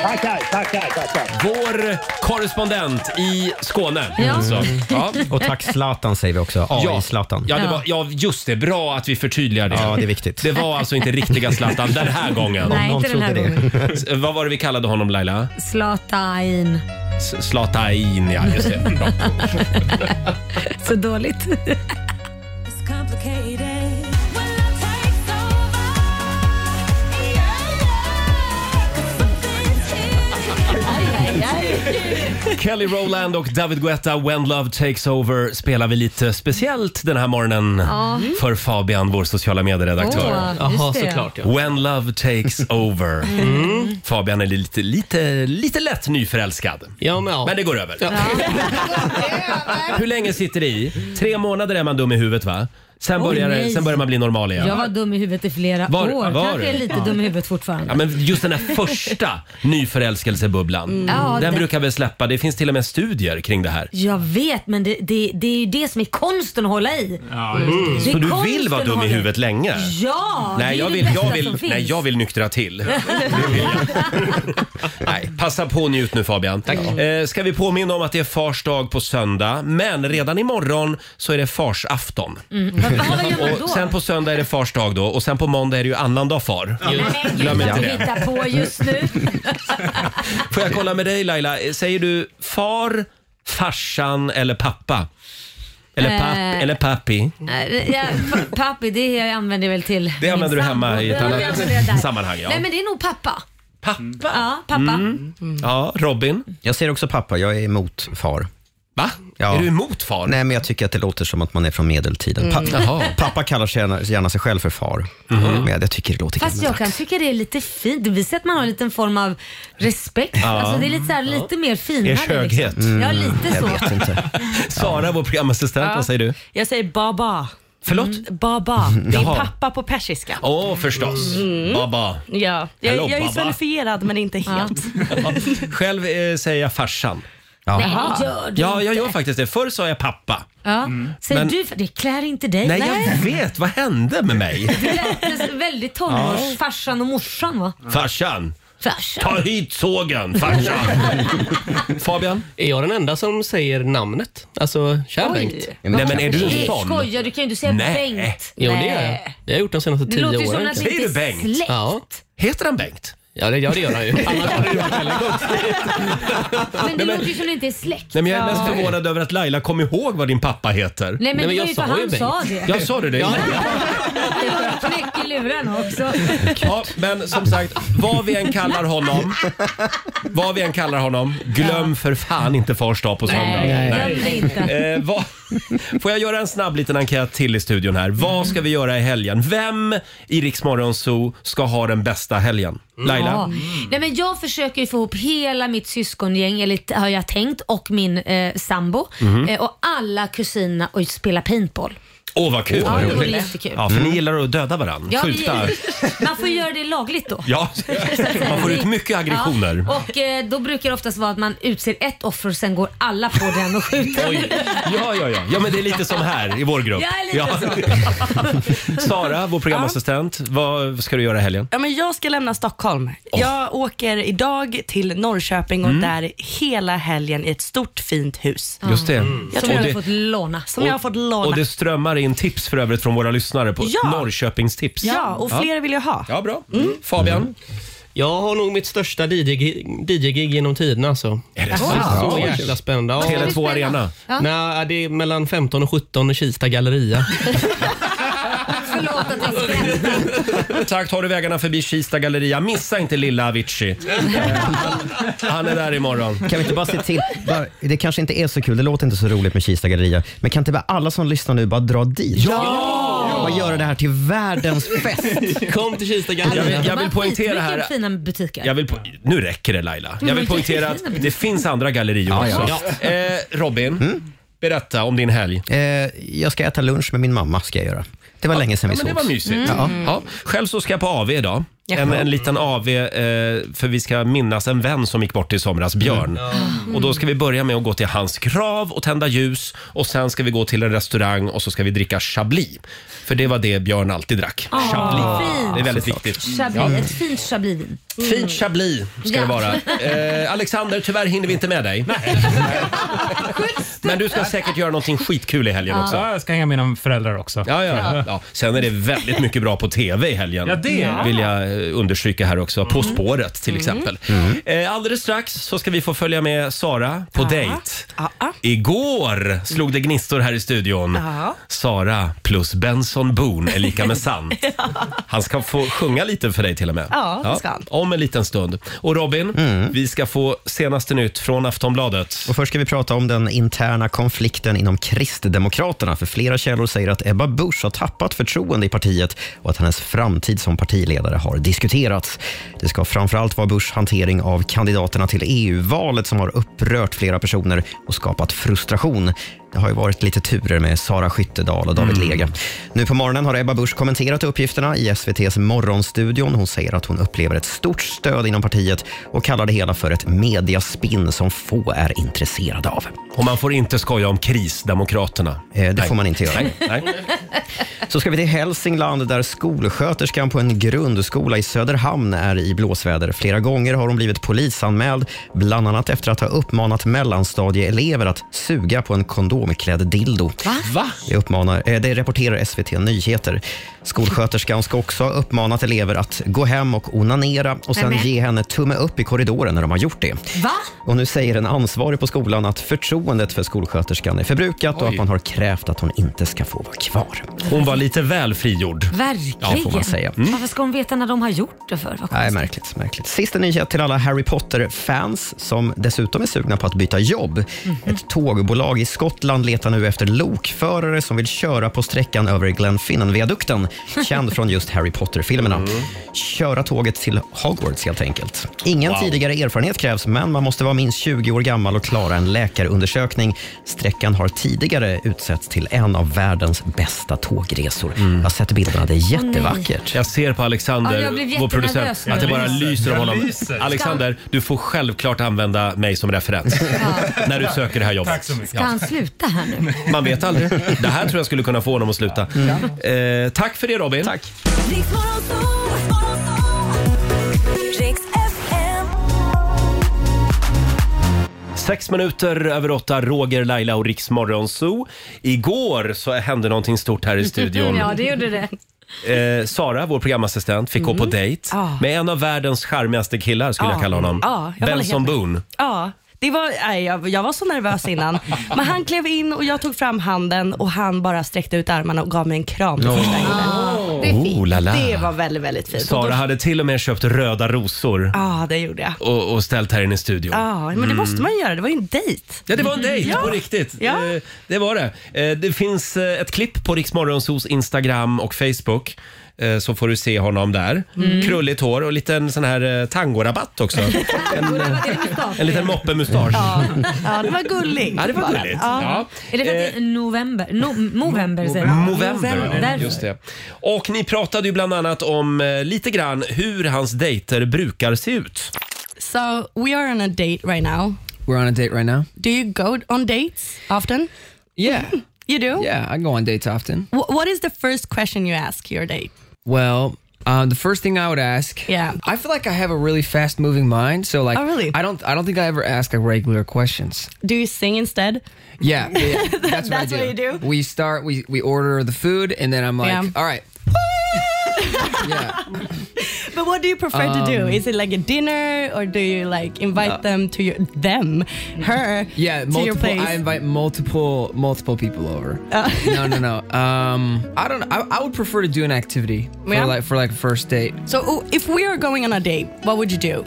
[SPEAKER 16] Tackar, tackar, tackar!
[SPEAKER 1] Vår korrespondent i Skåne.
[SPEAKER 2] Ja.
[SPEAKER 1] Alltså. Ja.
[SPEAKER 3] Mm. Och tack Zlatan säger vi också.
[SPEAKER 1] Ja.
[SPEAKER 3] AI-Zlatan.
[SPEAKER 1] Ja, det var, ja, just det. Bra att vi förtydligar det.
[SPEAKER 3] Ja, det är viktigt.
[SPEAKER 1] Det var alltså inte riktiga Zlatan den här gången.
[SPEAKER 2] Nej, inte den här gången.
[SPEAKER 1] S- Vad var det vi kallade honom Laila?
[SPEAKER 2] Zlatan.
[SPEAKER 1] S- Zlatain, ja just det. Bra.
[SPEAKER 2] Så dåligt.
[SPEAKER 1] Kelly Rowland och David Guetta, When Love Takes Over, spelar vi lite speciellt den här morgonen
[SPEAKER 2] Ja.
[SPEAKER 1] för Fabian, vår sociala medieredaktör.
[SPEAKER 2] Åh, just Jaha, det. såklart, ja.
[SPEAKER 1] When Love Takes Over.
[SPEAKER 2] Mm.
[SPEAKER 1] Fabian är lite, lite, lite lätt nyförälskad. Ja, men, det går över. Hur länge sitter det i? Tre månader är man dum i huvudet va? Sen,
[SPEAKER 2] Oj,
[SPEAKER 1] börjar, det-
[SPEAKER 2] nej.
[SPEAKER 1] sen börjar man bli normal igen.
[SPEAKER 2] Jag var dum i huvudet i flera
[SPEAKER 1] Var-
[SPEAKER 2] år.
[SPEAKER 1] var
[SPEAKER 2] Kanske är
[SPEAKER 1] du?
[SPEAKER 2] lite
[SPEAKER 1] Ja.
[SPEAKER 2] dum i huvudet fortfarande.
[SPEAKER 1] Ja, men just den här första nyförälskelsebubblan.
[SPEAKER 2] Mm. Ja,
[SPEAKER 1] den
[SPEAKER 2] det-
[SPEAKER 1] brukar vi släppa. Det finns till och med studier kring det här.
[SPEAKER 2] Jag vet, men det, det, det är ju det som är konsten att hålla i.
[SPEAKER 1] Mm.
[SPEAKER 2] Det är
[SPEAKER 1] Så du vill
[SPEAKER 2] konsten
[SPEAKER 1] vara
[SPEAKER 2] att
[SPEAKER 1] dum i
[SPEAKER 2] hålla
[SPEAKER 1] huvudet länge?
[SPEAKER 2] Ja, det är
[SPEAKER 1] Nej, jag
[SPEAKER 2] det
[SPEAKER 1] vill, jag
[SPEAKER 2] bästa
[SPEAKER 1] vill,
[SPEAKER 2] som finns.
[SPEAKER 1] nej, jag vill nyktra till. Det vill jag. nej, passa på och njut nu Fabian. Tack. Eh, ska vi påminna om att det är fars dag på söndag, men redan imorgon så är det farsafton.
[SPEAKER 2] Mm. Vad, vad gör man då?
[SPEAKER 1] Och sen på söndag är det fars dag då och sen på måndag är det ju annandag far.
[SPEAKER 2] Nej,
[SPEAKER 1] Glöm
[SPEAKER 2] gud
[SPEAKER 1] inte
[SPEAKER 2] vad du
[SPEAKER 1] det.
[SPEAKER 2] hittar på just nu.
[SPEAKER 1] Får jag kolla med dig Laila, Eh, säger du far, farsan eller pappa? Eller, papp,
[SPEAKER 2] Eh.
[SPEAKER 1] eller pappi?
[SPEAKER 2] Nej, Ja, pa- pappi, det använder jag väl till
[SPEAKER 1] Det använder du
[SPEAKER 2] min
[SPEAKER 1] hemma
[SPEAKER 2] sambo.
[SPEAKER 1] i ett
[SPEAKER 2] Ja,
[SPEAKER 1] annat
[SPEAKER 2] jag använder det där.
[SPEAKER 1] sammanhang, ja.
[SPEAKER 2] Nej, men det är nog pappa.
[SPEAKER 1] Pappa? Mm.
[SPEAKER 2] Ja, pappa.
[SPEAKER 1] Ja, Robin?
[SPEAKER 3] Jag ser också pappa. Jag är emot far.
[SPEAKER 1] Va?
[SPEAKER 3] Ja.
[SPEAKER 1] Är du emot far?
[SPEAKER 3] Nej, men jag tycker att det låter som att man är från medeltiden.
[SPEAKER 2] Mm.
[SPEAKER 3] Pa-
[SPEAKER 2] Jaha.
[SPEAKER 3] Pappa kallar sig gärna, gärna sig själv för far.
[SPEAKER 1] Mm-hmm.
[SPEAKER 3] Men jag, jag tycker det låter
[SPEAKER 2] Fast jag kan tycka det är lite fint. Det visar att man har en liten form av respekt.
[SPEAKER 3] Ja.
[SPEAKER 2] Alltså det är lite, så här, lite mer finare.
[SPEAKER 1] Ers höghet.
[SPEAKER 2] Liksom. Ja,
[SPEAKER 1] Mm.
[SPEAKER 2] lite så.
[SPEAKER 3] inte.
[SPEAKER 1] Sara, vår programassistent,
[SPEAKER 7] Ja.
[SPEAKER 1] vad säger du?
[SPEAKER 7] Jag säger baba. Mm,
[SPEAKER 1] Förlåt?
[SPEAKER 7] Baba. Det är
[SPEAKER 1] Jaha.
[SPEAKER 7] pappa på persiska.
[SPEAKER 1] Åh, förstås.
[SPEAKER 7] Mm.
[SPEAKER 1] Baba.
[SPEAKER 7] Ja, jag,
[SPEAKER 1] Hello,
[SPEAKER 7] jag är
[SPEAKER 1] baba.
[SPEAKER 7] svenifierad men inte helt.
[SPEAKER 1] Själv eh, säger jag farsan.
[SPEAKER 2] Ja. Nej, gör du
[SPEAKER 1] Ja, jag
[SPEAKER 2] inte.
[SPEAKER 1] gör faktiskt det. Förr sa jag pappa.
[SPEAKER 2] Ja. Säger
[SPEAKER 1] Men-
[SPEAKER 2] du, för det klär inte dig.
[SPEAKER 1] Nej, jag vet. Vad hände med mig?
[SPEAKER 2] Du lät väldigt tonårs, farsan och morsan va?
[SPEAKER 1] Farsan,
[SPEAKER 2] Farsan.
[SPEAKER 1] ta hit sågen, farsan. Fabian?
[SPEAKER 5] Är jag den enda som säger namnet? Alltså, tja
[SPEAKER 2] Oj.
[SPEAKER 5] Bengt.
[SPEAKER 2] Nej, Skojar, du kan ju inte säga
[SPEAKER 5] Nej.
[SPEAKER 2] Bengt.
[SPEAKER 5] Jo, det gör jag.
[SPEAKER 2] Nej.
[SPEAKER 5] Det har jag gjort de senaste
[SPEAKER 2] Det
[SPEAKER 5] tio åren.
[SPEAKER 2] låter ju som att ni
[SPEAKER 5] kanske.
[SPEAKER 2] inte är Säger du Bengt? släkt.
[SPEAKER 5] Ja.
[SPEAKER 1] Heter han Bengt?
[SPEAKER 5] Ja, det, ja, det gör han ju. Annars hade det varit väldigt konstigt.
[SPEAKER 2] Men det
[SPEAKER 1] Nej, men-
[SPEAKER 2] låter ju som att ni inte är släkt.
[SPEAKER 1] Nej, men jag är mest
[SPEAKER 2] Ja.
[SPEAKER 1] förvånad över att Laila kom ihåg vad din pappa heter.
[SPEAKER 2] Nej, men Nej, men det var jag ju för sa han ju Bengt. sa det.
[SPEAKER 1] Jag sa du det?
[SPEAKER 2] Ja. Knäck i lurarna också.
[SPEAKER 1] Ja, men som sagt, vad vi än kallar honom, vad vi än kallar honom, glöm för fan inte fars dag på söndag.
[SPEAKER 2] Nej, glöm det inte.
[SPEAKER 1] Eh, vad, får jag göra en snabb liten enkät till i studion här? Vad ska vi göra i helgen? Vem i Rix Morgon Zoo ska ha den bästa helgen?
[SPEAKER 2] Ja.
[SPEAKER 1] Laila?
[SPEAKER 2] Nej, men jag försöker ju få ihop hela mitt syskongäng, eller t- har jag tänkt, och min eh, sambo.
[SPEAKER 1] Mhm. Mm.
[SPEAKER 2] Eh, och alla kusinerna och spela paintball.
[SPEAKER 1] Åh, vad kul!
[SPEAKER 2] Ja, det vore jättekul.
[SPEAKER 1] Ja, för ni gillar att döda varandra.
[SPEAKER 2] Ja, vi-
[SPEAKER 1] Skjuta.
[SPEAKER 2] man får göra det lagligt då.
[SPEAKER 1] Ja, man får ut mycket aggressioner.
[SPEAKER 2] Ja, och eh, då brukar det oftast vara att man utser ett offer och sen går alla på den och skjuter.
[SPEAKER 1] Oj. Ja, ja, ja. Ja, men det är lite som här i vår grupp.
[SPEAKER 2] Ja, lite
[SPEAKER 1] så. Sara, vår programassistent, vad ska du göra i helgen?
[SPEAKER 7] Ja, men jag ska lämna Stockholm. Jag åker idag till Norrköping och
[SPEAKER 1] Mm.
[SPEAKER 7] där hela helgen i ett stort fint hus.
[SPEAKER 1] Just det.
[SPEAKER 7] Jag
[SPEAKER 2] Mm. Som
[SPEAKER 7] tror
[SPEAKER 2] jag
[SPEAKER 1] Och
[SPEAKER 2] har
[SPEAKER 1] det-
[SPEAKER 2] fått låna.
[SPEAKER 7] Som jag har fått låna.
[SPEAKER 1] Och det strömmar in tips för övrigt från våra lyssnare på
[SPEAKER 7] Ja.
[SPEAKER 1] Norrköpingstips.
[SPEAKER 7] Ja, och fler vill jag ha.
[SPEAKER 1] Ja, bra. Mm. Fabian?
[SPEAKER 5] Jag har nog mitt största DJ-gig DJ genom tiderna. Alltså. Är
[SPEAKER 1] det
[SPEAKER 5] så?
[SPEAKER 1] sant?
[SPEAKER 5] Så
[SPEAKER 1] Oj.
[SPEAKER 5] jäkla spännande. Ja.
[SPEAKER 1] Tele2 Arena?
[SPEAKER 2] Ja.
[SPEAKER 5] Nej, det är mellan 15 och 17 i Kista galleria.
[SPEAKER 2] Förlåt att jag skrattar.
[SPEAKER 1] Tack, tar du vägarna förbi Kista galleria. Missa inte lilla Avicii. Han är där imorgon.
[SPEAKER 3] Kan vi inte bara se till, bara, det kanske inte är så kul, det låter inte så roligt med Kista galleria, men kan inte bara alla som lyssnar nu bara dra dit?
[SPEAKER 1] Ja!
[SPEAKER 3] Och göra det här till världens fest.
[SPEAKER 5] Kom till Kista
[SPEAKER 1] Jag vill, jag
[SPEAKER 2] Man
[SPEAKER 1] vill
[SPEAKER 2] har
[SPEAKER 1] poängtera
[SPEAKER 2] skitmycket
[SPEAKER 1] här.
[SPEAKER 2] fina butiker.
[SPEAKER 1] Jag vill po- nu räcker det Laila. Jag vill poängtera att det finns andra gallerior
[SPEAKER 3] Ja, ja. Mm?
[SPEAKER 1] också. Eh, Robin, berätta om din helg.
[SPEAKER 3] Eh, jag ska äta lunch med min mamma. ska jag göra. Det var länge sedan vi
[SPEAKER 1] Ja, men det
[SPEAKER 3] sågs. Mm.
[SPEAKER 1] var mysigt.
[SPEAKER 3] Ja.
[SPEAKER 2] Mm.
[SPEAKER 1] Ja. Själv så ska jag på AV idag.
[SPEAKER 3] Jaha.
[SPEAKER 1] En, en liten AV eh, för vi ska minnas en vän som gick bort i somras,
[SPEAKER 2] Mm.
[SPEAKER 1] Björn. Och då ska vi börja med att gå till hans grav och tända ljus och sen ska vi gå till en restaurang och så ska vi dricka chablis. För det var det Björn alltid drack.
[SPEAKER 2] Ah,
[SPEAKER 1] chablis.
[SPEAKER 2] fint.
[SPEAKER 1] Det är väldigt viktigt.
[SPEAKER 2] Chablis,
[SPEAKER 1] Ja.
[SPEAKER 2] Ett fint chablisvin.
[SPEAKER 1] Fint chablis ska det
[SPEAKER 2] Ja.
[SPEAKER 1] vara. Eh, Alexander, tyvärr hinner vi inte med dig. Men du ska säkert göra någonting skitkul i helgen
[SPEAKER 17] Ja.
[SPEAKER 1] också.
[SPEAKER 17] Ja,
[SPEAKER 1] jag ska hänga med mina föräldrar också. Ja, ja, ja.
[SPEAKER 17] Ja.
[SPEAKER 1] Ja. Sen är det väldigt mycket bra på TV i helgen.
[SPEAKER 17] Ja, det är det.
[SPEAKER 1] vill jag eh, understryka här också. På spåret till
[SPEAKER 5] Mm.
[SPEAKER 1] exempel.
[SPEAKER 5] Mm.
[SPEAKER 1] Eh, alldeles strax så ska vi få följa med Sara på dejt. Igår slog det gnistor här i studion.
[SPEAKER 7] Ja.
[SPEAKER 1] Sara plus Benson Boone är lika med sann. Han ska få sjunga lite för dig till och med.
[SPEAKER 7] Ja, det ska han.
[SPEAKER 1] Om en liten stund. Och Robin, vi ska få senaste nytt från Aftonbladet.
[SPEAKER 3] Och först ska vi prata om den interna konflikten inom Kristdemokraterna. För flera källor säger att Ebba Busch har tappat förtroende i partiet och att hennes framtid som partiledare har diskuterats. Det ska framförallt vara Buschs hantering av kandidaterna till EU-valet som har upprört flera personer och skapat frustration. Det har ju varit lite turer med Sara Skyttedal och David
[SPEAKER 18] Mm.
[SPEAKER 3] Lega. Nu på morgonen har Ebba Busch kommenterat uppgifterna i SVTs Morgonstudion. Hon säger att hon upplever ett stort stöd inom partiet och kallar det hela för ett mediaspinn som få är intresserade av.
[SPEAKER 1] Och man får inte skoja om krisdemokraterna.
[SPEAKER 3] Eh, det får man inte göra.
[SPEAKER 1] Nej. Nej.
[SPEAKER 3] Så ska vi till Hälsingland där skolsköterskan på en grundskola i Söderhamn är i blåsväder. Flera gånger har hon blivit polisanmäld, bland annat efter att ha uppmanat mellanstadieelever att suga på en kondomklädd dildo.
[SPEAKER 1] Va?
[SPEAKER 3] Det, uppmanar, eh, det rapporterar SVT Nyheter. Skolsköterskan ska också ha uppmanat elever att gå hem och onanera och sen
[SPEAKER 18] Nämen.
[SPEAKER 3] ge henne tumme upp i korridoren när de har gjort det.
[SPEAKER 18] Va?
[SPEAKER 3] Och nu säger en ansvarig på skolan att förtroendet för skolsköterskan är förbrukat och
[SPEAKER 1] Oj.
[SPEAKER 3] att man har krävt att hon inte ska få vara kvar.
[SPEAKER 1] Hon var lite väl frigjord.
[SPEAKER 2] Verkligen.
[SPEAKER 3] Ja, får man säga. Mm.
[SPEAKER 2] Varför ska hon veta när de har gjort det för? Vad
[SPEAKER 3] Nej,
[SPEAKER 2] konstigt.
[SPEAKER 3] märkligt, märkligt. Sista nyhet till alla Harry Potter-fans som dessutom är sugna på att byta jobb.
[SPEAKER 2] Mhm.
[SPEAKER 3] Ett tågbolag i Skottland letar nu efter lokförare som vill köra på sträckan över Glenfinnan-viadukten, känd från just Harry Potter-filmerna.
[SPEAKER 1] Mm.
[SPEAKER 3] Köra tåget till Hogwarts helt enkelt. Ingen
[SPEAKER 18] Wow.
[SPEAKER 3] tidigare erfarenhet krävs, men man måste vara minst 20 år gammal och klara en läkarundersökning. Sträckan har tidigare utsetts till en av världens bästa tågresor. Jag har sett bilderna, det är
[SPEAKER 2] nej.
[SPEAKER 3] jättevackert.
[SPEAKER 1] Mm. Jag ser på Alexander,
[SPEAKER 2] Ja, jag blev
[SPEAKER 1] vår producent,
[SPEAKER 2] jättenervös nu.
[SPEAKER 1] att det bara
[SPEAKER 2] Jag lyser.
[SPEAKER 1] lyser
[SPEAKER 2] Jag
[SPEAKER 1] om honom.
[SPEAKER 2] lyser.
[SPEAKER 1] Alexander, du får självklart använda mig som referens när du söker det här jobbet. Tack så mycket.
[SPEAKER 2] Ska han sluta här nu?
[SPEAKER 1] Man vet aldrig. Det här tror jag skulle kunna få honom att sluta.
[SPEAKER 2] Mm.
[SPEAKER 1] Eh, tack för det Robin. Tack. Sex minuter över åtta, Roger, Laila och Riks Morgonzoo. Igår så hände någonting stort här i studion.
[SPEAKER 2] ja, det gjorde det.
[SPEAKER 1] eh, Sara, vår programassistent, fick
[SPEAKER 7] Mm.
[SPEAKER 1] gå på dejt
[SPEAKER 7] Ja.
[SPEAKER 1] med en av världens charmigaste killar skulle jag
[SPEAKER 7] Ja.
[SPEAKER 1] kalla honom.
[SPEAKER 7] Ja, Ah. jag håller
[SPEAKER 1] Benson
[SPEAKER 7] helt med.
[SPEAKER 1] Boone.
[SPEAKER 7] Ja, det var, nej, jag, jag var så nervös innan. Men han klev in och jag tog fram handen och han bara sträckte ut armarna och gav mig en kram för
[SPEAKER 1] Åh.
[SPEAKER 7] första gången. Det, är fint.
[SPEAKER 1] Oh, la la.
[SPEAKER 7] det var väldigt, väldigt fint. Och
[SPEAKER 1] Sara
[SPEAKER 7] då-
[SPEAKER 1] hade till och med köpt röda rosor
[SPEAKER 7] Ja, det gjorde jag.
[SPEAKER 1] och, och ställt här inne i studion.
[SPEAKER 7] Ja, Ah. men det
[SPEAKER 1] Mm.
[SPEAKER 7] måste man ju göra. Det var ju en dejt.
[SPEAKER 1] Ja, det var en dejt
[SPEAKER 7] Ja.
[SPEAKER 1] på riktigt.
[SPEAKER 7] Ja.
[SPEAKER 1] Eh, Det var det. Eh, Det finns eh, ett klipp på Riksmorgonsos Instagram och Facebook. eh, Så får du se honom där.
[SPEAKER 18] Mm.
[SPEAKER 1] Krulligt hår och en liten sån här eh, tangorabatt också. En, eh, en liten moppemustasch.
[SPEAKER 7] Ja. ja, det var gulligt.
[SPEAKER 1] Ja, det var gulligt. Ja. Eh.
[SPEAKER 2] Är det för att det är november? No, november säger man.
[SPEAKER 1] November,
[SPEAKER 2] Därför.
[SPEAKER 1] just det. Och ni pratade ju bland annat om eh, lite grann hur hans dejter brukar se ut.
[SPEAKER 7] So we are on a date right now.
[SPEAKER 18] We're on a date right now.
[SPEAKER 7] Do you go on dates often?
[SPEAKER 18] Yeah.
[SPEAKER 7] you do?
[SPEAKER 18] Yeah, I go on dates often.
[SPEAKER 7] Wh- what is the first question you ask your date?
[SPEAKER 18] Well, um, the first thing I would ask.
[SPEAKER 7] Yeah.
[SPEAKER 18] I feel like I have a really fast moving mind, so like
[SPEAKER 7] Oh, really?
[SPEAKER 18] I don't I don't think I ever ask like regular questions.
[SPEAKER 7] Do you sing instead?
[SPEAKER 18] Yeah, yeah, that's,
[SPEAKER 7] That's
[SPEAKER 18] what, I
[SPEAKER 7] what
[SPEAKER 18] do.
[SPEAKER 7] you do?
[SPEAKER 18] We start we we order the food and then I'm like,
[SPEAKER 7] Yeah.
[SPEAKER 18] all right.
[SPEAKER 7] But what do you prefer to do?
[SPEAKER 18] Um,
[SPEAKER 7] Is it like a dinner or do you like invite them to your them, her
[SPEAKER 18] Yeah,
[SPEAKER 7] to
[SPEAKER 18] uh,
[SPEAKER 7] your
[SPEAKER 18] multiple.
[SPEAKER 7] place? Oh.
[SPEAKER 18] I invite multiple multiple people over. no, no, no. Um, I don't. I, I would prefer to do an activity for
[SPEAKER 7] Yeah.
[SPEAKER 18] like for like a first date.
[SPEAKER 7] so oh, if we are going on a date, what would you do?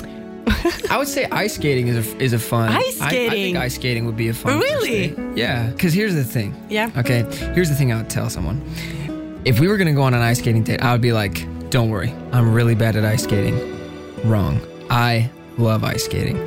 [SPEAKER 18] I would say ice skating is a, is a fun.
[SPEAKER 7] Ice
[SPEAKER 18] I- I,
[SPEAKER 7] skating?
[SPEAKER 18] think ice skating would be a fun. first
[SPEAKER 7] Really?
[SPEAKER 18] date. Yeah. Because here's the thing.
[SPEAKER 7] Yeah.
[SPEAKER 18] Okay. Here's the thing I would tell someone. If we were gonna go on an ice skating date, I would be like, "Don't worry, I'm really bad at ice skating." Wrong. I love ice skating.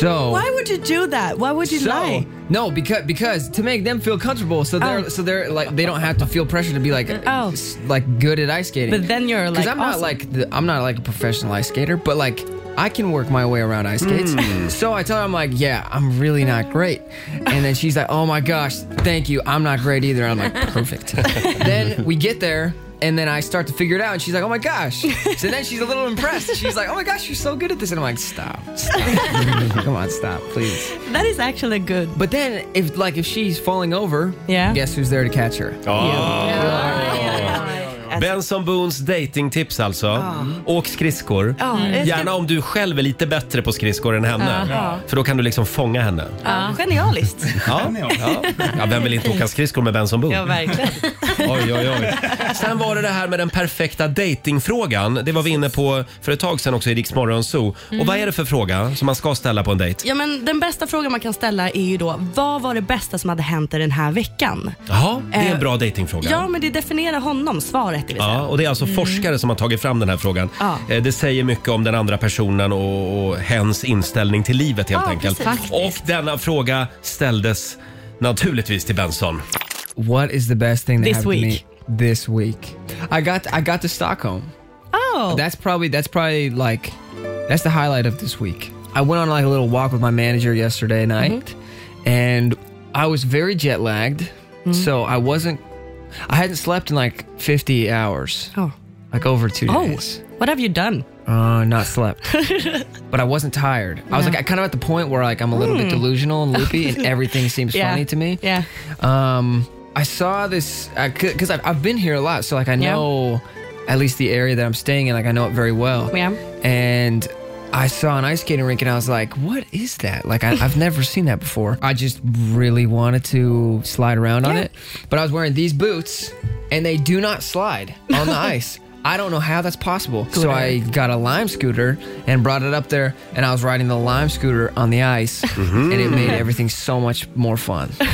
[SPEAKER 18] So.
[SPEAKER 7] Why would you do that? Why would you
[SPEAKER 18] so,
[SPEAKER 7] lie?
[SPEAKER 18] No, because because to make them feel comfortable, so
[SPEAKER 7] Oh.
[SPEAKER 18] they're so they're like they don't have to feel pressure to be like s- like good at ice skating.
[SPEAKER 7] But then you're
[SPEAKER 18] because
[SPEAKER 7] like
[SPEAKER 18] I'm not
[SPEAKER 7] awesome.
[SPEAKER 18] like the, I'm not like a professional ice skater, but like I can work my way around ice skates.
[SPEAKER 7] Mm.
[SPEAKER 18] So I tell her I'm like, yeah, I'm really not great, and then she's like, oh my gosh, thank you, I'm not great either. I'm like, perfect. then we get there. And then I start to figure it out, and she's like, "Oh my gosh!" So then she's a little impressed. She's like, "Oh my gosh, you're so good at this!" And I'm like, "Stop, stop, come on, stop, please."
[SPEAKER 7] That is actually good.
[SPEAKER 18] But then if like if she's falling over,
[SPEAKER 7] yeah,
[SPEAKER 18] guess who's there to catch her?
[SPEAKER 1] Oh. Benson Boons datingtips alltså.
[SPEAKER 7] Ja.
[SPEAKER 1] Åk skridskor.
[SPEAKER 7] Ja, det ska-
[SPEAKER 1] Gärna om du själv är lite bättre på skridskor än henne.
[SPEAKER 7] Ja.
[SPEAKER 1] För då kan du liksom fånga henne.
[SPEAKER 18] Ah.
[SPEAKER 7] Ja, Ah. genialiskt.
[SPEAKER 1] Ja, ja. ja, vem vill inte åka skridskor med Benson Boone?
[SPEAKER 7] Ja, verkligen.
[SPEAKER 1] Oj, oj, oj. Sen var det det här med den perfekta datingfrågan. Det var vi inne på för ett tag sedan också i Rix Morgon Zoo.
[SPEAKER 7] Mm.
[SPEAKER 1] Och vad är det för fråga som man ska ställa på en dejt?
[SPEAKER 7] Ja, men den bästa frågan man kan ställa är ju då, vad var det bästa som hade hänt dig den här veckan?
[SPEAKER 1] Jaha, det är en
[SPEAKER 7] Eh,
[SPEAKER 1] bra datingfråga.
[SPEAKER 7] Ja, men det definierar honom, svaret. Det vill säga.
[SPEAKER 1] Ja, och det är alltså
[SPEAKER 7] Mm.
[SPEAKER 1] forskare som har tagit fram den här frågan.
[SPEAKER 7] Ja.
[SPEAKER 1] Eh, Det säger mycket om den andra personen och, och hens inställning till livet helt
[SPEAKER 7] Ja,
[SPEAKER 1] enkelt.
[SPEAKER 7] precis.
[SPEAKER 1] Och denna fråga ställdes naturligtvis till Benson.
[SPEAKER 18] What is the best thing that
[SPEAKER 1] This
[SPEAKER 18] happened
[SPEAKER 1] week.
[SPEAKER 18] to me this week? I got I got to Stockholm.
[SPEAKER 7] Oh.
[SPEAKER 18] That's probably that's probably like that's the highlight of this week. I went on like a little walk with my manager yesterday night
[SPEAKER 7] Mm-hmm.
[SPEAKER 18] and I was very jet lagged. So I wasn't I hadn't slept in like 50 hours.
[SPEAKER 7] Oh.
[SPEAKER 18] Like over 2
[SPEAKER 7] Oh.
[SPEAKER 18] days.
[SPEAKER 7] What have you done?
[SPEAKER 18] Uh, not slept, but I wasn't tired. I was
[SPEAKER 7] No.
[SPEAKER 18] like, I kind of at the point where like I'm a little bit
[SPEAKER 7] Hmm.
[SPEAKER 18] delusional and loopy, and everything seems
[SPEAKER 7] Yeah.
[SPEAKER 18] funny to me.
[SPEAKER 7] Yeah.
[SPEAKER 18] Um, I saw this because I've, I've been here a lot, so like I
[SPEAKER 7] Yeah.
[SPEAKER 18] know at least the area that I'm staying in, like I know it very well.
[SPEAKER 7] Yeah.
[SPEAKER 18] And I saw an ice skating rink, and I was like, what is that? Like I, I've never seen that before. I just really wanted to slide around on
[SPEAKER 7] Yeah.
[SPEAKER 18] it, but I was wearing these boots, and they do not slide on the ice. I don't know how that's possible. So I got a lime scooter and brought it up there, and I was riding the lime scooter on the ice, and
[SPEAKER 7] Mm-hmm.
[SPEAKER 18] it made everything so much more fun.
[SPEAKER 7] I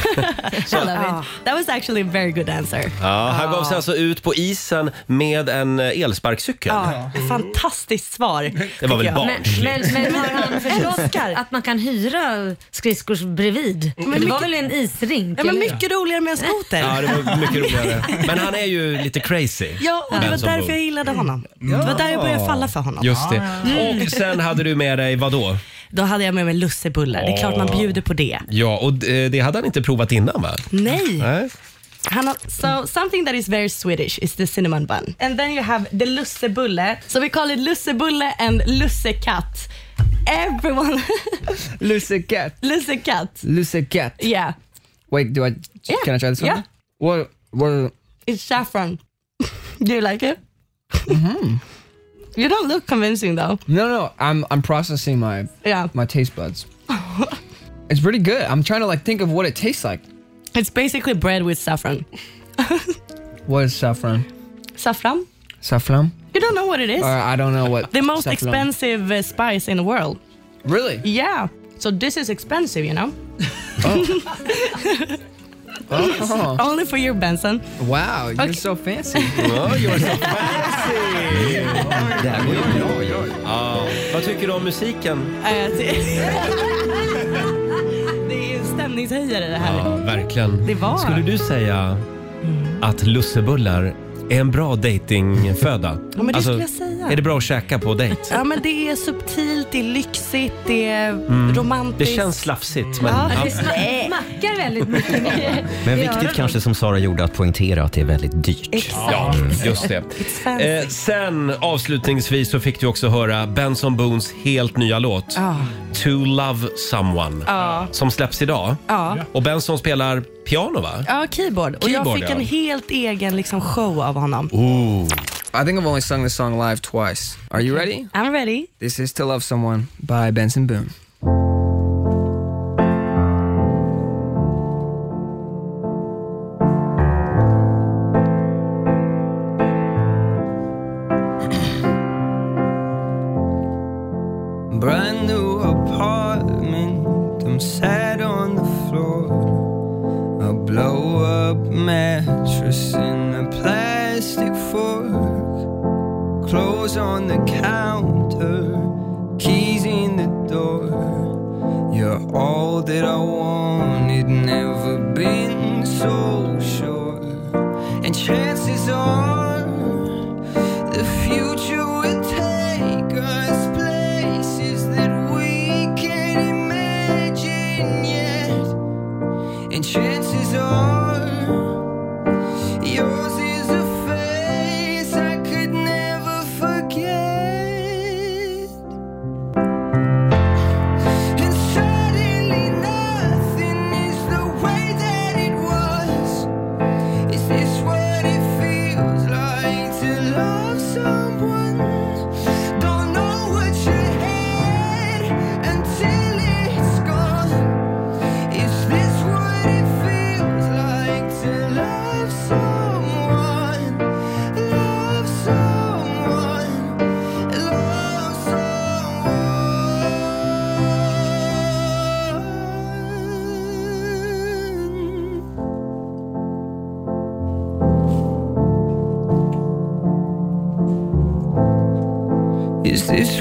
[SPEAKER 7] love
[SPEAKER 18] Ah.
[SPEAKER 7] it. That was actually a very good answer.
[SPEAKER 1] Ja, han gav sig alltså ut på isen med en eh, elsparkcykel.
[SPEAKER 7] Ja,
[SPEAKER 1] Mm.
[SPEAKER 7] fantastiskt svar.
[SPEAKER 1] Det var väl
[SPEAKER 7] tycker jag.
[SPEAKER 1] barn.
[SPEAKER 2] Men, men har han förstått att man kan hyra skridskors bredvid?
[SPEAKER 7] Men
[SPEAKER 2] det var
[SPEAKER 7] mycket-
[SPEAKER 2] väl en isrink?
[SPEAKER 7] Ja, men
[SPEAKER 2] eller?
[SPEAKER 7] mycket roligare med en skoter.
[SPEAKER 1] Ja, det var mycket roligare. Men han är ju lite crazy.
[SPEAKER 7] Ja, och det var
[SPEAKER 1] Benson
[SPEAKER 7] därför
[SPEAKER 1] Boone.
[SPEAKER 7] jag gillade honom. Det var där jag började falla för honom. Mm.
[SPEAKER 1] Just det. Mm. Och sen hade du med dig vad då?
[SPEAKER 7] Då hade jag med mig lussebullar. Det är klart man bjuder på det.
[SPEAKER 1] Ja, och eh, det hade han inte provat innan va?
[SPEAKER 7] Nej.
[SPEAKER 1] Nej.
[SPEAKER 7] Han har, so something that is very Swedish is the cinnamon bun. And then you have the lussebulle. So we call it lussebulle and lussekatt. Everyone...
[SPEAKER 18] lussekatt.
[SPEAKER 7] lussekatt.
[SPEAKER 18] Lussekatt.
[SPEAKER 7] Yeah.
[SPEAKER 18] Wait, do I? Can I try this one?
[SPEAKER 7] Yeah.
[SPEAKER 18] What? What?
[SPEAKER 7] It's saffron. Do you like it?
[SPEAKER 18] Mm-hmm.
[SPEAKER 7] You don't look convincing though.
[SPEAKER 18] No, no. I'm I'm processing my
[SPEAKER 7] Yeah.
[SPEAKER 18] my taste buds. it's pretty good. I'm trying to like think of what it tastes like.
[SPEAKER 7] It's basically bread with saffron.
[SPEAKER 18] What is saffron?
[SPEAKER 7] Saffron?
[SPEAKER 18] Saffron?
[SPEAKER 7] You don't know what it is?
[SPEAKER 18] Or I don't know what.
[SPEAKER 7] the most
[SPEAKER 18] saffron-
[SPEAKER 7] expensive uh, spice in the world.
[SPEAKER 18] Really?
[SPEAKER 7] Yeah. So this is expensive, you know?
[SPEAKER 18] Oh.
[SPEAKER 7] Only for you, Benson.
[SPEAKER 18] Wow, you're so fancy.
[SPEAKER 1] Oh, you're so fancy. Det här går ju bra. Ja. Vad tycker du om musiken?
[SPEAKER 7] Eh, det- det är stämningshöjare det här.
[SPEAKER 1] Ja, verkligen.
[SPEAKER 7] Det var- Mm.
[SPEAKER 1] Skulle du säga att lussebullar är en bra datingföda? Alltså,
[SPEAKER 7] Ja, men det skulle jag säga.
[SPEAKER 1] Är det bra att käka på dejt?
[SPEAKER 7] Ja, men det är subtilt, det är lyxigt, det är
[SPEAKER 1] Mm.
[SPEAKER 7] romantiskt.
[SPEAKER 1] Det känns slafsigt. Men,
[SPEAKER 7] Ja,
[SPEAKER 1] ja.
[SPEAKER 7] det sma- smackar väldigt mycket.
[SPEAKER 3] Men
[SPEAKER 7] Det gör
[SPEAKER 3] viktigt
[SPEAKER 7] det.
[SPEAKER 3] kanske som Sara gjorde att poängtera att det är väldigt dyrt. Mm.
[SPEAKER 7] Exakt.
[SPEAKER 1] Ja, just det.
[SPEAKER 7] fancy.
[SPEAKER 1] Eh, sen avslutningsvis så fick du också höra Benson Boons helt nya låt
[SPEAKER 7] Ja.
[SPEAKER 1] To Love Someone
[SPEAKER 7] Ja.
[SPEAKER 1] som släpps idag.
[SPEAKER 7] Ja.
[SPEAKER 1] Och Benson spelar piano va?
[SPEAKER 7] Ja, keyboard. Och jag
[SPEAKER 1] Keyboard,
[SPEAKER 7] fick
[SPEAKER 1] ja. Oh,
[SPEAKER 7] en helt egen liksom, show av honom.
[SPEAKER 1] Ooh.
[SPEAKER 18] I think I've only sung this song live twice. Are you ready?
[SPEAKER 7] I'm ready.
[SPEAKER 18] This is to love someone by Benson Boone.
[SPEAKER 19] Brand new apartment, I'm sat on the floor. A blow up mattress and a plastic fork. Clothes on the counter, keys in the door. You're all that I wanted, never been so sure. And chances are the future will take us places that we can't imagine yet. And chances are yours is a face I could never forget. And suddenly nothing is the way that it was. Is this what it feels like to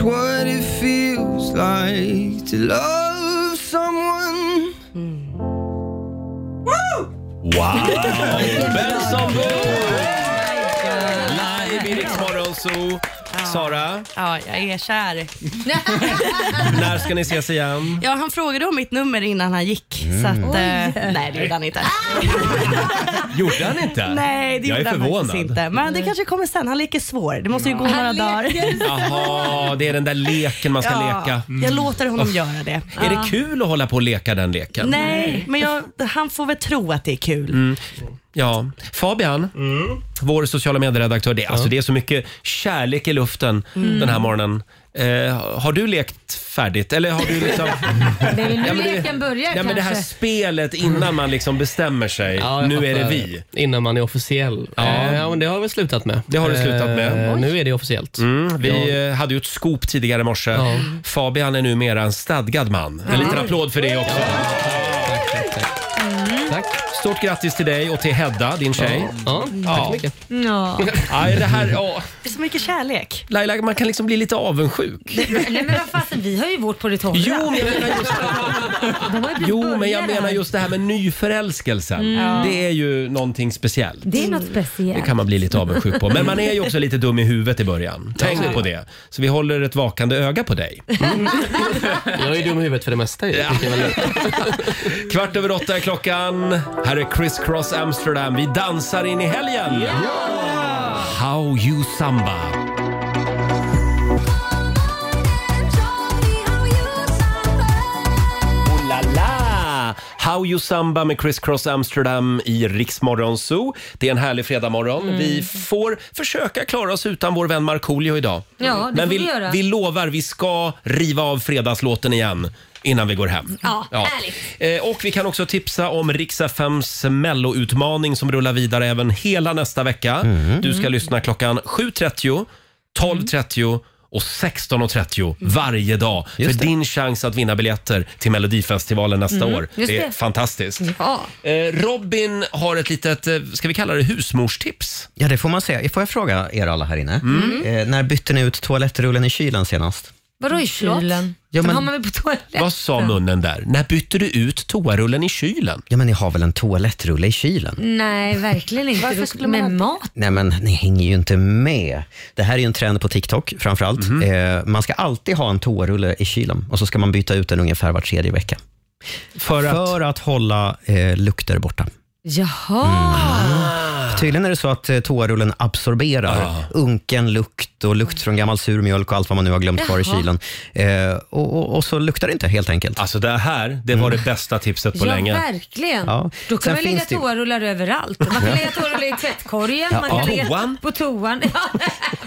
[SPEAKER 19] what it feels like to love someone. Woo!
[SPEAKER 1] Wow! Benson Live i Rix Morgon Zoo. Sara,
[SPEAKER 7] Ja, jag är kär.
[SPEAKER 1] när ska ni ses igen?
[SPEAKER 7] Ja, han frågade om mitt nummer innan han gick.
[SPEAKER 1] Mm.
[SPEAKER 7] Så att, eh,
[SPEAKER 1] Oj. Ah!
[SPEAKER 7] nej, det gjorde han inte.
[SPEAKER 1] Gjorde han inte?
[SPEAKER 7] Nej, det
[SPEAKER 1] Jag är
[SPEAKER 7] gjorde han
[SPEAKER 1] förvånad.
[SPEAKER 7] faktiskt inte. Men det kanske kommer sen. Han leker svår. Det måste ju gå några dagar.
[SPEAKER 1] Jaha, det är den där leken man ska
[SPEAKER 7] Ja,
[SPEAKER 1] leka.
[SPEAKER 7] Jag låter honom
[SPEAKER 1] Uff.
[SPEAKER 7] göra det.
[SPEAKER 1] Är
[SPEAKER 7] Ja.
[SPEAKER 1] det kul att hålla på och leka den leken?
[SPEAKER 7] Nej, men jag, han får väl tro att det är kul.
[SPEAKER 1] Mm. Ja, Fabian, vår sociala medieredaktör. Det, alltså, det är så mycket kärlek i luften
[SPEAKER 2] Mm.
[SPEAKER 1] den här morgonen. Eh, har du lekt färdigt? Eller har du liksom...
[SPEAKER 2] Det är väl nu
[SPEAKER 1] Ja, men det-
[SPEAKER 2] leken börjar
[SPEAKER 1] Ja, men det här
[SPEAKER 2] kanske.
[SPEAKER 1] spelet innan man liksom bestämmer sig.
[SPEAKER 10] jag
[SPEAKER 1] nu är det
[SPEAKER 10] fattar.
[SPEAKER 1] vi.
[SPEAKER 10] Innan man är officiell.
[SPEAKER 1] Ja.
[SPEAKER 10] Eh, Ja, men det har vi slutat med.
[SPEAKER 1] Det har du slutat med.
[SPEAKER 10] Eh, nu är det officiellt.
[SPEAKER 1] Mm, vi
[SPEAKER 10] Ja.
[SPEAKER 1] eh, hade ju ett scoop tidigare i morse. Fabian är numera en stadgad man. En liten applåd för det också.
[SPEAKER 7] Mm.
[SPEAKER 1] Tack. Stort grattis till dig och till Hedda, din tjej. Ja,
[SPEAKER 7] tack så mycket. Ja.
[SPEAKER 1] Aj, det här, ja.
[SPEAKER 7] Det är så mycket kärlek.
[SPEAKER 1] Laila, man kan liksom bli lite avundsjuk.
[SPEAKER 2] Nej men vad fasen, vi har ju vårt på det torra.
[SPEAKER 1] Jo, men jag menar just
[SPEAKER 2] De har ju precis
[SPEAKER 1] Jo, men
[SPEAKER 2] börjat
[SPEAKER 1] jag
[SPEAKER 2] här.
[SPEAKER 1] menar just det här med nyförälskelsen.
[SPEAKER 2] Mm.
[SPEAKER 1] Det är ju någonting speciellt.
[SPEAKER 2] Det är något
[SPEAKER 1] Det
[SPEAKER 2] speciellt.
[SPEAKER 1] kan man bli lite avundsjuk på. Men man är ju också lite dum i huvudet i början. Tänk
[SPEAKER 10] Ja.
[SPEAKER 1] på det. Så vi håller ett vakande öga på dig.
[SPEAKER 10] Jag är dum i huvudet för det mesta. ju. tycker jag väl.
[SPEAKER 1] Kvart över åtta är klockan. Här är Criss Cross Amsterdam. Vi dansar in i helgen. How you samba. Oh la la! How you samba med Criss Cross Amsterdam i Riksmorgon Zoo. Det är en härlig fredagmorgon.
[SPEAKER 2] Mm.
[SPEAKER 1] Vi får försöka klara oss utan vår vän Markoolio idag.
[SPEAKER 2] Ja, det
[SPEAKER 1] Men
[SPEAKER 2] får
[SPEAKER 1] vi,
[SPEAKER 2] vi göra.
[SPEAKER 1] vi lovar, vi ska riva av fredagslåten igen innan vi går hem.
[SPEAKER 2] Ja, härligt.
[SPEAKER 1] Eh, Och vi kan också tipsa om Rix FMs melloutmaning som rullar vidare även hela nästa vecka. Du ska lyssna klockan 7.30, 12.30 och 16.30
[SPEAKER 2] Mm.
[SPEAKER 1] varje dag för din chans att vinna biljetter till Melodifestivalen nästa
[SPEAKER 2] Mm,
[SPEAKER 1] år. Det,
[SPEAKER 2] just
[SPEAKER 1] är
[SPEAKER 2] det.
[SPEAKER 1] fantastiskt.
[SPEAKER 2] Ja.
[SPEAKER 1] Eh, Robin har ett litet, eh, ska vi kalla det husmorstips? Mm.
[SPEAKER 3] Ja, det får man säga. Får jag fråga er alla här inne? Eh, när bytte ni ut toalettrullen i kylen senast?
[SPEAKER 2] Vadå i kylen?
[SPEAKER 3] Ja,
[SPEAKER 2] Den
[SPEAKER 3] men-
[SPEAKER 2] har man väl på toaletten?
[SPEAKER 1] munnen där? När bytte du ut toarullen i kylen?
[SPEAKER 3] Ja, men ni har väl en toalettrulle i kylen?
[SPEAKER 2] Nej, verkligen inte. Varför skulle man med mat?
[SPEAKER 3] Nej, men ni hänger ju inte med. Det här är ju en trend på TikTok framför allt.
[SPEAKER 1] Mhm.
[SPEAKER 3] Eh, man ska alltid ha en toarulle i kylen och så ska man byta ut den ungefär var tredje vecka.
[SPEAKER 1] För att,
[SPEAKER 3] hålla eh, lukter borta.
[SPEAKER 1] Mm.
[SPEAKER 2] Jaha.
[SPEAKER 1] Ah.
[SPEAKER 3] Tydligen är det så att eh, toarullen absorberar unken lukt och lukt från gammal sur mjölk och allt vad man nu har glömt kvar i
[SPEAKER 2] Jaha.
[SPEAKER 3] kylen. Eh, och, och, och så luktar det inte helt enkelt. Mm.
[SPEAKER 1] Alltså det här, det var det bästa tipset
[SPEAKER 2] Ja, verkligen.
[SPEAKER 3] Ja.
[SPEAKER 2] Då kan
[SPEAKER 3] Sen
[SPEAKER 2] man lägga
[SPEAKER 3] finns det ju-
[SPEAKER 2] toarullar överallt. Man kan
[SPEAKER 3] Ja.
[SPEAKER 2] lägga toarullar i tvättkorgen,
[SPEAKER 3] Ja,
[SPEAKER 2] man kan
[SPEAKER 3] på
[SPEAKER 2] lägga
[SPEAKER 3] toan.
[SPEAKER 2] på toan. Ja,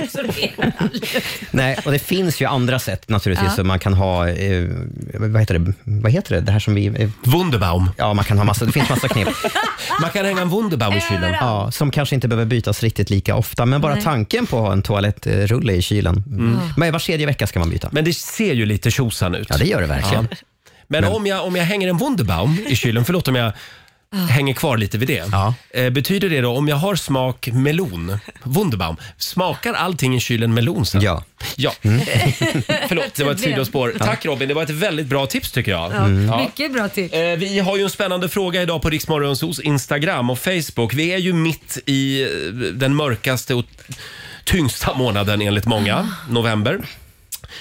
[SPEAKER 2] absorberar all lukt.
[SPEAKER 3] Nej, och det finns ju andra sätt naturligtvis.
[SPEAKER 2] Ja.
[SPEAKER 3] Så man kan ha, eh, vad heter det, vad heter det, det här som vi... Eh,
[SPEAKER 1] Wunderbaum.
[SPEAKER 3] Ja, man kan ha massa, det finns massa knep.
[SPEAKER 1] man kan hänga en Wunderbaum
[SPEAKER 3] i kylen. Ja, som kanske inte behöver bytas riktigt lika ofta, men bara
[SPEAKER 1] Nej.
[SPEAKER 3] tanken på att ha en eh, toalettrulle i kylen.
[SPEAKER 1] Mm.
[SPEAKER 3] Men var tredje vecka ska man byta.
[SPEAKER 1] Men det ser ju lite tjosan ut.
[SPEAKER 3] Ja, det gör det verkligen.
[SPEAKER 1] Ja. Men, Om, jag, om jag hänger en Wunderbaum i kylen, förlåt om jag hänger kvar lite vid det. Eh, betyder det då om jag har smak melon, Wunderbaum, smakar allting i kylen melon sen? Ja. ja.
[SPEAKER 3] Mm.
[SPEAKER 1] förlåt, det var ett
[SPEAKER 2] Problem.
[SPEAKER 1] sidospår.
[SPEAKER 2] Ja.
[SPEAKER 1] Tack Robin, det var ett väldigt bra tips tycker jag. Mm.
[SPEAKER 2] Ja,
[SPEAKER 1] Ja.
[SPEAKER 2] Mycket bra tips.
[SPEAKER 1] Eh, Vi har ju en spännande fråga idag på Riksmorgonsos Instagram och Facebook. Vi är ju mitt i eh, den mörkaste och tyngsta månaden enligt
[SPEAKER 2] Ah.
[SPEAKER 1] många, november.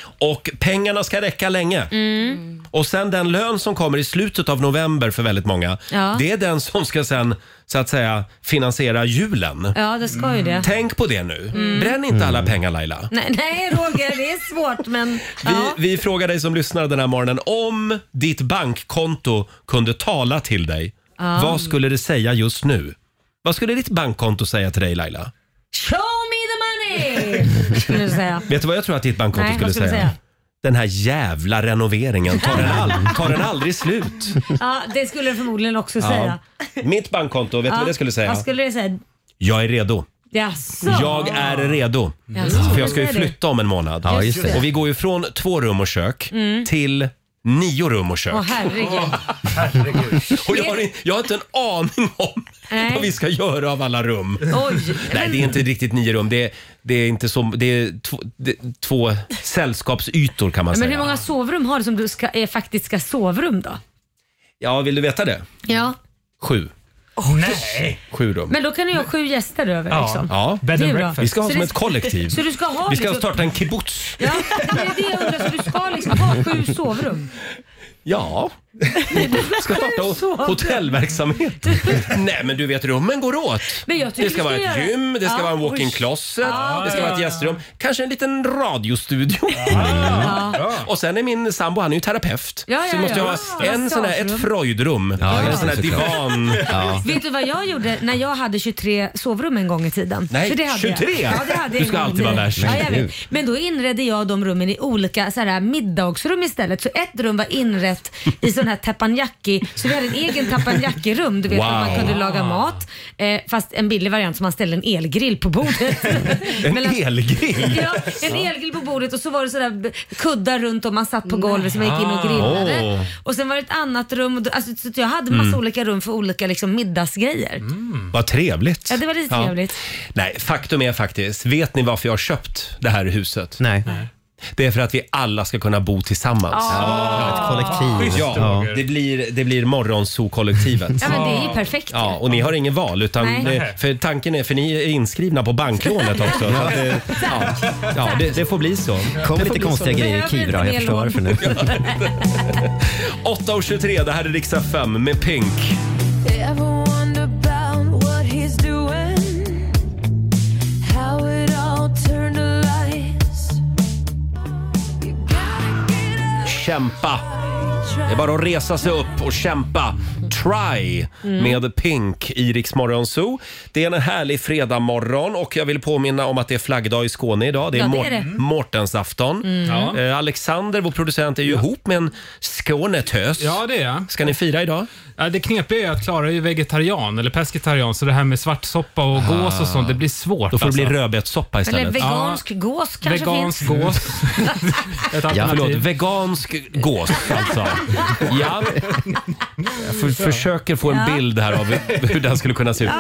[SPEAKER 1] Och pengarna ska räcka länge.
[SPEAKER 2] Mm.
[SPEAKER 1] Och sen den lön som kommer i slutet av november för väldigt många,
[SPEAKER 2] Ja.
[SPEAKER 1] det är den som ska sen så att säga finansiera julen.
[SPEAKER 2] Ja, det ska ju det.
[SPEAKER 1] Tänk på det nu.
[SPEAKER 2] Mm.
[SPEAKER 1] Bränn inte alla pengar Laila.
[SPEAKER 2] Nej, nej, Roger, det är svårt men... Ja.
[SPEAKER 1] Vi, vi frågar dig som lyssnar den här morgonen om ditt bankkonto kunde tala till dig.
[SPEAKER 2] Ja.
[SPEAKER 1] Vad skulle det säga just nu? Vad skulle ditt bankkonto säga till dig Laila?
[SPEAKER 2] Show me the money! Skulle du säga.
[SPEAKER 1] Vet du vad jag tror att ditt bankkonto
[SPEAKER 2] Nej,
[SPEAKER 1] skulle,
[SPEAKER 2] vad skulle det
[SPEAKER 1] säga?
[SPEAKER 2] säga?
[SPEAKER 1] Den här jävla renoveringen, tar den, all, tar den aldrig slut?
[SPEAKER 2] Ja, det skulle du förmodligen också säga.
[SPEAKER 1] Mitt bankkonto, vet du
[SPEAKER 2] ja.
[SPEAKER 1] vad det skulle säga?
[SPEAKER 2] Vad skulle det säga?
[SPEAKER 1] Jag är redo.
[SPEAKER 2] Jaså?
[SPEAKER 1] Jag är redo.
[SPEAKER 2] Jaså,
[SPEAKER 1] För jag ska ju
[SPEAKER 2] det är det.
[SPEAKER 1] flytta om en månad.
[SPEAKER 2] Ja, just det.
[SPEAKER 1] Och vi går ju från två rum och kök
[SPEAKER 2] Mm.
[SPEAKER 1] till Nio rum och kök.
[SPEAKER 2] Åh herregud.
[SPEAKER 1] Och jag har, in- jag har inte en aning om vad vi
[SPEAKER 2] Nej.
[SPEAKER 1] ska göra av alla rum.
[SPEAKER 2] Oj.
[SPEAKER 1] Nej, det är inte riktigt nio rum. Det är, det är, inte som, det är två, det, två sällskapsytor kan man
[SPEAKER 2] Men hur
[SPEAKER 1] säga.
[SPEAKER 2] många sovrum har du som du ska, är faktiska sovrum då?
[SPEAKER 1] Ja, vill du veta det?
[SPEAKER 2] Ja.
[SPEAKER 1] Sju.
[SPEAKER 11] nej!
[SPEAKER 1] Sju rum.
[SPEAKER 2] Men då kan du ha sju gäster över liksom.
[SPEAKER 1] ja.
[SPEAKER 2] Det är bra.
[SPEAKER 1] Vi ska ha
[SPEAKER 2] Så
[SPEAKER 1] som
[SPEAKER 2] det-
[SPEAKER 1] ett kollektiv.
[SPEAKER 2] Så du ska ha
[SPEAKER 1] vi ska
[SPEAKER 2] liksom,
[SPEAKER 1] starta en kibbutz.
[SPEAKER 2] Ja, men det är det jag undrar. Så du ska liksom ha sju sovrum?
[SPEAKER 1] Ja. Vi ska starta ho- hotellverksamhet. Nej, men du vet rummen går åt.
[SPEAKER 2] Men jag tycker
[SPEAKER 1] det
[SPEAKER 2] vi
[SPEAKER 1] ska vara
[SPEAKER 2] ska
[SPEAKER 1] ett
[SPEAKER 2] göra-
[SPEAKER 1] gym, det ska
[SPEAKER 2] Ja.
[SPEAKER 1] vara en
[SPEAKER 2] Oj.
[SPEAKER 1] walk-in closet,
[SPEAKER 2] Ja,
[SPEAKER 1] det ska
[SPEAKER 2] ja,
[SPEAKER 1] vara ett
[SPEAKER 2] ja.
[SPEAKER 1] gästrum, kanske en liten radiostudio. Och sen är min sambo, han är ju terapeut.
[SPEAKER 2] Ja,
[SPEAKER 1] så
[SPEAKER 2] ja,
[SPEAKER 1] vi måste
[SPEAKER 2] ja.
[SPEAKER 1] ha en
[SPEAKER 2] Massagerum.
[SPEAKER 1] sån här, ett Freudrum. en
[SPEAKER 2] just
[SPEAKER 1] sån här
[SPEAKER 2] det, såklart.
[SPEAKER 1] divan.
[SPEAKER 2] Vet du vad jag gjorde när jag hade 23 sovrum en gång i tiden?
[SPEAKER 1] Nej,
[SPEAKER 2] För det hade
[SPEAKER 1] 23?
[SPEAKER 2] Jag. Ja, det hade jag
[SPEAKER 1] Du ska
[SPEAKER 2] en gång
[SPEAKER 1] alltid vara
[SPEAKER 2] i tiden.
[SPEAKER 1] värst.
[SPEAKER 2] Ja, jag
[SPEAKER 1] Men
[SPEAKER 2] vet. Men då inredde jag de rummen i olika så här, middagsrum istället. Så ett rum var inrett i sån här teppanyaki. Så vi hade en egen teppanyaki-rum. Du vet, där man
[SPEAKER 1] Wow.
[SPEAKER 2] kunde laga mat. Eh, fast en billig variant som man ställde en elgrill på bordet.
[SPEAKER 1] En
[SPEAKER 2] Mellan-
[SPEAKER 1] elgrill?
[SPEAKER 2] Ja, en elgrill på bordet och så var det sådär kuddar runt och man satt på golvet som man gick in och grillade.
[SPEAKER 1] Ah. Åh.
[SPEAKER 2] Och sen var det ett annat rum. och då- Alltså, så att jag hade massa
[SPEAKER 1] Mm.
[SPEAKER 2] olika rum för olika liksom, middagsgrejer.
[SPEAKER 1] Vad trevligt.
[SPEAKER 2] Ja, det var lite trevligt.
[SPEAKER 1] Nej, faktum är faktiskt, vet ni varför jag har köpt det här huset? Nej. Det är för att vi alla ska kunna bo tillsammans.
[SPEAKER 3] Ja, ett kollektiv.
[SPEAKER 1] Ja,
[SPEAKER 3] Ja.
[SPEAKER 1] Det, blir, det blir morgonsokollektivet.
[SPEAKER 2] Ja, men det är ju perfekt.
[SPEAKER 1] Ja, och ni har ingen val utan
[SPEAKER 2] Nej.
[SPEAKER 1] eh, för tanken är, för ni är inskrivna på banklånet också. så att det, ja, ja, det, det får bli så.
[SPEAKER 3] Kom
[SPEAKER 1] det
[SPEAKER 3] lite
[SPEAKER 1] får bli
[SPEAKER 3] konstiga grejer i Kivra, jag förstår varför nu.
[SPEAKER 1] 8.23, det här är riksdag 5 med Pink. Kämpa! Det är bara att resa sig upp och kämpa. Try
[SPEAKER 8] Mm.
[SPEAKER 1] med Pink i Rix Morgon Zoo. Det är en härlig fredagmorgon och jag vill påminna om att det är flaggdag i Skåne idag. Det är,
[SPEAKER 8] Ja, det
[SPEAKER 1] Mår-
[SPEAKER 8] är det.
[SPEAKER 11] Mm.
[SPEAKER 1] Mårtensafton.
[SPEAKER 8] Mm. Ja.
[SPEAKER 1] Eh, Alexander, vår producent, är ju ihop med en Skånetös.
[SPEAKER 11] Ja, det är jag.
[SPEAKER 1] Ska ni fira idag?
[SPEAKER 11] Ja, det knepiga är att Klara är ju vegetarian eller pescetarian så det här med svartsoppa och
[SPEAKER 1] Ah.
[SPEAKER 11] gås och sånt, det blir svårt. alltså.
[SPEAKER 1] Då får det bli rödbetssoppa
[SPEAKER 2] Eller
[SPEAKER 1] istället.
[SPEAKER 2] vegansk gås kanske
[SPEAKER 11] vegansk
[SPEAKER 2] finns.
[SPEAKER 11] gås. Ett
[SPEAKER 1] Ja,
[SPEAKER 11] alternativ.
[SPEAKER 1] förlåt. Vegansk gås alltså. Ja. Jag för, försöker få en
[SPEAKER 2] Ja.
[SPEAKER 1] bild här av hur den skulle kunna se ut.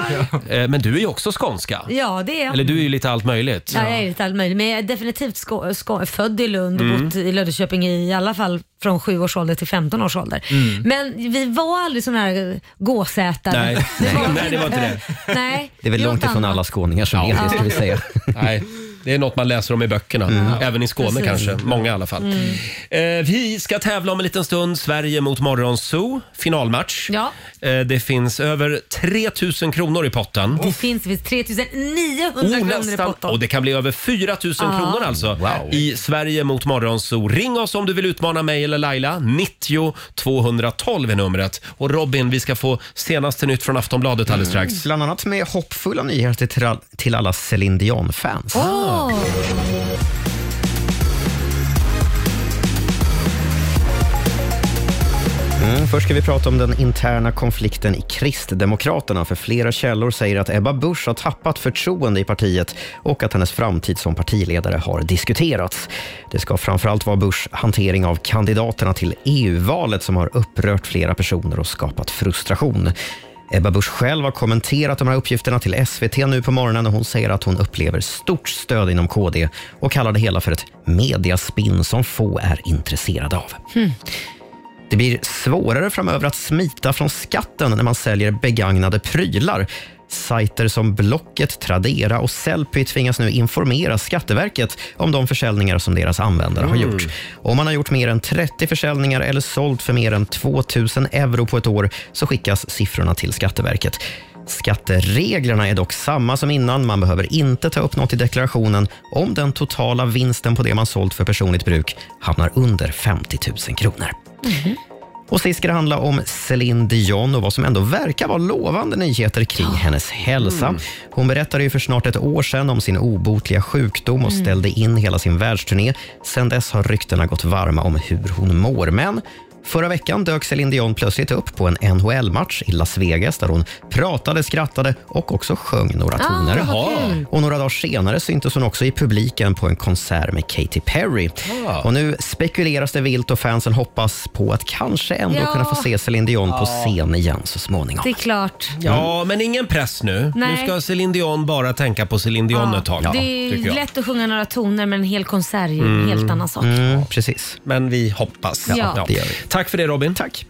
[SPEAKER 1] Eh, Men du är ju också skånska.
[SPEAKER 2] Ja, det är jag.
[SPEAKER 1] Eller du är ju lite allt möjligt.
[SPEAKER 2] Ja, jag är lite allmöjlig. Men jag är definitivt sko- sko- född i Lund och
[SPEAKER 1] Mm.
[SPEAKER 2] bott i Löddeköping i alla fall från 7 års ålder till 15 års ålder.
[SPEAKER 1] Mm.
[SPEAKER 2] Men vi var aldrig sådana här gåsätare.
[SPEAKER 3] Nej. Nej, det var inte
[SPEAKER 2] det. Nej,
[SPEAKER 3] Det är väl
[SPEAKER 2] något
[SPEAKER 3] långt ifrån
[SPEAKER 2] annat.
[SPEAKER 3] alla skåningar som är det, ska vi säga. Mm.
[SPEAKER 1] Nej, det är något man läser om i böckerna. Även i Skåne
[SPEAKER 3] Precis. Mm.
[SPEAKER 1] kanske. Många i alla fall.
[SPEAKER 2] Mm.
[SPEAKER 1] Eh, vi ska tävla om en liten stund. Sverige mot Morgonzoo. Finalmatch.
[SPEAKER 2] Ja.
[SPEAKER 1] Eh, det finns över 3000 kronor i potten.
[SPEAKER 2] Det finns det finns 3900
[SPEAKER 1] Oh,
[SPEAKER 2] kronor i
[SPEAKER 1] nästan.
[SPEAKER 2] potten.
[SPEAKER 1] Och det kan bli över 4 000
[SPEAKER 2] Ja.
[SPEAKER 1] kronor alltså i Sverige mot Morgonzoo. Ring oss om du vill utmana mig eller Laila. 90 212 är numret. Och Robin, vi ska få senaste nytt från Aftonbladet alldeles strax.
[SPEAKER 3] Mm. Bland annat med hoppfulla nyheter till, all, till alla Céline Dion-fans.
[SPEAKER 2] Åh.
[SPEAKER 3] Mm, först ska vi prata om den interna konflikten i Kristdemokraterna. För flera källor säger att Ebba Busch har tappat förtroende i partiet och att hennes framtid som partiledare har diskuterats. Det ska framförallt vara Buschs hantering av kandidaterna till EU-valet som har upprört flera personer och skapat frustration. Ebba Busch själv har kommenterat de här uppgifterna till SVT nu på morgonen och hon säger att hon upplever stort stöd inom KD och kallar det hela för ett mediaspinn som få är intresserade av.
[SPEAKER 2] Hm.
[SPEAKER 3] Det blir svårare framöver att smita från skatten när man säljer begagnade prylar. Sajter som Blocket, Tradera och Sellpy tvingas nu informera Skatteverket om de försäljningar som deras användare har
[SPEAKER 8] Mm.
[SPEAKER 3] gjort. Om man har gjort mer än 30 försäljningar eller sålt för mer än 2 000 euro på ett år så skickas siffrorna till Skatteverket. Skattereglerna är dock samma som innan. Man behöver inte ta upp något i deklarationen om den totala vinsten på det man sålt för personligt bruk hamnar under 50 000 kronor. Och sist ska det handla om Céline Dion och vad som ändå verkar vara lovande nyheter kring hennes hälsa.
[SPEAKER 8] Mm.
[SPEAKER 3] Hon berättade ju för snart ett år sedan om sin obotliga sjukdom och
[SPEAKER 8] Mm.
[SPEAKER 3] ställde in hela sin världsturné. Sedan dess har ryktena gått varma om hur hon mår, men Förra veckan dök Celine Dion plötsligt upp på en NHL-match i Las Vegas där hon pratade, skrattade och också sjöng några
[SPEAKER 15] Ah,
[SPEAKER 3] toner.
[SPEAKER 15] vad kul.
[SPEAKER 3] Och några dagar senare syntes hon också i publiken på en konsert med Katy Perry.
[SPEAKER 15] Ah.
[SPEAKER 3] Och nu spekuleras det vilt och fansen hoppas på att kanske ändå
[SPEAKER 2] Ja.
[SPEAKER 3] kunna få se Celine Dion på
[SPEAKER 2] Ja.
[SPEAKER 3] scen igen så småningom.
[SPEAKER 2] Det är klart.
[SPEAKER 3] Ja,
[SPEAKER 1] men ingen press nu.
[SPEAKER 2] Nej.
[SPEAKER 1] Nu ska Céline Dion bara tänka på Céline Dion ett tag.
[SPEAKER 2] det är
[SPEAKER 1] tycker
[SPEAKER 2] ju
[SPEAKER 1] jag.
[SPEAKER 2] lätt att sjunga några toner men en hel konsert är ju en helt annan sak.
[SPEAKER 3] precis.
[SPEAKER 1] Mm. Men vi hoppas.
[SPEAKER 2] Ja, Ja. det gör
[SPEAKER 1] Tack för det Robin.
[SPEAKER 3] Tack.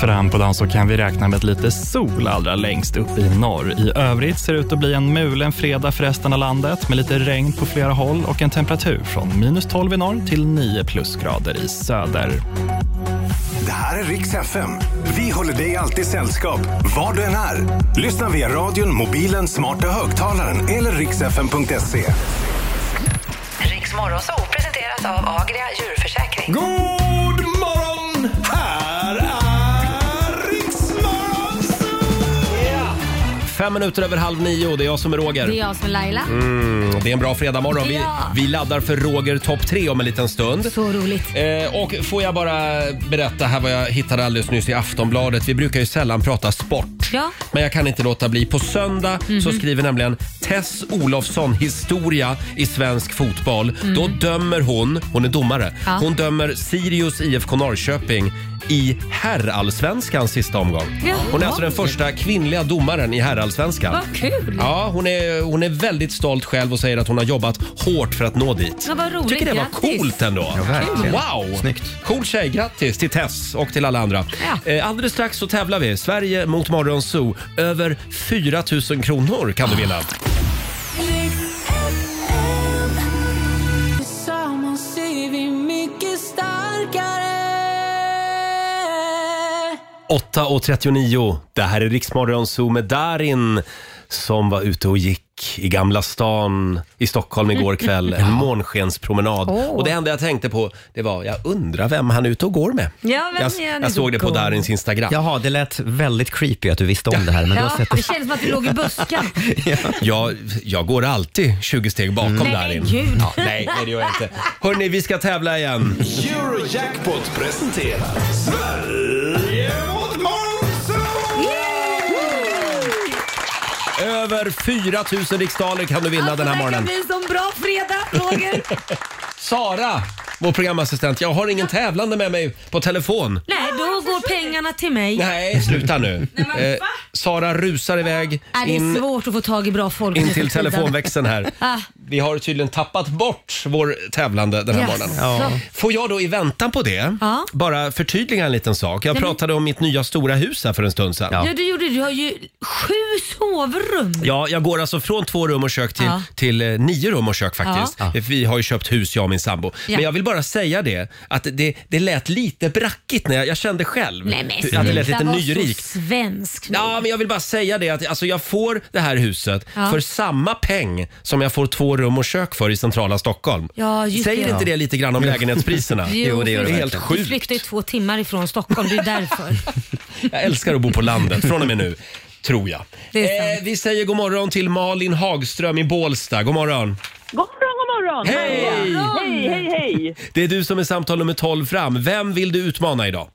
[SPEAKER 20] Fram på dagen så kan vi räkna med lite sol allra längst upp i norr. I övrigt ser det ut att bli en mulen fredag för resten av landet med lite regn på flera håll och en temperatur från minus 12 i norr till 9 plusgrader i söder.
[SPEAKER 8] Det här är Rix FM. Vi håller dig alltid sällskap, var du än är. Lyssna via radion, mobilen, smarta högtalaren eller rixfm.se.
[SPEAKER 21] Riks Morgonzoo presenteras av Agria djurförsäkring.
[SPEAKER 8] God morgon! Här är
[SPEAKER 1] Fem minuter över halv nio, det är jag som är Roger.
[SPEAKER 2] Det är jag som är Laila.
[SPEAKER 1] Mm, det är en bra fredagmorgon. Vi,
[SPEAKER 2] Ja.
[SPEAKER 1] vi laddar för Roger topp tre om en liten stund.
[SPEAKER 2] Så roligt.
[SPEAKER 1] Eh, och får jag bara berätta här vad jag hittade alldeles nyss i Aftonbladet. Vi brukar ju sällan prata sport.
[SPEAKER 2] Ja.
[SPEAKER 1] Men jag kan inte låta bli. På söndag så skriver nämligen Tess Olofsson historia i svensk fotboll.
[SPEAKER 15] Mm.
[SPEAKER 1] Då dömer hon, hon är domare,
[SPEAKER 15] Ja.
[SPEAKER 1] hon dömer Sirius IFK Norrköping i herrallsvenskans sista omgång.
[SPEAKER 15] Jaha.
[SPEAKER 1] Hon är alltså den första kvinnliga domaren i herrallsvenskan.
[SPEAKER 2] Vad kul.
[SPEAKER 1] Ja, hon är, hon är väldigt stolt själv och säger att hon har jobbat hårt för att nå dit.
[SPEAKER 2] Ja, vad roligt.
[SPEAKER 1] Tycker det var
[SPEAKER 2] Grattis.
[SPEAKER 1] coolt ändå.
[SPEAKER 2] Ja, verkligen.
[SPEAKER 1] wow!
[SPEAKER 3] Snyggt.
[SPEAKER 1] Cool tjej. Grattis till Tess och till alla andra. Eh, alldeles strax så tävlar vi. Sverige mot Morgonzoo. Över 4 000 kronor kan du vinna.
[SPEAKER 15] Tillsammans är vi mycket starkare
[SPEAKER 1] 8.39. Det här är Riksmorgonzoo med Darin som var ute och gick i Gamla stan i Stockholm igår kväll. En månskenspromenad.
[SPEAKER 2] Åh.
[SPEAKER 1] Och det enda jag tänkte på det var, jag undrar vem han är ute och går med.
[SPEAKER 2] Ja, vem
[SPEAKER 1] jag
[SPEAKER 2] är han
[SPEAKER 1] jag
[SPEAKER 2] ute
[SPEAKER 1] såg
[SPEAKER 2] och
[SPEAKER 1] det på
[SPEAKER 2] går med?
[SPEAKER 1] Darins Instagram.
[SPEAKER 3] Jaha, det lät väldigt creepy att du visste om det här. Men du
[SPEAKER 2] ja,
[SPEAKER 3] har sett
[SPEAKER 2] det känns som att du låg i busken.
[SPEAKER 1] Jag, jag går alltid 20 steg bakom
[SPEAKER 2] Nej,
[SPEAKER 1] Darin.
[SPEAKER 2] gud.
[SPEAKER 1] Ja, nej, nej, det gör jag inte. Hörni, vi ska tävla igen.
[SPEAKER 8] Eurojackpot presenterar Sverige mot
[SPEAKER 1] Över 4 000 riksdaler kan du vinna den här
[SPEAKER 2] Alltså, Det kan
[SPEAKER 1] morgonen.
[SPEAKER 2] bli en sån bra fredag, Roger.
[SPEAKER 1] Sara, vår programassistent. Jag har ingen tävlande med mig på telefon.
[SPEAKER 2] Nej, då går pengarna till mig.
[SPEAKER 1] Nej, sluta nu. Eh, Sara rusar iväg
[SPEAKER 2] Äh, det är
[SPEAKER 1] in,
[SPEAKER 2] svårt att få tag i bra folk.
[SPEAKER 1] in
[SPEAKER 2] nu för
[SPEAKER 1] till
[SPEAKER 2] tiden.
[SPEAKER 1] telefonväxeln här.
[SPEAKER 2] Ah,
[SPEAKER 1] Vi har tydligen tappat bort vår tävlande den här
[SPEAKER 2] Jaså.
[SPEAKER 1] morgonen.
[SPEAKER 2] Ja.
[SPEAKER 1] Får jag då i väntan på det
[SPEAKER 2] Ja.
[SPEAKER 1] bara förtydliga en liten sak. Jag
[SPEAKER 2] Nej, men-
[SPEAKER 1] pratade om mitt nya stora hus här för en stund sedan.
[SPEAKER 2] ja. du gjorde det. Du har ju sju sovrum.
[SPEAKER 1] Ja, jag går alltså från två rum och kök till,
[SPEAKER 2] Ja.
[SPEAKER 1] till eh, nio rum och kök faktiskt.
[SPEAKER 2] Ja.
[SPEAKER 1] Vi har ju köpt hus jag och min sambo.
[SPEAKER 2] Ja.
[SPEAKER 1] Men jag vill bara säga det, att det, det lät lite brackigt när jag, jag kände själv
[SPEAKER 2] Nej men
[SPEAKER 1] att det lät
[SPEAKER 2] sluta
[SPEAKER 1] lite
[SPEAKER 2] vara
[SPEAKER 1] nyrikt.
[SPEAKER 2] så svensk.
[SPEAKER 1] Ja, men jag vill bara säga det att alltså, jag får det här huset
[SPEAKER 2] Ja.
[SPEAKER 1] för samma peng som jag får två rum och kök för i centrala Stockholm.
[SPEAKER 2] Ja, just
[SPEAKER 1] Säger
[SPEAKER 2] det.
[SPEAKER 1] inte det lite grann om
[SPEAKER 2] Jo.
[SPEAKER 1] lägenhetspriserna? det. är helt
[SPEAKER 2] Du
[SPEAKER 1] sjukt.
[SPEAKER 2] flyktar ju två timmar ifrån Stockholm, det är därför.
[SPEAKER 1] Jag älskar att bo på landet från och med nu, tror jag. Eh, vi säger god morgon till Malin Hagström i Bålsta. God morgon.
[SPEAKER 9] God morgon, god morgon!
[SPEAKER 1] Hej!
[SPEAKER 9] Hej, hej, hej!
[SPEAKER 1] Det är du som är samtal nummer 12 fram. Vem vill du utmana idag?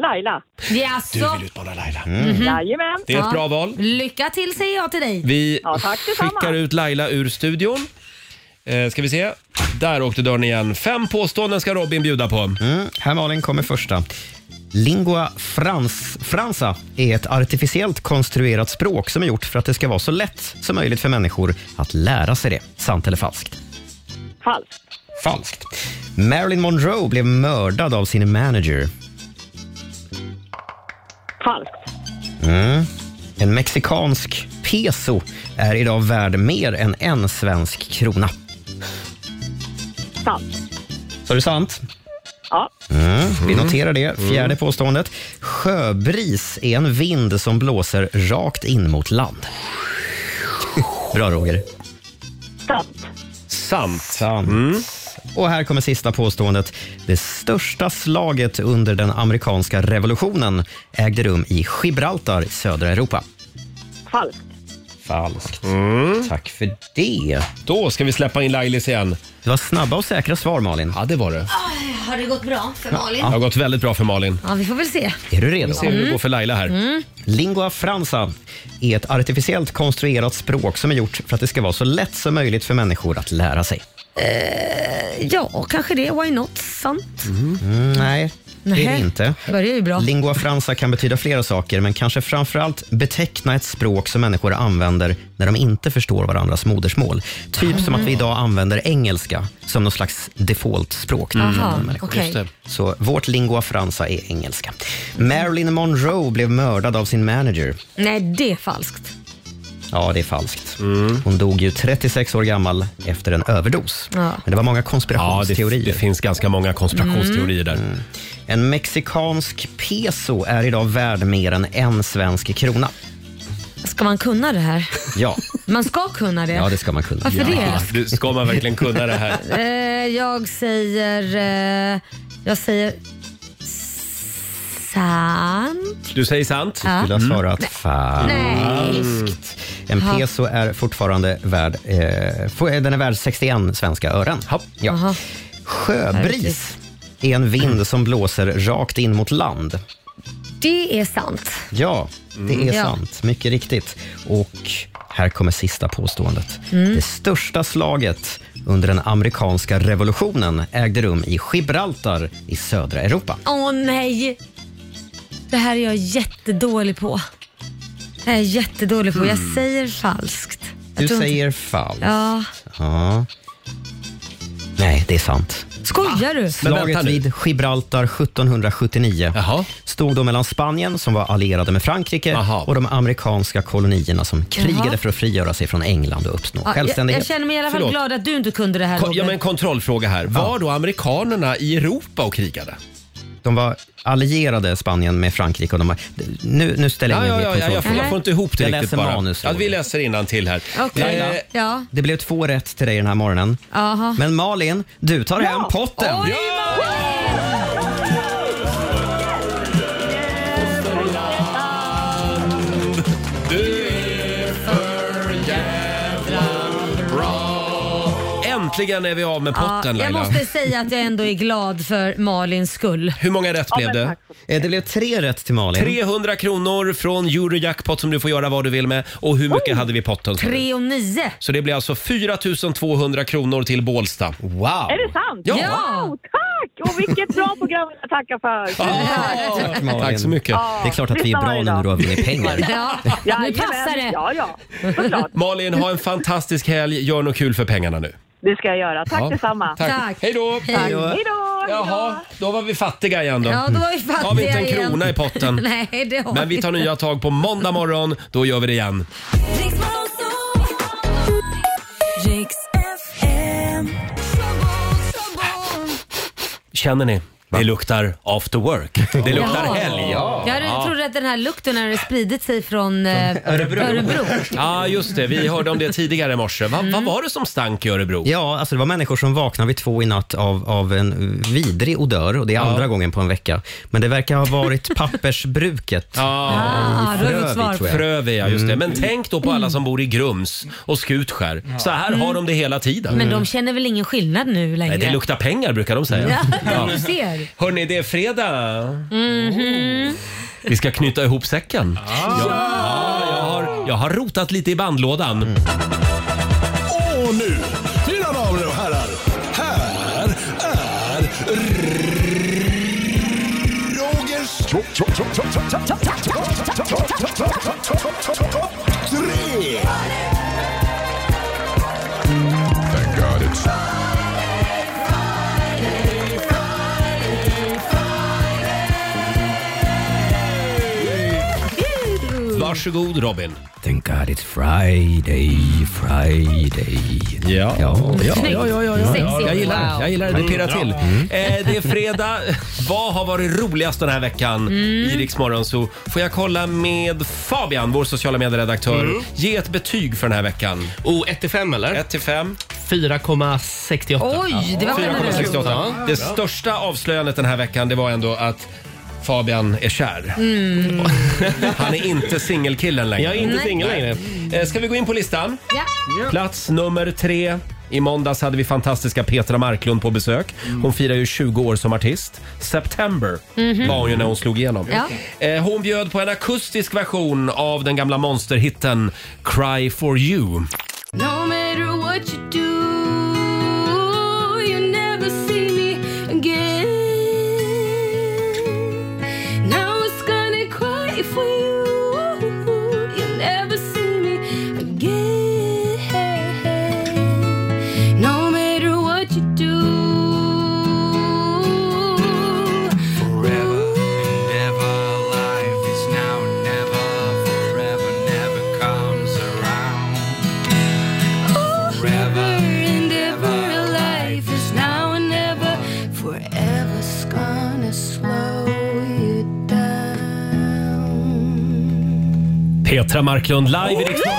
[SPEAKER 9] Laila.
[SPEAKER 2] Jaså?
[SPEAKER 1] Utmana Laila.
[SPEAKER 9] Jajamän.
[SPEAKER 1] Mm. Det är ett bra val.
[SPEAKER 2] Mhm. Lycka till säger jag till dig.
[SPEAKER 1] Vi
[SPEAKER 2] Ja, tack detsamma.
[SPEAKER 1] skickar ut Laila ur studion. Eh, ska vi se. Där åkte dörren igen. Fem påståenden ska Robin bjuda på.
[SPEAKER 3] Mm, här Malin kommer första. Lingua frans, franca är ett artificiellt konstruerat språk som är gjort för att det ska vara så lätt som möjligt för människor att lära sig det. Sant eller falskt?
[SPEAKER 9] Falskt.
[SPEAKER 3] Falskt. Marilyn Monroe blev mördad av sin manager.
[SPEAKER 9] Falskt.
[SPEAKER 3] Mm. En mexikansk peso är idag värd mer än en svensk krona.
[SPEAKER 9] Sant.
[SPEAKER 3] Så är det sant?
[SPEAKER 9] Ja.
[SPEAKER 3] Mm, vi
[SPEAKER 9] Mm.
[SPEAKER 3] noterar det. Fjärde
[SPEAKER 9] Mm.
[SPEAKER 3] påståendet. Sjöbris är en vind som blåser rakt in mot land. Bra, Roger.
[SPEAKER 9] Sant.
[SPEAKER 1] Sant. Mm.
[SPEAKER 3] Sant. Och här kommer sista påståendet. Det största slaget under den amerikanska revolutionen ägde rum i Gibraltar i södra Europa.
[SPEAKER 9] Falskt.
[SPEAKER 3] Falskt. Tack för det.
[SPEAKER 1] Mm. Då ska vi släppa in Lailis igen.
[SPEAKER 3] Det var snabba och säkra svar, Malin.
[SPEAKER 1] Ja, det var det.
[SPEAKER 2] Aj, Har det gått bra för Malin?
[SPEAKER 1] Det har gått väldigt bra för Malin.
[SPEAKER 2] Ja, vi får väl se.
[SPEAKER 3] Är du redo?
[SPEAKER 2] Vi ser hur det Mm. går
[SPEAKER 1] för Laila här.
[SPEAKER 3] Lingua franca är ett artificiellt konstruerat språk som är gjort för att det ska vara så lätt som möjligt för människor att lära sig.
[SPEAKER 2] Eh, ja, kanske det. Why not? Sant.
[SPEAKER 3] Mm, nej, det är det
[SPEAKER 2] Nej.
[SPEAKER 3] inte.
[SPEAKER 2] Börjar ju bra.
[SPEAKER 3] Lingua franca kan betyda flera saker, men kanske framförallt beteckna ett språk som människor använder när de inte förstår varandras modersmål. Typ som att vi idag använder engelska som någon slags default-språk.
[SPEAKER 2] Mm.
[SPEAKER 3] till
[SPEAKER 15] Aha,
[SPEAKER 3] andra människor.
[SPEAKER 15] okej. Just det.
[SPEAKER 3] Så vårt lingua franca är engelska. Marilyn Monroe blev mördad av sin manager.
[SPEAKER 2] Nej, det är falskt.
[SPEAKER 3] Ja, det är falskt.
[SPEAKER 1] Mm.
[SPEAKER 3] Hon dog ju 36 år gammal efter en överdos.
[SPEAKER 2] Ja.
[SPEAKER 3] Men det var många konspirationsteorier. det,
[SPEAKER 1] finns ganska många konspirationsteorier där.
[SPEAKER 3] En mexikansk peso är idag värd mer än en svensk krona.
[SPEAKER 2] Ska man kunna det här?
[SPEAKER 3] Ja,
[SPEAKER 2] Man ska kunna det.
[SPEAKER 3] ja det ska man kunna.
[SPEAKER 2] Varför det?
[SPEAKER 1] Du, ska man verkligen kunna det här?
[SPEAKER 2] Eh, jag säger... Eh, jag säger... Sant.
[SPEAKER 1] Du säger sant?
[SPEAKER 2] Ja.
[SPEAKER 3] Skulle ha
[SPEAKER 2] Mm.
[SPEAKER 3] svarat
[SPEAKER 2] Nej.
[SPEAKER 3] falskt. En
[SPEAKER 2] Ja.
[SPEAKER 3] peso är fortfarande värd, eh, f- den är värd 61 svenska ören. Ja. Sjöbris är en vind som blåser rakt in mot land.
[SPEAKER 2] Det är sant.
[SPEAKER 3] Ja, det
[SPEAKER 2] Mm.
[SPEAKER 3] är
[SPEAKER 2] Ja.
[SPEAKER 3] sant. Mycket riktigt. Och här kommer sista påståendet.
[SPEAKER 2] Mm.
[SPEAKER 3] Det största slaget under den amerikanska revolutionen ägde rum i Gibraltar i södra Europa.
[SPEAKER 2] Åh nej! Det här är jag jättedålig på. Det här är jag jättedålig på. Jag
[SPEAKER 3] Mm.
[SPEAKER 2] säger falskt. Jag
[SPEAKER 3] Du
[SPEAKER 2] tror inte-
[SPEAKER 3] säger falskt.
[SPEAKER 2] Ja.
[SPEAKER 3] Ja. Nej, det är sant.
[SPEAKER 2] Skojar du?
[SPEAKER 3] Slaget vid Gibraltar 1779 stod då mellan Spanien, som var allierade med Frankrike, och de amerikanska kolonierna som krigade
[SPEAKER 2] Jaha.
[SPEAKER 3] för att frigöra sig från England och uppnå
[SPEAKER 2] Ja, jag,
[SPEAKER 3] självständighet.
[SPEAKER 2] jag känner mig i alla fall
[SPEAKER 3] Förlåt.
[SPEAKER 2] glad att du inte kunde det här
[SPEAKER 1] Ko- Ja,
[SPEAKER 2] Robert.
[SPEAKER 1] men kontrollfråga här. Var då amerikanerna i Europa och krigade?
[SPEAKER 3] De var allierade Spanien med Frankrike. Och de var, nu, nu ställer jag
[SPEAKER 1] Ja,
[SPEAKER 3] in
[SPEAKER 1] ja,
[SPEAKER 3] en
[SPEAKER 1] ja, ja, jag, får, jag får inte ihop det
[SPEAKER 3] jag
[SPEAKER 1] riktigt
[SPEAKER 3] läser
[SPEAKER 1] bara.
[SPEAKER 3] manus.
[SPEAKER 1] ja, vi läser innan till här.
[SPEAKER 2] Okej.
[SPEAKER 1] Eh,
[SPEAKER 2] Ja.
[SPEAKER 3] Det blev två rätt till dig den här morgonen.
[SPEAKER 2] Aha.
[SPEAKER 3] Men Malin, du tar hem potten.
[SPEAKER 2] Oj,
[SPEAKER 1] Du är för jävla bra. Äntligen är vi av med
[SPEAKER 2] Ja, jag
[SPEAKER 1] potten Laila.
[SPEAKER 2] måste säga att jag ändå är glad för Malins skull.
[SPEAKER 1] Hur många rätt blev det?
[SPEAKER 3] Det blev tre rätt till Malin.
[SPEAKER 1] 300 kronor från Eurojackpot som du får göra vad du vill med. Och hur mycket hade vi i potten? sa du?
[SPEAKER 2] 3 och 9.
[SPEAKER 1] Så det blir alltså 4 200 kronor till Bålsta.
[SPEAKER 3] Wow!
[SPEAKER 9] Är det sant?
[SPEAKER 1] Ja.
[SPEAKER 9] Wow, tack! Och vilket bra program jag tackar för.
[SPEAKER 1] Tack, Malin. Tack så mycket.
[SPEAKER 9] Ja,
[SPEAKER 3] Det är klart att vi är bra nu när du har vunnit pengar.
[SPEAKER 2] Ja,
[SPEAKER 9] nu passar det. Ja, ja.
[SPEAKER 1] Malin, ha en fantastisk helg. Gör något kul för pengarna nu.
[SPEAKER 9] Det ska jag göra. Tack
[SPEAKER 1] Ja.
[SPEAKER 9] detsamma.
[SPEAKER 1] Tack. Hej då. Hej.
[SPEAKER 9] Hej då.
[SPEAKER 1] Jaha, då var vi fattiga igen då.
[SPEAKER 2] Ja, då var vi fattiga
[SPEAKER 1] Har vi inte en
[SPEAKER 2] igen.
[SPEAKER 1] krona i potten.
[SPEAKER 2] Nej, det har
[SPEAKER 1] Men vi tar
[SPEAKER 2] inte.
[SPEAKER 1] nya tag på måndag morgon. Då gör vi det igen. Känner ni? Det luktar after work. Det luktar
[SPEAKER 2] Ja.
[SPEAKER 1] helg.
[SPEAKER 2] Jag hade- trodde att den här lukten hade spridit sig från eh, Örebro. Mm.
[SPEAKER 1] Ja, just det. Vi hörde om det tidigare i morse. Va, Vad var det som stank i Örebro?
[SPEAKER 3] Ja, alltså det var människor som vaknade vid två i natt av, av en vidrig odör och det är andra gången på en vecka. Men det verkar ha varit pappersbruket.
[SPEAKER 1] Ah,
[SPEAKER 3] då har vi fått svar. tror jag.
[SPEAKER 1] Frövi, ja, just det. Men
[SPEAKER 3] Mm.
[SPEAKER 1] tänk då på alla som bor i Grums och Skutskär. Så här har de det hela tiden.
[SPEAKER 2] Mm. Men de känner väl ingen skillnad nu längre?
[SPEAKER 1] Nej, det luktar pengar brukar de säga.
[SPEAKER 2] Ja,
[SPEAKER 1] Ja.
[SPEAKER 2] du ser.
[SPEAKER 1] Hörni, det är fredag.
[SPEAKER 2] Mhm.
[SPEAKER 1] Vi ska knyta ihop säcken.
[SPEAKER 2] Ah.
[SPEAKER 1] Ja. jag, har, jag har rotat lite i bandlådan.
[SPEAKER 2] Mm.
[SPEAKER 8] Och nu, mina damer och herrar, här är Rogers... Tre! Thank God it's...
[SPEAKER 1] Varsågod Robin.
[SPEAKER 3] Thank God it's Friday, Friday.
[SPEAKER 1] Ja,
[SPEAKER 3] ja,
[SPEAKER 1] ja, ja, ja, ja, ja.
[SPEAKER 3] Sexigt.
[SPEAKER 1] Jag gillar det.
[SPEAKER 3] Wow.
[SPEAKER 1] Jag gillar det. Det
[SPEAKER 3] Mm.
[SPEAKER 1] pirrar
[SPEAKER 3] Ja.
[SPEAKER 1] till.
[SPEAKER 3] Mm.
[SPEAKER 1] Eh, det är fredag. Vad har varit roligast den här veckan i Rix Morgon Zoo? Får jag kolla med Fabian, vår sociala medieredaktör.
[SPEAKER 10] Mm.
[SPEAKER 1] Ge ett betyg för den här veckan.
[SPEAKER 10] Oh, 1 till 5 eller?
[SPEAKER 1] 1 till 5.
[SPEAKER 10] 4,68.
[SPEAKER 2] Oj, det var generöst.
[SPEAKER 1] 4,68. Det största avslöjandet den här veckan det var ändå att Fabian är kär.
[SPEAKER 2] Mm.
[SPEAKER 1] Han är inte singelkillen längre.
[SPEAKER 22] Jag är inte Nej. singel längre.
[SPEAKER 1] Eh, Ska vi gå in på listan?
[SPEAKER 2] Ja.
[SPEAKER 1] Plats nummer tre. I måndags hade vi fantastiska Petra Marklund på besök. Hon firar ju 20 år som artist. September
[SPEAKER 5] Mhm.
[SPEAKER 1] var hon ju när hon slog igenom.
[SPEAKER 5] Ja.
[SPEAKER 1] Eh, Hon bjöd på en akustisk version av den gamla monsterhitten Cry for you.
[SPEAKER 12] No matter what you do, you never see me again. Now it's gonna cry for you. You never see me again. No matter what you do.
[SPEAKER 19] Forever and ever, life is now and never. Forever never comes around. Forever
[SPEAKER 12] and ever, life is now and never. Forever's gonna slow you down.
[SPEAKER 1] Petra Marklund live i Riksdagen.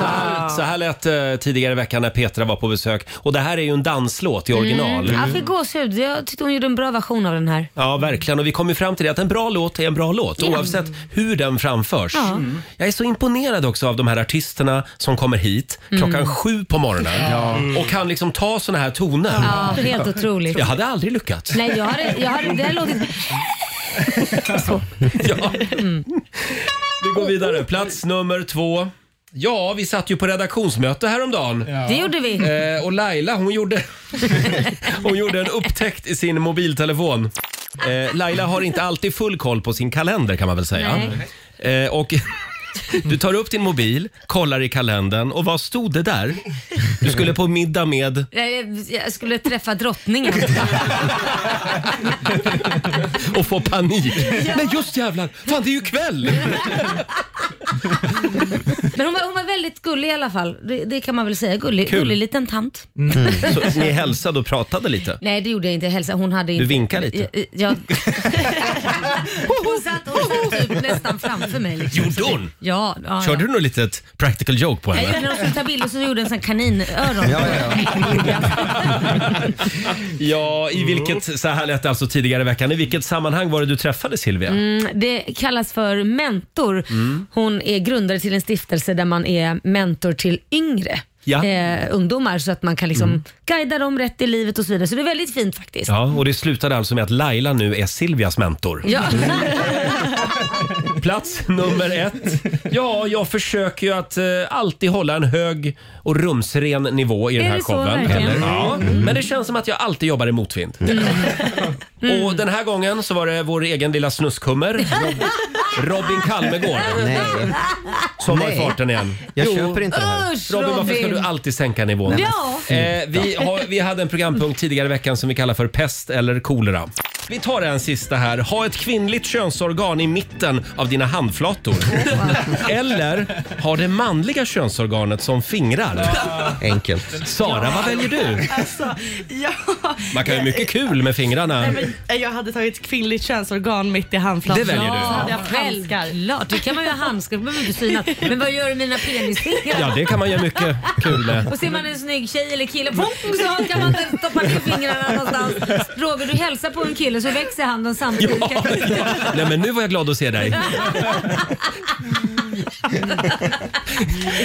[SPEAKER 1] Så här, så här lät eh, tidigare i veckan när Petra var på besök. Och det här är ju en danslåt i original.
[SPEAKER 2] Mm. Jag fick gåshud. Jag tyckte hon gjorde en bra version av den här.
[SPEAKER 1] Ja, verkligen. Och vi kom ju fram till det att en bra låt är en bra låt
[SPEAKER 2] Ja.
[SPEAKER 1] oavsett hur den framförs.
[SPEAKER 2] Ja. Mm.
[SPEAKER 1] Jag är så imponerad också av de här artisterna som kommer hit klockan
[SPEAKER 2] Mm.
[SPEAKER 1] sju på morgonen
[SPEAKER 2] Ja. Mm.
[SPEAKER 1] och kan liksom ta såna här toner.
[SPEAKER 2] Ja, helt otroligt.
[SPEAKER 1] Jag hade aldrig lyckats.
[SPEAKER 2] Nej, jag hade, jag hade, det hade låtit... Mm.
[SPEAKER 1] Vi går vidare. Plats nummer två. Ja, vi satt ju på redaktionsmöte häromdagen.
[SPEAKER 2] Det gjorde vi.
[SPEAKER 1] Eh, och Laila hon gjorde, hon gjorde en upptäckt i sin mobiltelefon. Eh, Laila har inte alltid full koll på sin kalender kan man väl säga. Eh, och du tar upp din mobil, kollar i kalendern och vad stod det där? Du skulle på middag med
[SPEAKER 2] Jag, jag skulle träffa drottningen.
[SPEAKER 1] och få panik. Nej just jävlar, fan det är ju kväll!
[SPEAKER 2] Men hon var, hon var väldigt gullig i alla fall. Det, det kan man väl säga. Gullig,
[SPEAKER 1] Kul.
[SPEAKER 2] gullig liten tant.
[SPEAKER 1] Så ni hälsade och pratade lite?
[SPEAKER 2] Nej, det gjorde jag inte. Hälsa. Hon hade
[SPEAKER 1] Du
[SPEAKER 2] inte...
[SPEAKER 1] vinkar lite.
[SPEAKER 2] Jag, jag... Hon satt, hon satt typ nästan framför mig. Liksom.
[SPEAKER 1] Gjorde
[SPEAKER 2] Så det-
[SPEAKER 1] hon?
[SPEAKER 2] Ja. ja,
[SPEAKER 1] Körde
[SPEAKER 2] ja.
[SPEAKER 1] du något litet practical joke på
[SPEAKER 2] Jag
[SPEAKER 1] henne?
[SPEAKER 2] gjorde när de skulle ta bild och så gjorde en sån kaninöron.
[SPEAKER 1] Ja, Ja, i vilket, så här lät det alltså tidigare i veckan. I vilket sammanhang var det du träffade Mm. Silvia?
[SPEAKER 2] Mm, det kallas för mentor. Hon är grundare till en stiftelse där man är mentor till yngre
[SPEAKER 1] Ja.
[SPEAKER 2] eh, ungdomar så att man kan liksom
[SPEAKER 1] Mm.
[SPEAKER 2] guida dem rätt i livet och så vidare. Så det är väldigt fint faktiskt.
[SPEAKER 1] Ja, och det slutade alltså med att Laila nu är Silvias mentor.
[SPEAKER 2] Ja.
[SPEAKER 1] Plats nummer ett. Ja, jag försöker ju att eh, alltid hålla en hög och rumsren nivå i den
[SPEAKER 5] Är
[SPEAKER 1] här
[SPEAKER 5] det så
[SPEAKER 1] showen.
[SPEAKER 5] verkligen?
[SPEAKER 1] Eller? Ja.
[SPEAKER 5] Mm.
[SPEAKER 1] Men det känns som att jag alltid jobbar i motvind. Och den här gången så var det vår egen lilla snuskhummer, Rob- Robin Kalmegård.
[SPEAKER 3] Nej.
[SPEAKER 1] Som var i
[SPEAKER 3] Nej.
[SPEAKER 1] farten igen.
[SPEAKER 3] Jag köper inte det här.
[SPEAKER 2] Usch,
[SPEAKER 1] Robin, varför ska
[SPEAKER 2] Robin.
[SPEAKER 1] du alltid sänka nivån?
[SPEAKER 2] Ja.
[SPEAKER 1] Eh, vi, har, vi hade en programpunkt tidigare i veckan som vi kallar för pest eller kolera. Vi tar en sista här. Ha ett kvinnligt könsorgan i mitten av dina handflator. Eller ha det manliga könsorganet som fingrar. Enkelt. Sara, vad väljer du?
[SPEAKER 7] Alltså, ja.
[SPEAKER 1] Man kan ju ha mycket kul med fingrarna.
[SPEAKER 7] Nej, men eh, jag hade tagit kvinnligt könsorgan mitt i handflatan.
[SPEAKER 1] Det väljer du.
[SPEAKER 7] Så hade jag haft handskar.
[SPEAKER 2] Självklart, det kan man ju ha handskar, då behöver man inte synas. Men vad gör du med mina penisfingrar?
[SPEAKER 1] Ja, det kan man göra mycket kul med.
[SPEAKER 2] Och ser man en snygg tjej eller kille, pong, så kan man inte stoppa ner fingrarna någonstans. Roger, du hälsar på en kille så växer handen samtidigt.
[SPEAKER 1] Ja, ja. Nej, men nu var jag glad att se dig.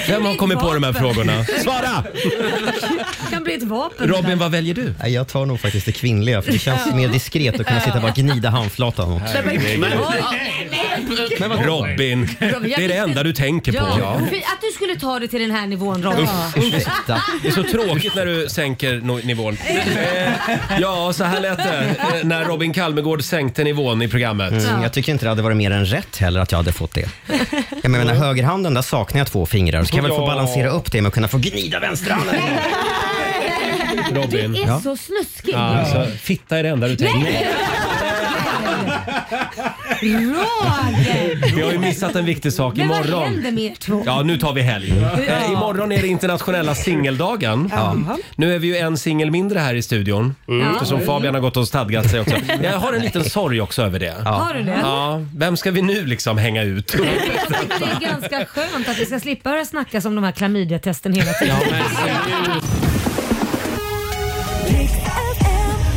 [SPEAKER 1] Vem har kommit på de här frågorna? Svara!
[SPEAKER 2] Det kan bli ett vapen. det där.
[SPEAKER 1] Eh, Robin, vad väljer du?
[SPEAKER 3] Nej, Jag tar nog faktiskt det kvinnliga för det känns mer diskret att kunna sitta och bara gnida handflatan mot.
[SPEAKER 2] Nej, men-
[SPEAKER 1] Herregud.
[SPEAKER 2] Men vad-
[SPEAKER 1] Robin,
[SPEAKER 2] Robin, jag
[SPEAKER 1] det är det
[SPEAKER 2] visste-
[SPEAKER 1] enda du tänker på.
[SPEAKER 2] Ja, fy, Att du skulle ta det till den här nivån Robin.
[SPEAKER 1] Usch, ursäkta. Det är så tråkigt när du sänker no- nivån. Eh, ja, så här lät det eh, när Robin Kalmegård sänkte nivån i programmet.
[SPEAKER 3] Mm, jag tycker inte det hade varit mer än rätt heller att jag hade fått det. Jag menar högerhanden, där saknar jag två fingrar. Så kan jag väl få
[SPEAKER 1] Ja.
[SPEAKER 3] balansera upp det med att kunna få gnida vänsterhanden.
[SPEAKER 1] Robin.
[SPEAKER 2] Du är
[SPEAKER 3] Ja.
[SPEAKER 2] så snuskig.
[SPEAKER 1] Ja, alltså, fitta är det enda du tänker på.
[SPEAKER 2] Roger!
[SPEAKER 1] Vi har ju missat en viktig sak
[SPEAKER 2] Men vad
[SPEAKER 1] imorgon.
[SPEAKER 2] händer med er två?
[SPEAKER 1] Ja, nu tar vi helg.
[SPEAKER 2] Ja.
[SPEAKER 1] Eh, imorgon är det internationella singeldagen.
[SPEAKER 2] Jaha. Mm.
[SPEAKER 1] Nu är vi ju en singel mindre här i studion.
[SPEAKER 2] Ja.
[SPEAKER 1] Eftersom Fabian har gått och stadgat sig också. Jag har en liten sorg också över det.
[SPEAKER 2] Har du det?
[SPEAKER 1] Ja. Vem ska vi nu liksom hänga ut?
[SPEAKER 2] Jag tycker det är ganska skönt att vi ska slippa höra snackas om de här klamydiatesten hela tiden.